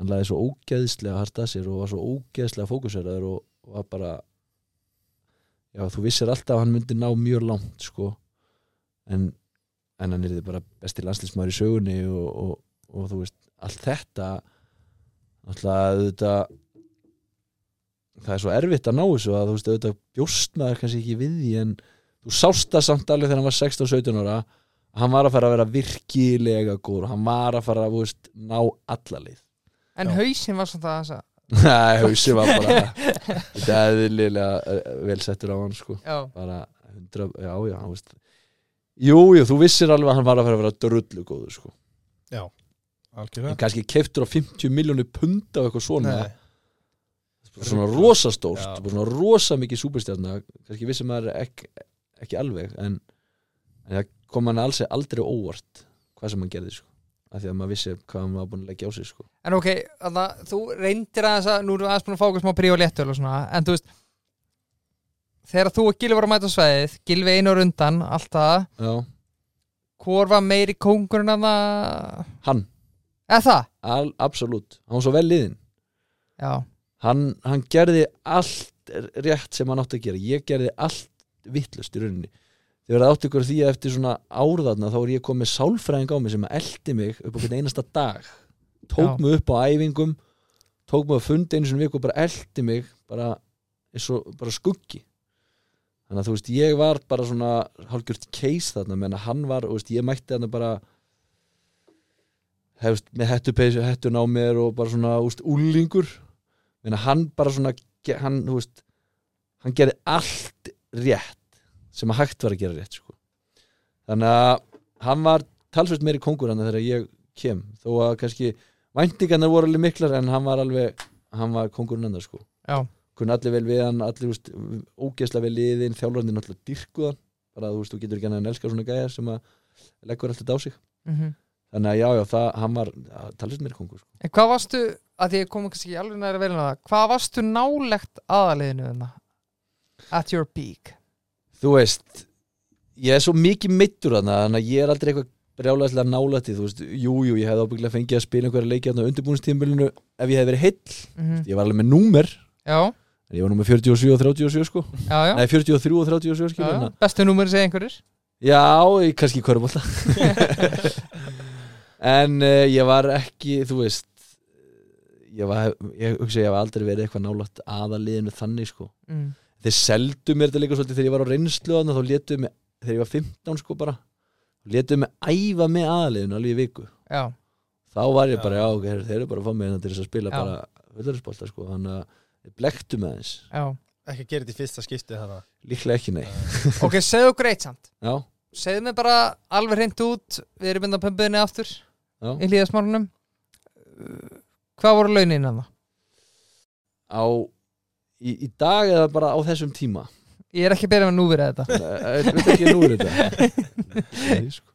hann laði svo ógeðslega hart að sér og var svo ógeðslega fókuseraður og, og var bara já, þú vissir alltaf að hann myndi ná mjög langt sko en, en hann yrði bara besti landslísmaður í sögunni og, og, og þú veist, allt þetta alltaf auðvitað það er svo erfitt að ná þessu að þú veist, auðvitað bjóst maður kannski ekki við því en þú sást það samt alveg þegar hann var 16-17 ára að hann var að fara að vera virkilega góður og hann var að fara að þú veist, ná alla leið [laughs] en Já. hausinn var svona það Nei, hausi var bara þetta er eðlilega eh, vel settur á hann sko já, bara 100, já, já, þú veist Jú, jú, þú vissir alveg að hann var að fara að vera drullu góður sko Algjörlega en kannski keftur á 50 miljónu pund af eitthvað svona Nei, svona rosastórt, Já. bara svona rosa mikið súperstjarna, kannski vissi maður ekki, ekki alveg, en, en það kom hann alls aldrei á óvart hvað sem hann gerði, sko af því að maður vissi hvað hann var búin að leggja á sig, sko En ok, þannig þú reyndir aðeins að nú erum við aðeins búin að fá okkur smá príu og léttöl og svona, en þú veist þegar þú og Gilvi voru að mæta á svæðið Gilvi einar undan, allt það Já, hvort var meiri kóngurinn að það hann, eða það? al, absolutt hann var svo vel liðin, Já, hann, hann gerði allt rétt sem hann átti að gera ég gerði allt vittlust í rauninni þegar það átti ykkur því að eftir svona árðarna þá er ég komið sálfræðing á mig sem að eldi mig upp á hvern einasta dag tók Já. mig upp á æfingum tók mig á fundi einu sinni í viku og bara eldi mig bara, eins og, bara skuggi þannig að þú veist ég var bara svona hálfgjört case þarna menn að hann var, þú veist, ég mætti þarna bara hefst, með hettupeysu, hettun á mér og bara svona, þú veist, úlingur menn að hann bara svona ge- hann, þú veist, hann gerði allt rétt sem að hægt var að gera rétt sko. þannig að hann var talsvist meiri kongur hann þegar ég kem þó að kannski væntingarnar voru alveg miklar en hann var alveg hann var kongurinn hann sko. Já. kunni allir vel við hann allir þú veist, ógeðslega vel liðin þjálfarnir náttúrulega dyrkuðan bara þú veist þú getur ekki hann að elska svona gæja sem að leggur allt þetta á sig mhm þannig að já já það hann var talsvist meiri kongur sko. En hvað varstu, að því ég kom kannski ekki alveg næri vel að það, hvað varstu nálegt aðaliðinu þarna? At your peak þú veist ég er svo mikið mittur þarna þannig að ég er aldrei eitthvað brjálæðislega nálætti þú veist, jú, jú, ég hefði ábyggilega fengið að spila einhverja leiki þarna á undirbúinstímbilinu ef ég hefði verið heill, mhm, ég var alveg með númer Já, en ég var númer 47 og 37 sko já, já, nei, 43 og 37 já, skilur já. hérna Bestu númeri segja einhverjir já, ég- kannski í körubólta [laughs] en uh, ég var ekki, þú veist ég var, ég hugsa ég hef aldrei verið eitthvað nálætt aðaliðinu þannig sko mm. þeir seldu mér þetta líka svolítið þegar ég var á reynslu þannig þá letuðu mig, þegar ég var 15 sko bara letuðu mig æfa með aðaliðinu alveg í viku Já, þá var ég Já. bara, já, ok, þeir- þeir eru bara að fá mig hérna til þess að spila Já. bara völdarinsbólta sko þannig að þeir blektu með þess já, ekki að gera þetta í fyrsta skipti þarna Líklega ekki, nei ok, segðu okkur eitt samt Já, segðu mér bara alveg hreint út við erum mynda að pömbuðinni aftur já í hlýðasmálunum hvað voru launin hérna? hann Á, í, í dag eða bara á þessum tíma eh, ég er ekki að byrja með núverið þetta Ég veit ekki nú er þetta Nei, sko.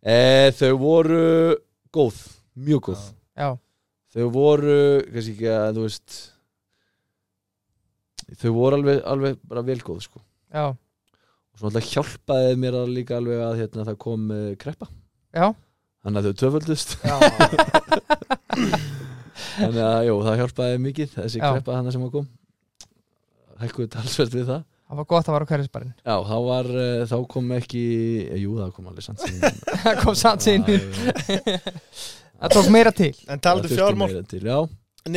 e, Þau voru góð, mjög góð já, Þau voru, kannski ekki að þú veist Þau voru alveg, alveg bara vel góð sko. já, og svo alltaf hjálpaði mér að líka alveg að hérna, það kom uh, kreppa já, þannig að þau töföldust [laughs] Já, þannig að jú, það hjálpaði mikið þessi Já. kreppa þannig sem að kom hækkuðu talsvert við það það var gott að vara á hverjusbarinn Já, þá, var, eh, þá kom ekki eh, Jú, það kom alveg samt [laughs] sín [laughs] það kom samt sín Það það tók meira til en talaðu þurfti fjármál meira til, Já,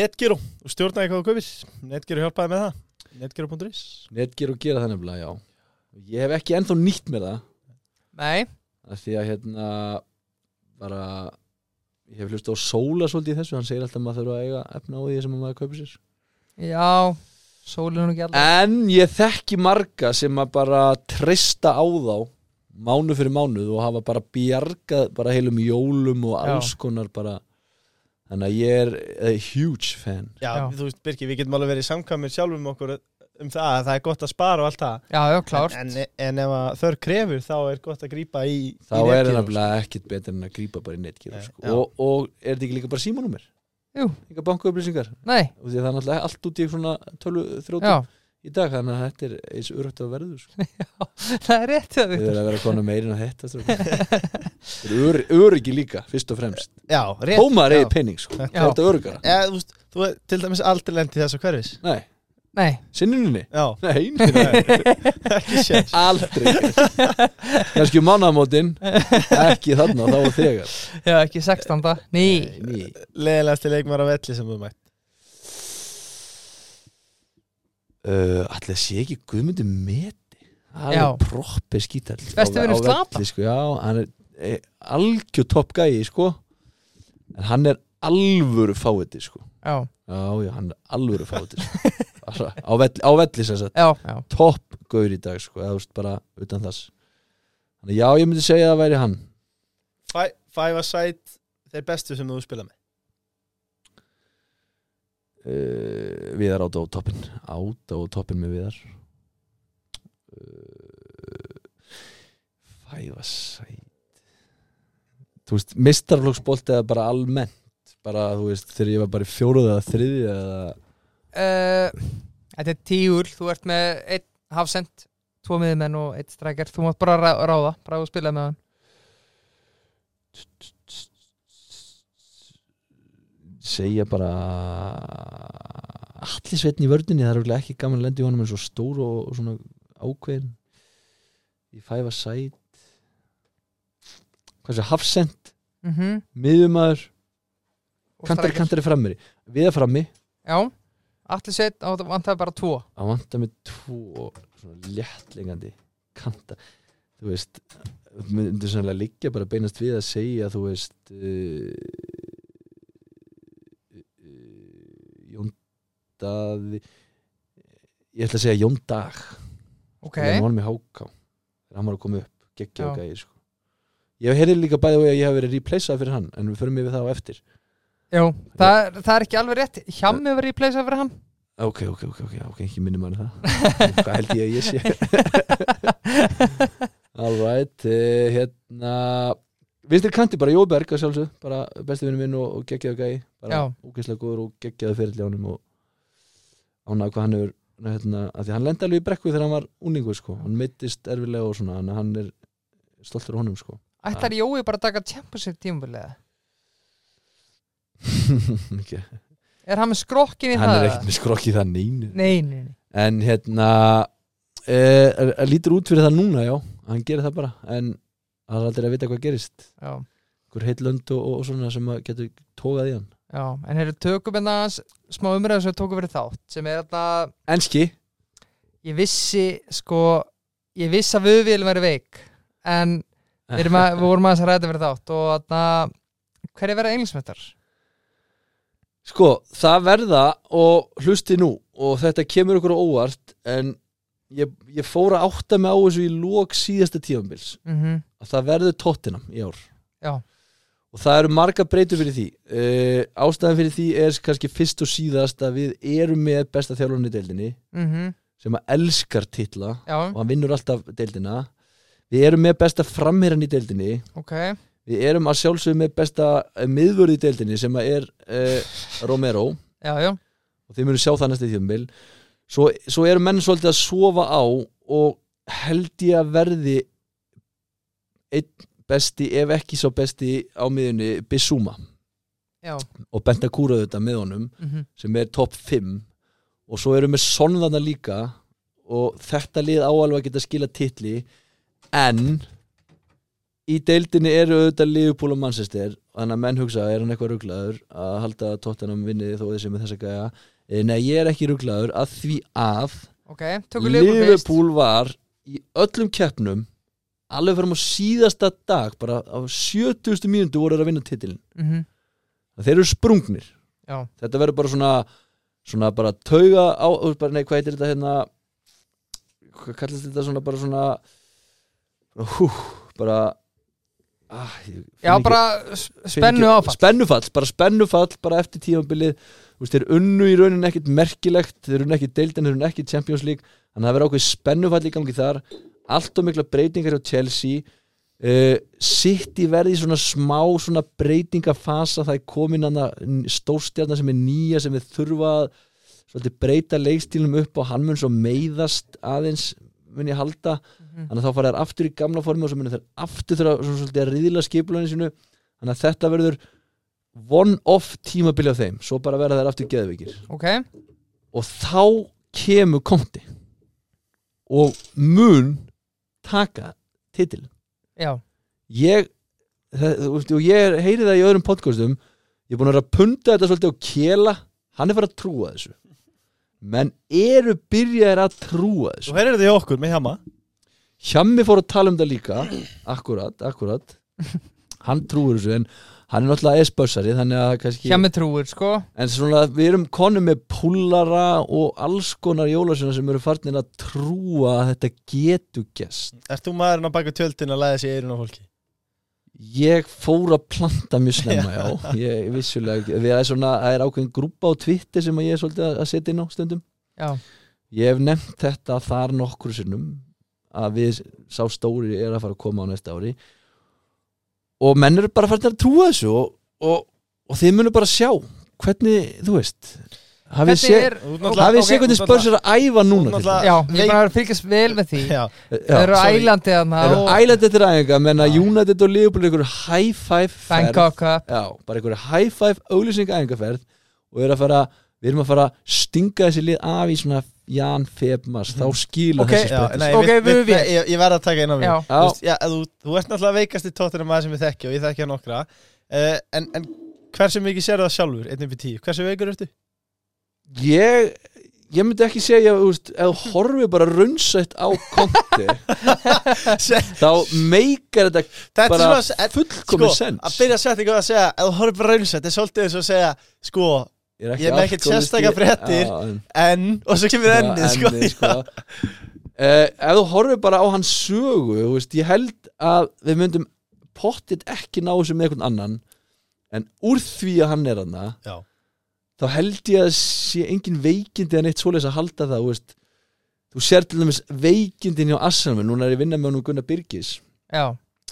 Netgyro, þú stjórnaði hvað þú kaupir Netgyro hjálpaði með það Netgyro.is netgir og gera það nefnilega, já Ég hef ekki ennþá nýtt með það nei, af Því að hérna bara Ég hef hlust á Sóla svolítið í þessu Hann segir alltaf að maður þurfa að eiga efna á því sem maður kaupir sér já sólinu ekki alltaf En ég þekki marga sem að bara treysta á þá mánu fyrir mánuð og hafa bara bjargað bara heilum jólum og Já. alls konar bara þannig að ég er a huge fan Já, Já. þú veist Birgir, við getum alveg verið samkvæmir sjálfum okkur um það að það er gott að spara og allt það já, já, klárt En, en, en ef að þörf krefur þá er gott að grípa í þá í er það netgear. nefnilega ekkit betur en að grípa bara í netgear Nei, sko. já. og, og er þetta ekki líka bara símanúmer? Jú. Líka bankuupplýsingar nei, og því að það er náttúrulega allt út í svona tölu þrjótu já, í dag þannig að þetta er eins urögt að verður sko. það er rétt það við Viktor. erum að vera konum meirinn á þetta strákar. Þetta er ör- öryggi líka, fyrst og fremst Já, rétt Tómaður já. eigi penning sko, Þetta- þá er þetta öruggara Eða, þú veist, þú er til dæmis aldrei lendið þess að hverfis Nei, nei, sinnuninni Já, Nei, nei, ekki [laughs] séns aldrei Kannski mannamótin Ekki þarna, þá var þegar já, ekki 16 ný, Ný. Leðilegasti leikmar á velli sem þú mætt uh, Ætli að sé ekki Guðmundur meti Það Já. er proppi skítal Besti vinur Slata. sko, Já, hann er e, algjör topp gæi sko. En hann er alvöru fáiði sko. já, Já, já, hann er alvöru [laughs] fáiði sko. Bara Á velli, á velli sem sagt já, já Topp gaur í dag sko, eða þú veist bara utan þess Þannig að já, ég myndi segja að það væri hann Fæ- Five a side, þeir bestu sem þú spila með uh, Viðar áta á toppin áta á toppin með Viðar uh, fæfa sæt þú veist, mistarflokksbolt eða bara almennt bara, þú veist, þegar ég var bara í fjóruð eða þriði eða, Eh, Þetta er tíul, þú ert með einn hafsend, tvo miðumenn og einn strækjar, þú mátt bara rá- ráða bara að spila með hann segja bara allir sveitn í vördinni það er örugglega ekki gaman að lenda í honum eins og stór og, og svona ákveðin í fæfa sæt hvað sé, hafsend mm miðumæður, og kantari, strækjar. kantari frammeri við að frammi, Já, allir sveit á það vantaði bara tvo að vanta með tvo svona léttlingandi kanta, þú veist myndir sannlega liggja bara beinast við að segja, þú veist uh, uh, Jón Daði ég ætla að segja Jón Dag Ok, okay. hann var með háká þegar hann var að koma upp, geggja og Já. gæði sko. ég heyrði líka bæði og ég hef verið replaysað fyrir hann, en við förum yfir það á eftir já, það, er- það er ekki alveg rétt Hjammi var í pleysa fyrir hann Ok, ok, ok, ok, ok, ekki minnum hann það Hvað held ég að ég sé Alright, uh, hérna Vinstri kanti bara Jóberg að sjálfsög bara besti vinnu minn og, og geggjaðu gæi bara Já. úkislega góður og geggjaðu fyrirli ánum og ánað hvað hann er hérna, að því hann lendi alveg í brekku þegar hann var úningu sko, hann meittist erfilega og svona þannig að hann er stoltur á honum sko Ætlar Jói bara að taka championship tímabilið okay. Er hann með skrokkin í Hann það? er ekkert með skrokki það neinu Nei, nei, nei en hérna e, er, er, lítur út fyrir það núna já hann gerir það bara en það er aldrei að vita hvað gerist Já, hver heill lönd og, og svona sem að getur tókað í hann já, en hefur tökum en aðeins smá umræðu sem við tókum verið þátt sem er þarna, enski ég vissi sko, ég vissi að við viljum verið veik en [laughs] Við, erum að, við vorum aðeins að ræða verið þátt og hérna, þarna, hverju verða englinsmættar? sko það verða og hlusti nú og þetta kemur okkur á óvart en ég, ég fór að átta mig á þessu í lók síðasta tífambils Mhm. að það verður tóttinam í ár Já. og það eru marga breytur fyrir því uh, ástæðan fyrir því er kannski fyrst og síðast að við erum með besta þjálfarni í deildinni Mhm. sem að elskar titla Já, og hann vinnur alltaf deildina við erum með besta framherran í deildinni ok við erum að sjálfsögum með besta eh, miðvörð í deildinni sem að er uh, Romero Já, já, og þið munu sjá það næstu tíðumbil svo, svo eru menn svolítið að sofa á og held ég að verði einn besti, ef ekki svo besti á miðunni Bissúma já og Benta Kúraðu þetta með honum Mhm. sem er topp 5 og svo eru með sonðana líka og þetta lið á alveg að geta skila titli en í deildinni eru auðvitað liðupúl og mannsistir þannig að menn hugsa, er hann eitthvað ruglaður að halda tóttanum vinnið þó þessi með þessa gæja Eh, nei, ég er ekki ruglaður að því að Ok, tökum Liverpool fyrst Liverpool var í öllum keppnum alveg fram á síðasta dag bara á 70. mínútu voru þeir að vinna titilin Mhm. þeir eru sprungnir Já, þetta verður bara svona svona bara tauga á þú veist bara, nei, hvað heitir þetta hérna hvað kallast þetta svona bara svona hú, bara ah, ég finn já ekki- bara s- finn ekki- spennu áfall spennufall, bara spennufall bara eftir tímabilið, þú veist, þeir unnu í raunin ekkit merkilegt, þeir unnu ekkit deildin þeir unnu ekkit Champions League, þannig að það verður ákveð spennufall í gangi þar, allt og mikla breytingar hjá Chelsea uh, City verði í svona smá svona breytingafasa, það er komin hana stórstjarnar sem er nýja sem við þurfa að svolítið breyta leikstílum upp og hann mun svo meiðast aðeins mun ég halda þannig að þá fara þær aftur í gamla formi og svo mun þær aftur þurfa svona svolítið að riðla skipulunni sinu þannig að þetta verður one-off tímabili á þeim svo bara verða þær aftur geðveikir Ok, og þá kemur konti og mun taka titil já, ég, það, þú veist, og ég heyri það í öðrum podcastum ég er búin að vera að punta þetta svolítið og kela hann er farið að trúa þessu menn eru byrjaðir að trúa þessu Svo heyrðu þið hjá okkur með hjama Hjammi fór að tala um það líka Akkurat, akkurat Hann trúir þessu en hann er náttúrulega esbössari þannig að kannski hjá með trúir sko En svona við erum konum með púllara og alls konar jólasuna sem eru farnir að trúa að þetta getur gest Ert þú maðurinn á baka tjöldin að læða sér eirun á fólki? Ég fór að planta mjög snemma, já Ég vissulega, ekki- því að það er svona það er ákveðin grúpa á Twitter sem að ég er svolítið að- að setja inn á stundum Já, Ég hef nefnt þetta þar nokkur sinnum að við sá stóri er að fara að koma á næsta ári og menn eru bara farin að trúa þessu og, og, og þið munu bara sjá hvernig, þú veist hafið hvernig sé, er Þú ert Ok, hafið sé hvernig þú spörs er að æfa núna til náttúrulega- Já, ég er Nei. bara að fylgjast vel með því Já, dæmis. Þeir Já, eru sorry. ælandi þarna eru og ælætt eftir aðeinga menn að United og Liverpool eru einhver high five ferð Bangkok Cup já, bara einhver high five auglýsing aðeingaferð og er að fara, við erum að fara að stinga þessi lið af í svona Jan Febmas, þá skilur Mhm. Ok, þessi já, sprettur. nei, Ok, við- við- við- ég, ég verð að taka inn á mér Já, Þú, Já, veist, já, þú, þú ert náttúrulega veikasti tóttina maður sem við þekki og ég þekki hann nokkra uh, en, en hversu mikið sér það sjálfur, 1-10, hversu veikur ertu? Ég, ég myndi ekki segja úst, ef þú horfið bara runnsætt á konti [laughs] [laughs] Þetta þá meikar þetta er bara svona, en, fullkomin sens að byrja setningu að segja ef þú horfir bara raunsætt, þetta er svolítið eins og að segja sko, er ég er með ekkert alkoholisti. sérstakar fréttir. Já, en- en, og svo kemur ennið Já, sko, ennið, sko. Eh, ef þú horfið bara á hans sögu þú veist, ég held að við myndum pottit ekki ná þessu með einhvern annan en úr því að hann er hann Já. þá held ég að sé engin veikindi en eitt svoleiðis að halda það þú, veist, þú sér til dæmis veikindin hjá Assanum, núna er ég að vinna með honum Gunnar Byrgis já,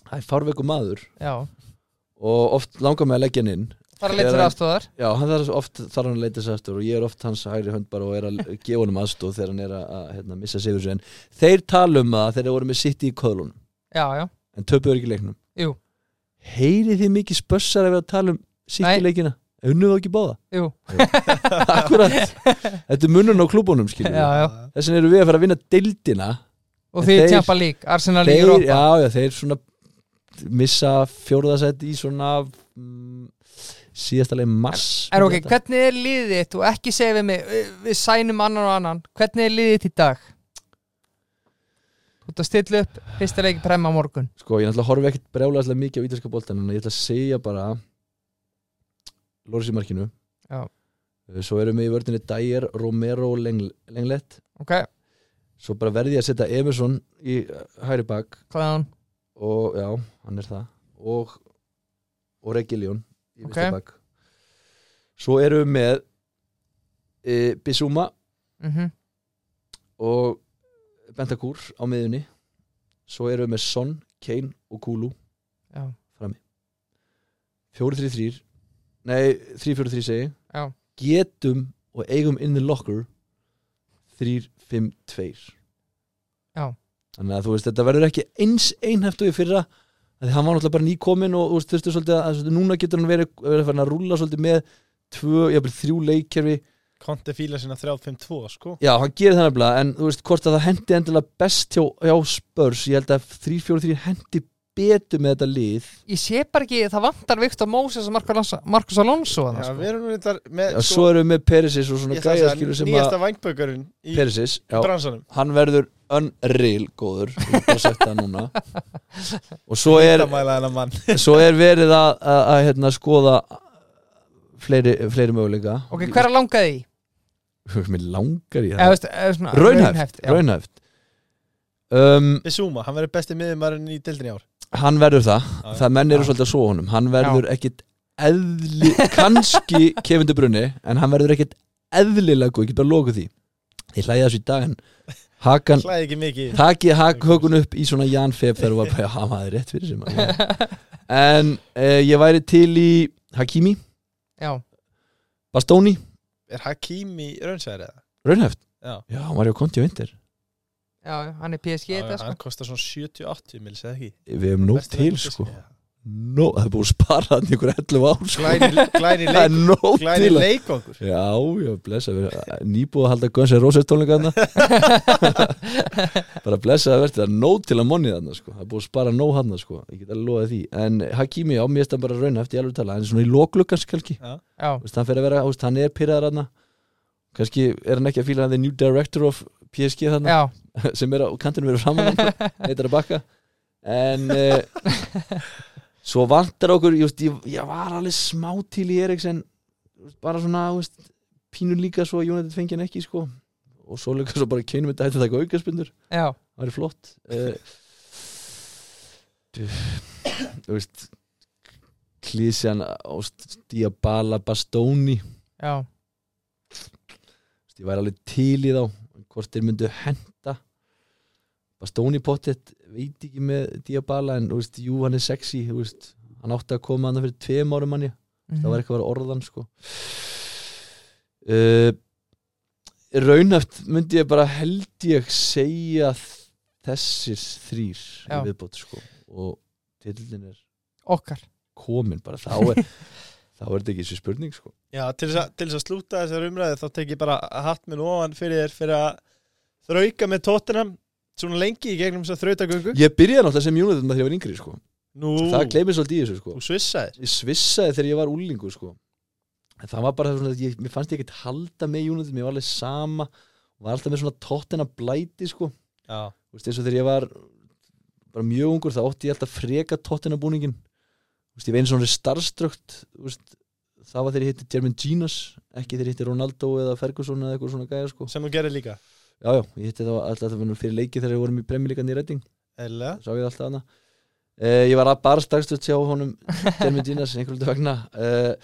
það er fárveiku maður já og oft langar mig að leggja hann inn Bara leitt Eða- fyrir aðstóðar já, hann þarf oft þarf hann að leita sér aftur og ég er oft hans hægri hönd bara og er að gefa honum aðstóð þegar hann er að, að hérna, missa sig þessu en þeir tala um það þegar þeir voru með sitt í köðlun Já, já, en töpuður ekki leiknum Jú. heyrið þið mikið spössar ef við að tala um sitt í Nei. leikina unnum þá ekki báða [laughs] jú, akkurat, þetta er munnun á klúbunum já, skiljum já þess vegna eru við að fara að vinna deildina Og því Þeir- tjampa lík, Arsenal í þeir, Europa já, já, þeir svona missa fjórðasett í svona mm, síðasta leið mars En ok, hvernig er liðið þitt og ekki segja við mig "Ö, við sænum annan og annan hvernig er liðið þitt í dag? Þú ert að stilla upp fyrsta leiki prema á morgun sko, ég náttúrulega horfi ekkert brjálega mikið á ítalska boltan en ég ætla að segja bara Loris í markinu Já. Eh, Svo erum við í vördinni Dyer, Romero og Leng Lenglet ok, Svo bara verði ég að setja Emerson í eh, hægri bak clown og já, hann er það og, og Regiljón Ok. í vinstri bak Svo erum við með e, Bissúma mm og Bentakur á miðunni Svo erum við með Son, Kane og Kulu já, 4-3-3 Nei, 3-4-3 segi ég. já, Getum og eigum in the locker 3-5-2 Já. Þannig að þú veist, þetta verður ekki eins einhæft og í fyrra Þannig að hann var náttúrulega bara nýkomin og þú veist, þurftu svolítið að, að svolítið, núna getur hann verið, verið farin að rúlla svolítið með tvö, jafnvel þrjú leikkerfi Konti fíla sinna 3-5-2 sko Já, hann gerir það nefnilega en þú veist hvort að það hendi endilega best hjá, hjá spörs ég held að 3-4-3 hendi betur með þetta lið ég sé bara ekki, það vantar Viktor Moses og Marcos Alonso- Marcos Alonso að Já, það, við sko. erum nú reyndar með Já, svo erum við með Perisis og svona ég ætla að segja, gæjaskilu sem að Nýjasta vangbökurinn í Perisis, já, bransanum hann verður unreal góður ég hef bara sagt það [laughs] núna og svo er, Það mæla hennar mann svo er verið að, að, að hérna, skoða fleiri, fleiri möguleika ok, hver að langaði í? Mér langar í Eða, það veist, eða svona- Raunhæft, já. raunhæft um, Bissúma, hann verður besti miðumarinn í dildin í ár Hann verður það, Já, já. það menn eru Já. svolítið að svo honum Hann verður ekkit eðli [laughs] kannski kefindu brunni, en hann verður ekkit eðlilega góð, ég get bara lokuð því Ég hlæði þessu í dag en Hakan, Klæði ekki mikið takið hakhökun upp í svona Jan Feb þegar var bara, já, hann hafði rétt fyrir sem En eh, ég væri til í Hakimi, já, Bastóni Er Hakimi raunsæðir eða? Raunheft, Já. já, hann var hjá Konti og Vinter já, hann er PSG Já, þetta, sko. Hann kostar svona 70-80 mils eða ekki Við hefum nóg Besti til, leikmaður sko PSG. Nó, það er búið að spara hann í ykkur 11 ár, sko Glæni, glæni Það leik er nóg Glæni til að leikongur Já, já, blessa eh, Nýbúið að halda Guns N' Roses [laughs] tónleikaðna Bara blessa að verði það Nót til að monni þarna sko Það er búið að spara nóg hann sko Ég get alveg loðið því En Hakimi á mér er það bara rauna eftir ég alveg tala En svona í loklukkans kannski já, Þú veist, Hann fyrir að vera, þú veist, hann er pyrraðar hann Kannski er hann ekki að fíla hann The new director of PSG þarna já, Sem er á kantinu verið framan hann, Neitar að bakka En uh, Svo vantar okkur ég, veist, ég, ég var alveg smá til í Eriksen þú veist, bara svona þú veist, pínur líka svo að United fengi hann ekki sko. og svo líka svo bara kynum þetta hætti að taka aukaspindur, já það væri flott uh, Þú veist klísjan Diabala Bastoni Þú já, veist, ég væri alveg til í þá hvort þeir myndu henda Bastoni pottet veit ekki með Diabala en þú veist, jú hann er sexy þú veist, hann átti að koma hann fyrir tveim árum manni það var Mhm. eitthvað að vera orðan sko. uh, raunhaft myndi ég bara held ég segja þ- þessir þrýr Já. viðbótt sko. og tillin er okkar komin bara þá [laughs] er, þá er þetta ekki þessi spurning sko. Já, til þess, að, til þess að slúta þessar umræði þá tek ég bara hatt minn ofan fyrir þér fyrir að þrauka með tóttinam svona lengi í gegnum þess að þrautagöngu ég byrjaði náttúrulega sem United maður þegar ég var yngri sko. Nú, það gleymið svolítið í þessu sko. þú svissaðir ég svissaði þegar ég var úlingu sko. en það var bara svona að ég, mér fannst ég ekkert halda með United, mér var alveg sama var alltaf með svona tóttina blæti sko. Já, Þú veist, eins og þegar ég var bara mjög ungur þá ótti ég alltaf freka tóttina búningin Þú veist, ég vein svona starfströkt veist, það var þegar ég hitti German Ginas ekki þegar ég hitti Ronaldo eða Ferguson eða eitthvað svona gæja sko sem þú gerir líka já, já, ég hitti þá alltaf það fyrir leiki þegar við vorum í premjulíkan í Redding Eða, sá ég alltaf hana eh, ég var að bara starfströkt hjá honum German Ginas einhvern veginn vegna eh,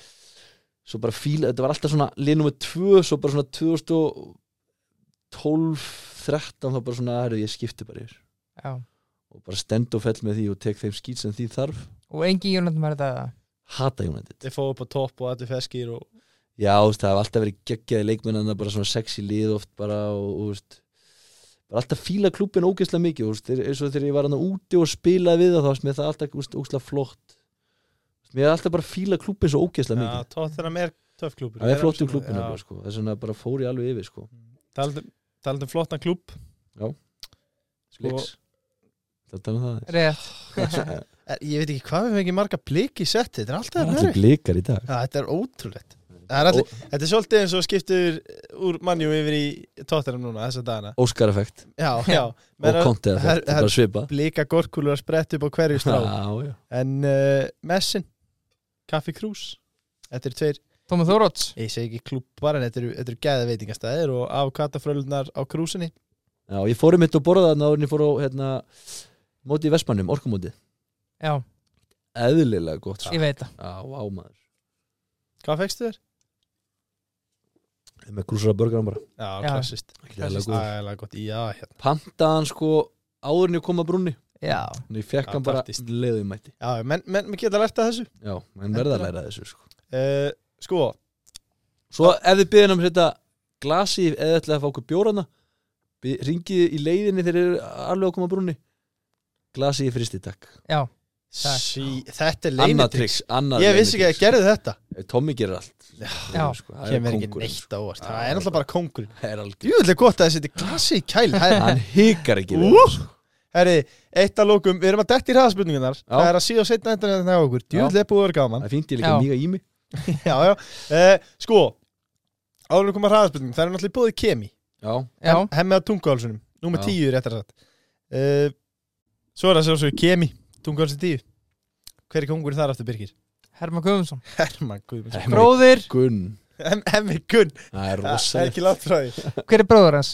svo bara fíla, þetta var alltaf svona linum með tvö, svo bara svona 2012 13 þá bara svona, herru, ég skipti bara yfir já. og bara stend og fell með því og tek þeim skýt sem því þarf og engi Jónat var þetta hata United þið fóðu upp á topp og allir feskir og já, þú veist, það hafa alltaf verið geggjaði leikmennana bara svona sexy lið oft bara og, og þú veist bara alltaf fíla klúbin ógeðslega mikið þú veist, þeir- eins og þegar ég var hann úti og spilaði við það þá veist, mér það alltaf þú veist, ógeðslega flott mér er alltaf bara fíla klúbin svo ógeðslega Já, mikið tóttinam er töff klúpur það er flottu klúbin nefnilega, sko. þess vegna bara fór ég alveg yfir sko. Talandum, talandum um- flottan klúb Sko- sko, það tala um það [laughs] rétt, aðeins. Eh, Ég veit ekki hvað við fengið marga bliki setti Þetta er alltaf það að er [laughs] allir blikar í dag Já, þetta er ótrúlegt Það er allir, Þetta er svolítið eins og skiptur úr mannjú yfir í tóttinam núna þessa dagana Óskareffekt Já, já og Meðan kontið her- effekt, her- bara svipa Blika gorkulur að spretta upp á hverju strá eh, já, já En uh, Messin Kaffi Krús Þetta er tveir Tóma Þóróts Ég segi ekki klúpar en þetta eru, þetta eru gæða veitingastæðir og af katafrölunar á krúsinni Já, ég fór um mitt og borða þarna áður en ég fór á hérna, móti í Vestmannum, orkumóti Já, eðlilega gott sko. ég veit það Já, á maður Hvað fegstu þér? Ég er með grúsara börgaran bara Já, Já. klassist Ekkert eðlilega góður. Ægilega gott, já, hérna Pantaðan sko áður en ég kom að brúnni Já, en ég fekk Já, hann bara taktist. leiðið mætti Já, menn, menn, menn geta lært að þessu Já, en verða að læra þessu sko uh, Sko, Svo ef þið byrðin um þetta glasi eða ætlaði að fá okkur bjórana ringið í leiðinni þegar þið eru alveg að koma að brúnni glasi í fristi takk já, Takk. sí, þetta er Annað leinitryggs trix, annað Ég vissi ekki að leynitrix. þið gerðu þetta Tommy gerir allt Já. sko, það er Kemur ekki kóngurinn, sko. neitt á óvart Já, Það er náttúrulega bara kóngur Það er algjör Júðlega gott að það setja glasi í kæl Það er Hann hikar ekki við Ú! það, sko. Herri, eitt að lókum, við erum að detti í hraðaspurningunar Já. Það er að síða og setna endan þetta hjá okkur Djúðlega búið að vera gaman Það fínt ég líka Já. mýga í mig Já, já, uh, sko Áður en við koma hraðaspurningum, það er náttúrulega búið kemi Já, já Hemmið að tunguhálsunum, númer Já. tíu rétt að satt uh, Svo er það svo svo kemi, tunguhálsun tíu Hver er kongur þar aftur Birgir? Herman Guðmundsson Herman Guðmunds Hemmi Bróðir, Gunn Hem- Hemmi Gunn, Það er það er rosalega ekki látt frá því hver er bróður hans?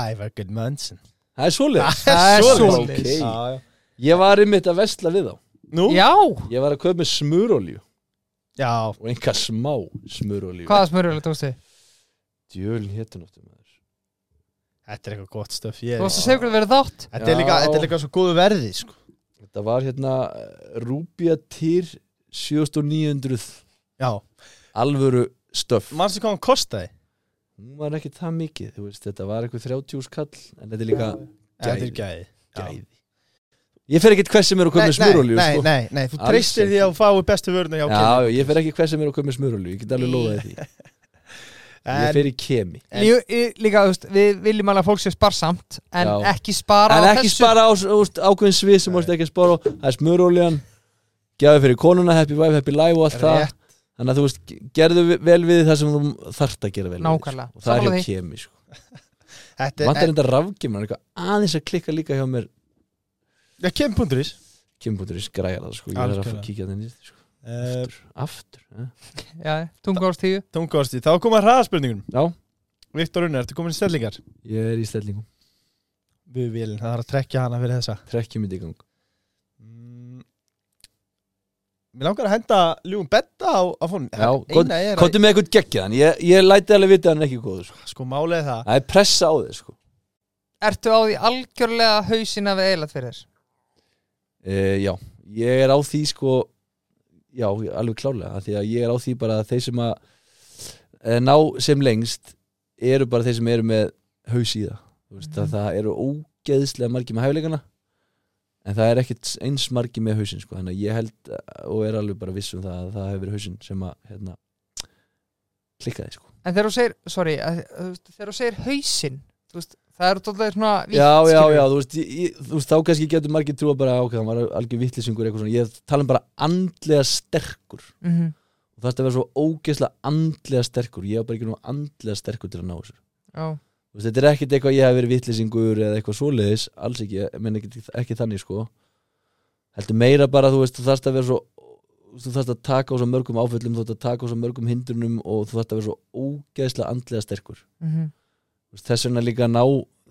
Ævar Guðmundsson Það er svoleið Það er Svoleiðis. svoleiðis. Já, já. Ég var einmitt að vesla við þá Nú? Já, Ég var að köpa með smurolíu Já, og einhver smá smurolíu hvaða smörjulega tókstu? Eh. Djölin héttu náttúrulega maður þetta er eitthvað gott stöf ég... Þú varst að segja hvernig verið þátt Þetta er líka, Já. þetta er líka svo góðu verði sko. Þetta var hérna Rúbia Týr 7900 Já, alvöru stöf mannstu hvað hann kostaði? Hún var ekki það mikið, þú veist, þetta var eitthvað 30 skall en þetta er líka Þetta er gæði gæði Ég fer ekkert hvers sem er að köpa með smurolíu nei, sko. nei, nei, þú Alls treystir því ekki. að þú fái bestu vöruna hjá Kemi. Já, ég fer ekki hvers sem er að köpa með smurolíu Ég get alveg lofaði því Ég en, fer í kemi En- Jú, í- Líka, þú veist, við viljum alveg að fólk sé sparsamt En Já. ekki spara en á ekki þessu. spara á úst, ákveðin svið sem vorst ekki að spara á það er smurólían, gefið fyrir konuna happy wife, happy life og allt það Rétt. þannig að þú veist, gerðu ve- vel við það sem þú þarft að gera vel Nákvæmlega. við sko. og það Sammála er því. hjá kemi sko. þetta vantar er þetta rafgemur, eitthvað aðeins að klikka líka hjá mér ja, Kemi.is kemi.is græjar það, sko. ég er að Algjörlega. kíkja það nýtt sko. uh, aftur, aftur eh? Já, tungáls tíu Tungosti, þá koma hraðaspurningunum já, Viktor Unnar, ertu komin í stellingar? ég er í stellingum Við viljum, það er að trekja hana fyrir þessa trekkjum í gang mm. Mér langar að henda ljúum betta á, á fónum Já, gott- eina er að, komdu með eitthvað geggjaðan, ég, ég læti alveg vita að hann er ekki góð sko. sko málið er það það er pressa á þig sko. Ertu á því algjörlega hausina við eilat fyrir þér? Uh, já, ég er á því sko Já, alveg klárlega af Því að ég er á því bara að þeir sem að eh, ná sem lengst eru bara þeir sem eru með haus í það Þú veist að það eru ógeðslega margir með hæfileikana en það er ekkit eins margir með hausinn sko þannig að ég held eh, og er alveg bara viss um það að það hefur verið hausinn sem að hérna, klikkaði sko En þegar þú segir, sorry, að, þú veist, þegar þú segir hausin þú veist, Það eru tóttlega svona vítt, Já, já, skilurðu. já, þú veist, ég, ég- þú veist þá kannski getur margir trúa bara ok, það var algjör vittlisingur eitthvað svona ég tala um bara andlega sterkur Mhm. og það er að vera svo ógeðslega andlega sterkur ég var bara ekki nú andlega sterkur til að ná þessu já Þú veist, þetta er ekkert eitthvað ég hef verið vitlýsingur eða eitthvað svoleiðis, alls ekki ég menn ekki, ekki þannig sko heldur meira bara, þú veist, þú þarft að vera svo þú þarft að taka á svo mörgum áföllum þú þarft að taka á svo mörgum hindrunum og þú þarft að vera svo ógeðslega andlega sterkur Mhm. Þú veist, þess vegna líka að ná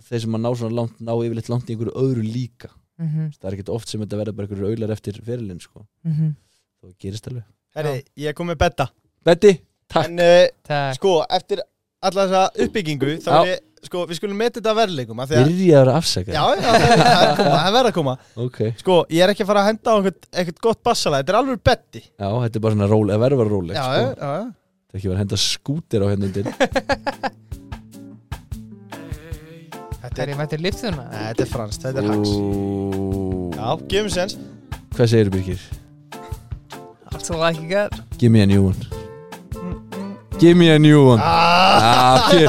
þeir sem að ná svona langt, ná yfirleitt langt í einhverju öðru líka Þú Mhm. veist, það er ekkert oft sem þetta verða bara einhverju auðlar eftir ferilinn sko, Mhm. það gerist alveg Herri, ég kom með betta Betty, takk, En uh, Takk. sko, eftir alla þessa uppbyggingu þá er ég, sko, við skulum meta þetta verðleikum af því að- byrjaður að afsaka Já, já, það er það er að koma, það verður að koma okay. Sko, ég er ekki að fara að henda á einhvern, einhvern gott bassala Þetta er alveg betti Já, Já, þetta er bara svona róleg, það verður að vera róleg já, já sko. Þetta er ekki verið að henda skútir á hérna undir Þetta Það er er, ég mættir liftuna Nei, þetta er franskt, [laughs] þetta er hax Já, gefum sens Hvað segir Birgir? Allt sem það ekki gæð Give me a new one Give me a new one ah, ah, ég,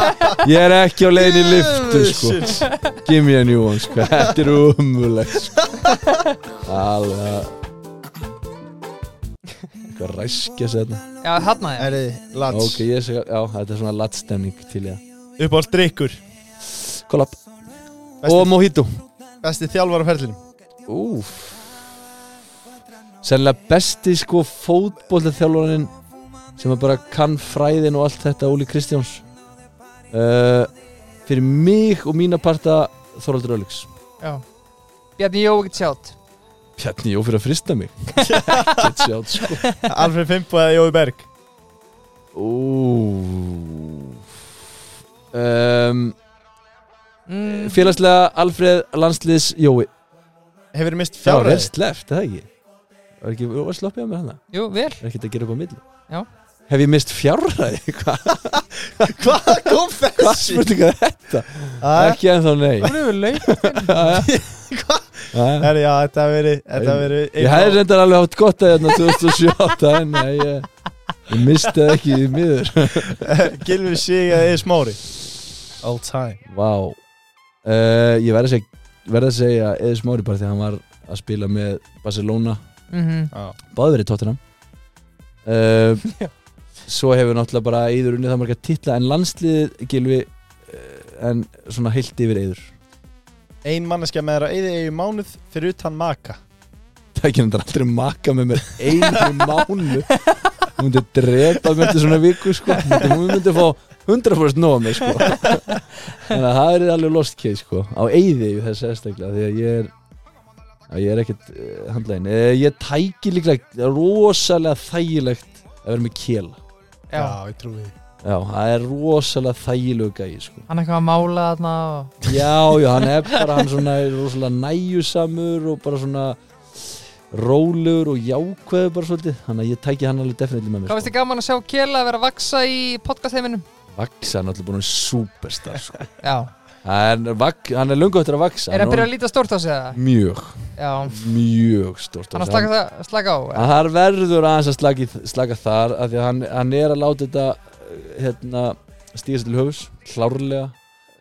ég er ekki á leiðin í liftu sko. Jesus. Give me a new one sko. Þetta er umulegt sko. Alveg að- Eitthvað ræskja sér þetta Já, hann að ég Herri, lands Ok, okay. ég segi, já, þetta er svona latstemning til ég Upp á strikkur Kollab Besti, Og Mojito besti þjálfar á ferlinum Úf Sennilega besti sko fótboltaþjálfarinn sem að bara kann fræðin og allt þetta Óli Kristjáns uh, fyrir mig og mína parta Þoraldur Öllíks Já Bjarni Jó, ekkert sjátt Pjarni, jó fyrir að frista [laughs] mig Get sjátt sko Alfred Fimbo eða Jói Berg Ó. um, mm, Félagslega Alfreð landsliðs Jói Hefur mist Það var vel fjárræðis sleppt, er það ekki Var ekki, var sloppið á mig hana Jú, vel Er ekki að gera upp á milli Já. Hef ég mist fjárræði? Hvað [laughs] Hvað kom hva þessi? spurninga er þetta? Æ, Ekki ennþá nei [laughs] Það er vel laug Jæja. Herri, já, þetta hafi verið Þetta hafi verið Ég hefði reyndar alveg haft gott að hérna 2007 En nei, ég, ég misti það ekki í miður [laughs] Gilfur sig eða eða smári All time Vá uh, Ég verði að segja, verð að segja Eða smári bara því að hann var að spila með Barcelona Mhm, Báði verið tóttina [laughs] uh, Svo hefur náttúrulega bara Eður unnið það marga titla En landslið gilvi uh, En svona heilt yfir Eður Ein manneskja með þér að eða eigi mánuð fyrir utan maka Það ekki hann aldrei maka með mér Einu mánu Hún myndi drepa mér til svona viku sko. Hún myndi- Hún myndi fá 100% nóg af mig sko. Þannig að það er alveg lost case sko. Á eyði í þessu eðstaklega Því að ég er að Ég er ekkert uh, handlegin uh, Ég tæki líklega rosalega þægilegt Að vera með kjela Já ég trúi því Já, það er rosalega þægilegu gæi sko. Hann er eitthvað að mála þarna og... Já, já, hann er bara hann svona er rosalega næjusamur og bara svona rólegur og jákveður bara svolítið þannig að ég tæki hann alveg definitely með mér sko. Hvað finnst þið gaman að sjá Kjela að vera að vaksa í podcastheiminum? Vaksa, hann er alltaf búin að superstar sko. Já hann, er vak, hann er Mm. löngu eftir að vaksa Er hann hann byrjað að líta stórt á sig það? Mjög, Já mjög stort Hann að slaka, það, slaka á Að Það verður aðeins að slaki, slaka þar af því að hann, hann er að láta þetta hérna, stíðast til höfus klárlega,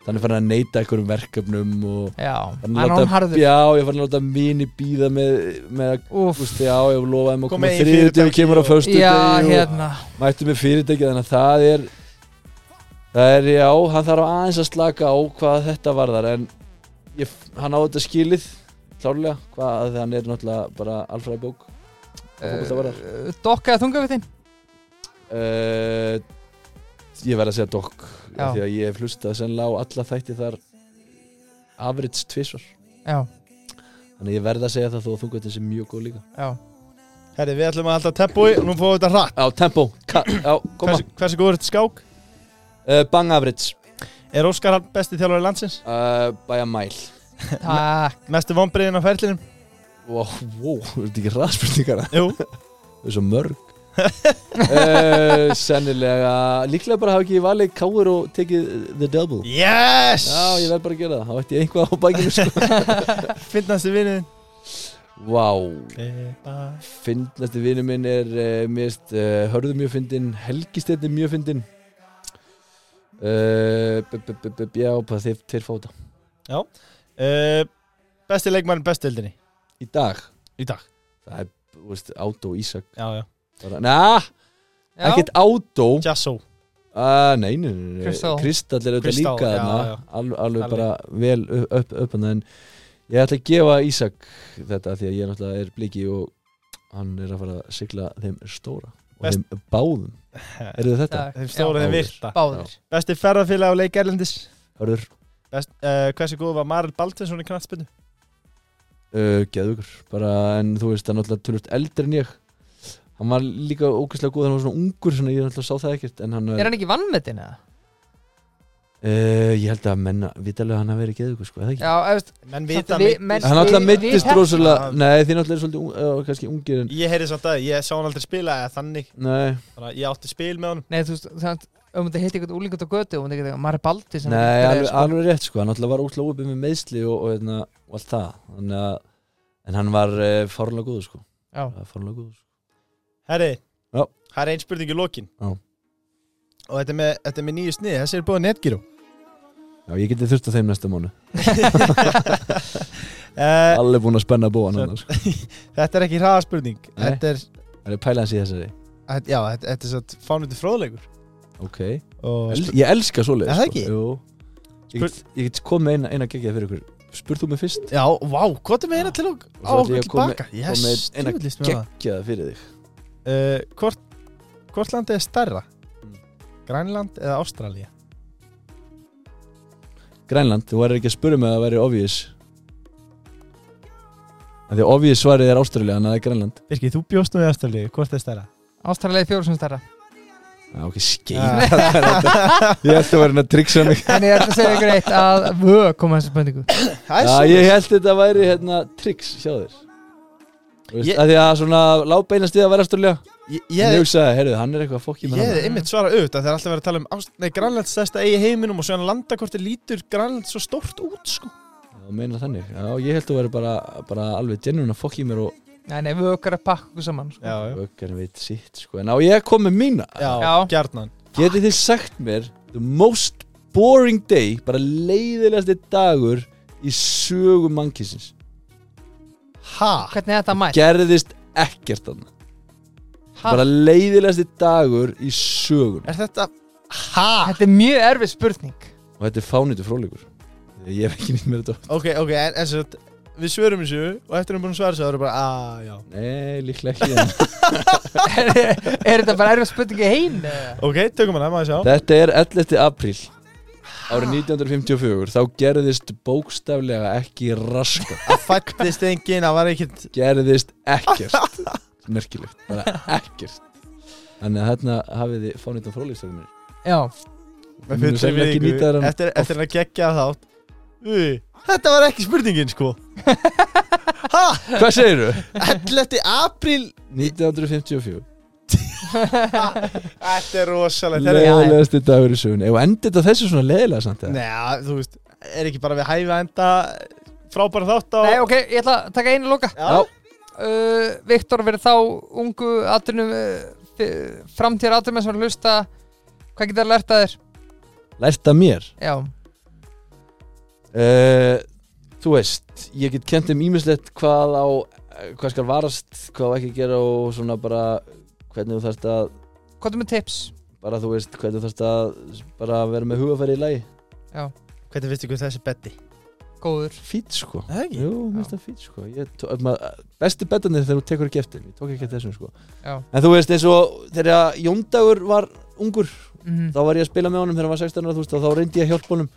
þannig fyrir að neyta einhverjum verkefnum og Já Hann Hann er hann harður Já, ég fann að láta vini býða með, með að Úff. Úst, já, ég lofaði maður að Kom koma með í þriðið og fyrirtæki kemur á og- föstu Já, hérna mættu með fyrirtæki þannig að það er það er, já, hann þarf aðeins að slaka á hvað þetta varðar en ég, hann á þetta skilið klárlega, hvað að hann er náttúrulega bara alfræði bók fótbolta var Uh, Dokkaði þunga við þinn? uh, ég verð að segja dokk Já. því að ég hef hlustað sennilega á alla þætti þar afrits tvisvar Já, þannig að ég verð að segja það þó að þungaðin sé mjög góð líka já Herri, við ætlum að halda tempói og nú fáum við þetta hratt Já, tempo, ka- já, koma Hversu, hversu góður er þetta skák? uh, Bang average Er Óskar hann besti þjálfari landsins? uh, By a mile Takk Mestu vonbriðin á ferlinum? Wow, wow, þetta er ekki ræðspurningar Jú Það er svo mörg [laughs] uh, Sennilega, líklega bara hafa ekki valið káir og tekið the double Yes! Já, ég verð bara að gera það, þá ætti ég einhvað á bækinu sko Finnast þið vinniðin Vá, fyndnasti vinur minn er uh, mest uh, hörðu mjög fyndin, helgistetni mjög fyndin uh, b- b- b- b- Já, bara þeir, þeir fóta uh, Besti leikmann bestildinni Í dag, Í dag það er, þú veist, Átó Ísak Já, já bara, Næ, Já. [laughs] ekkert Átó Jasso Uh, nei, nei, nei, nei. Kristall. Kristall er auðvitað Kristall, líka já, þarna já. alveg, alveg Alveg. bara vel upp, upp, upp hana, en ég ætla að gefa Ísak þetta því að ég náttúrulega er bliki og hann er að fara að sigla þeim stóra og Best- þeim báðum Þeim eru þið þetta? Takk. stóru Já, þeim Báðir. virta Báðir Besti ferðarfélag á leik Erlendis Hörður, Best, uh, Hversu góð var Marel Baldvinsson í knattspinnu? uh, geðugur bara, en þú veist, hann er náttúrulega tölvöld eldri en ég hann var líka ógeðslega góð hann var svona ungur, svona ég náttúrulega sá það ekkert en hann, Er hann ekki vannmetinn eða? uh, ég held að menna vitalið hann að vera geðugur, sko, eða ekki? Já, eftir Menn Samt vita við- við, menn- hann náttúrulega Við- við meittist hefna- rosalega, nei, þið náttúrulega er svolítið un- uh, kannski ungir en, Ég heyri samt að því, ég sá hann aldrei spila eða þannig nei Þannig að ég átti spil með honum Nei, þú veist, þannig að um þetta hitt eitthvað úlingat á götu og um þetta maður er baldi sem Nei, er- alveg, sko. alveg rétt sko, hann alltaf var útla opið með meðsli og, og, hérna, og allt það Þannig að, en hann var uh, fórlega góður sko, Já, Það var fárlega góður sko. Herri Já. Það er ein spurning í lokin Já. Og þetta er með, þetta er með nýju snið Þessi er búið netgíru Já, ég geti þurft á þeim næsta mánu uh, Allir búin að spenna búan Svo- hann sko. Þetta er ekki hraða spurning Nei. Þetta er, Það er pæla hans í þessari þetta, já, þetta, þetta er satt fánundi fróðleikur Ok, Og El, ég elska svoleið Er það ekki? Jú Ég get, ég get komið með eina, eina geggið fyrir ykkur Spurð þú mig fyrst Já, vá, hvað er með hérna til og Og á okkur svo ætla ég að koma- tilbaka með Yes, eina tjóðlist með það Geggjaða fyrir þig uh, Eh, Hvort Hvort landið er stærra? Mm. Grænland eða Ástralía? Grænland, þú væri ekki að spura mig að það væri obvious Af Því að obvious svarið er Ástralja, þannig að það er Grænland Birki, þú bjóst nú í Ástralíu, hvort er stærra? Ástralegi fjóru sem stærra Já, ok, skeið Eh, [laughs] Ég ætti að vera henni að tryggsa mig En ég ætla að segja ykkur eitt að vö koma þessu spöndingu Það Já, ég held þetta væri hérna tryggs hjá þér Þú veist, Ég- að Því að svona lábeinast við að vera Ástralja Ég, En ég ég, hugsaði, heyrðu, hann er eitthvað að fokki ég með hann hefði einmitt svarað auðvitað þegar alltaf verið að tala um Ást- nei, Grænland stærsta eigi heiminum og svo hann landakorti lítur Grænland svo stórt út sko. Já, meina þannig Já, ég held þú væri bara, bara alveg genuine að fokki mér og Nei, nei, vö okkar að pakka okkur saman sko. Já, vöggarn veit sitt sko. En á ég kom með mína já, já. Já. gjarnan Getið þið sagt mér The most boring day Bara leiðilegasti dagur Í sögu mannkissins Ha? Hvernig er þetta mætt? Gerðist ekkert hann Ha? Bara leiðilegasti dagur Í sögun Er þetta Ha? Þetta er mjög erfið [laughs] spurning Og þetta er fánitu fróðleikur Ég hef ekki nýtt mér þetta Ok, ok, en, en svo, við svörum þessu og eftir að við erum búin að svara þessu þá erum við bara, aaa, já Nei, líklega ekki en Er, er þetta bara erfið spurning í heim? eða? Ok, tökum hana, maður sjá Þetta er 11. apríl Árið 1954 Þá gerðist bókstaflega ekki raska Það fættist enginn, það var ekkert Gerðist ekkert Merkilegt, bara ekkert Þannig að hérna hafið þið fánitum fróðleikstöfum mér Já, Með Við munum fullri sennilega ekki virðingu, nýta þennan Eftir, eftir að gegja þátt Úi, Þetta var ekki spurningin, sko [laughs] Ha? Hvað segirðu? 11. apríl 1954 Þetta er rosalegt Þetta er- Leðilegasti dagur í sögunni Ef endur þetta þessu svona leðilega samt eða? Nei, þú veist, er ekki bara við hæfi að enda frábæra þátt á nei, ok, ég ætla að taka einu loka Já, uh, Viktor verið þá ungu atvinnum uh, framtíðar atvinnum sem er að hlusta hvað getur að lerta þér? Lært að mér Já, uh, Þú veist Ég get kent um ímislegt hvað á eh, Hvað skal varast, hvað á ekki að gera Og svona bara Hvernig þú þarft að hvað er með tips? Bara þú veist hvernig þú þarft að Bara vera með hugafæri í lagi Hvernig finnst ykkur þessi betti? Góður Fýt sko Það ekki? Jú, mér finnst það fýt sko Ég tó- ma- Bestu betanir þegar þú tekur ekki eftir Ég tók ekki eftir þessum sko Já. En þú veist eins og Þegar Jóndagur var ungur mm þá var ég að spila með honum þegar hann var 16 ára þú veist, og þá reyndi ég að hjálpa honum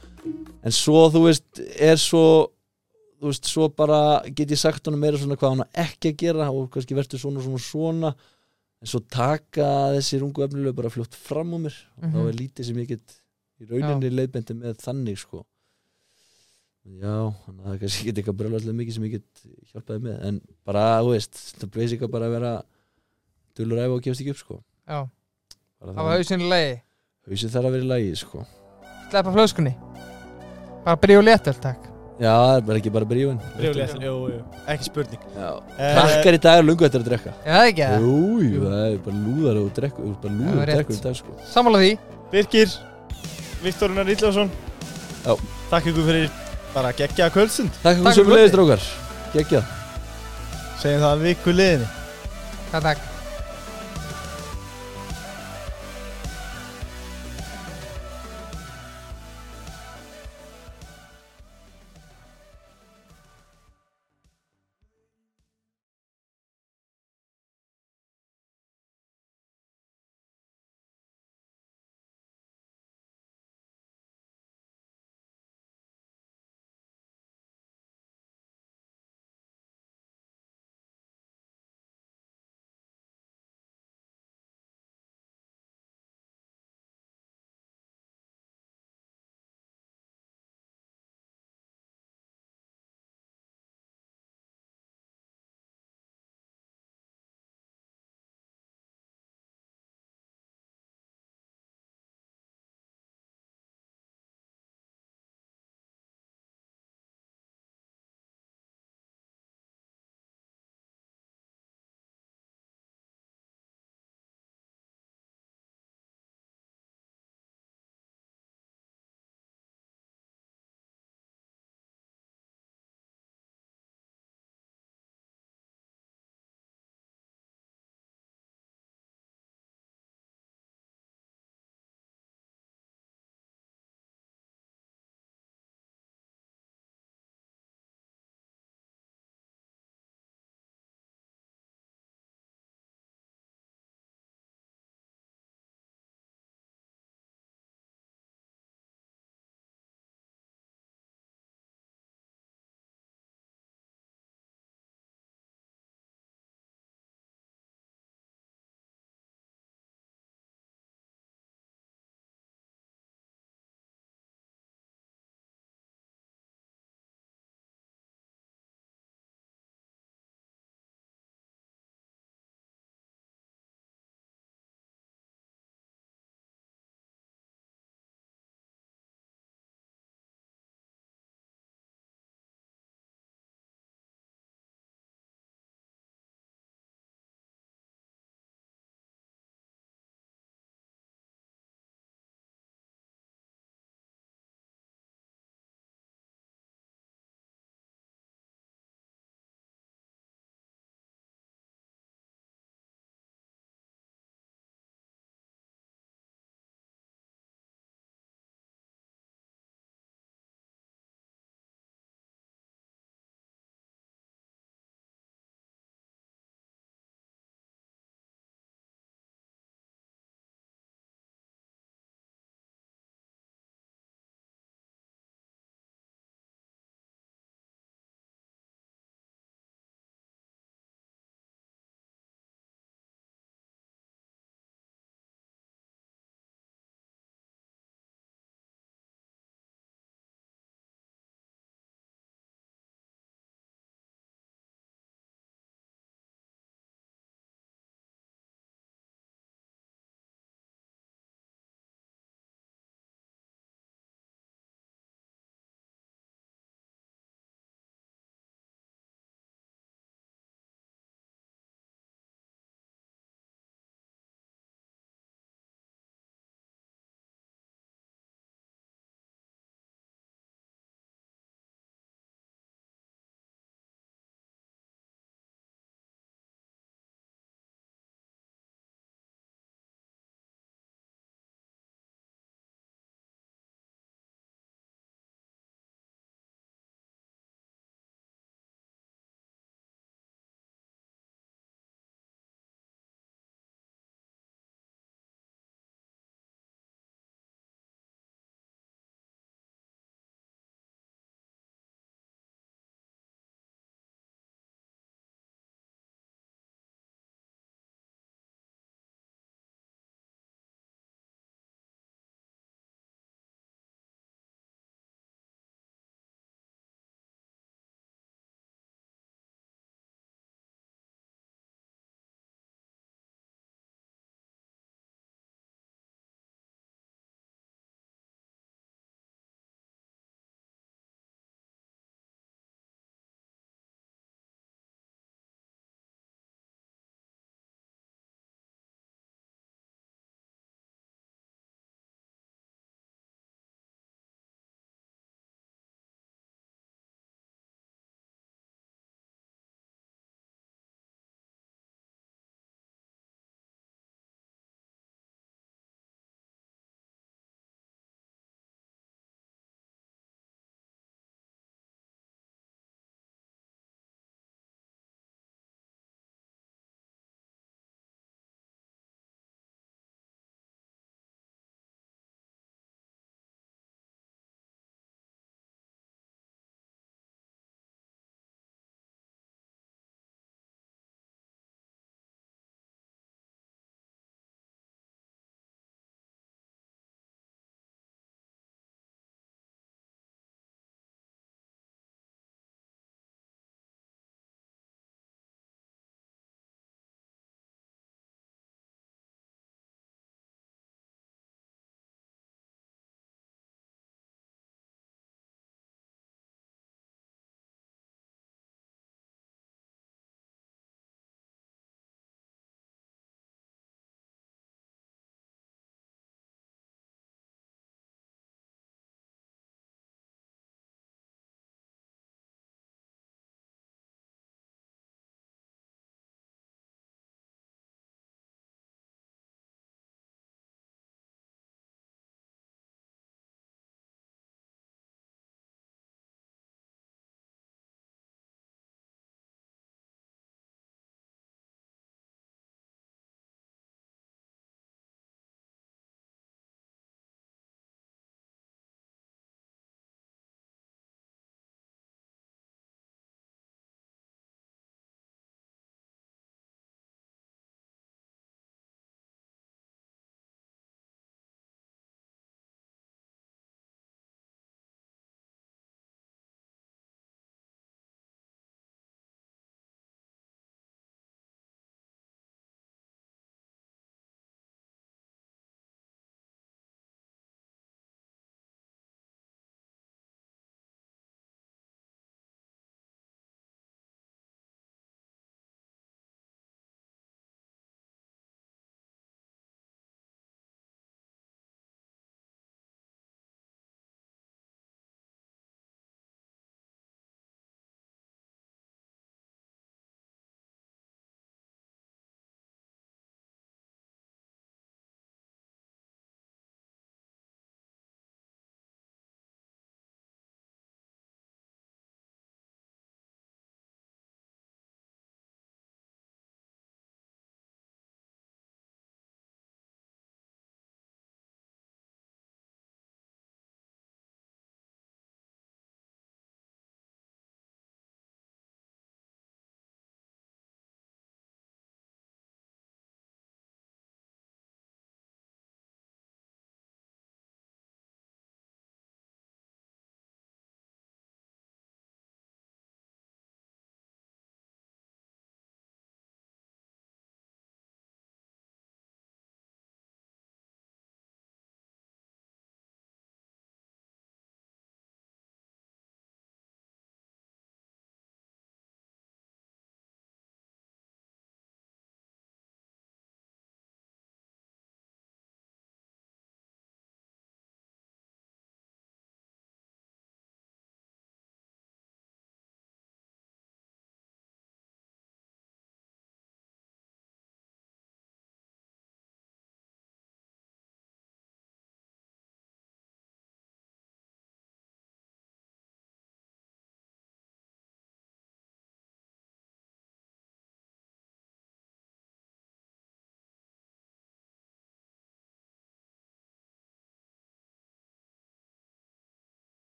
en svo, þú veist, er svo þú veist, svo bara get ég sagt honum meira svona hvað hann á ekki að gera og kannski verður svona svona svona en svo taka þessir ungu efnilega bara fljótt fram úr mér og þá Mhm. er lítið sem ég get í rauninni leiðbendi með þannig sko já, þannig að það er kannski get eitthvað brjóla alltaf mikið sem ég get hjálpaði með en bara, þú veist, það breysið bara að vera dullur æfa og gefst ekki upp sko Já, Bara það var hausinlegi hausið þarf að vera í lagi sko Sleppa flöskunni Bara byrja og letur, takk Já, það er bara ekki bara brífin Brjóðlega, jú, jú, ekki spurning Eh, Krakkar í dag er lungu eftir að drekka Já, það ekki það Jú, jú, það er bara lúðar og drekku Þú ert bara Já, lúðar og rétt. drekku í dag sko Sammála því Birgir, Viktorunar Ílljóðsson Já. Takk ykkur fyrir bara geggjaða kvöldsund Takk Takk fyrir fyrir sömulegis kvöldið. drókar Gekja Segjum það að viku liðinni Já, takk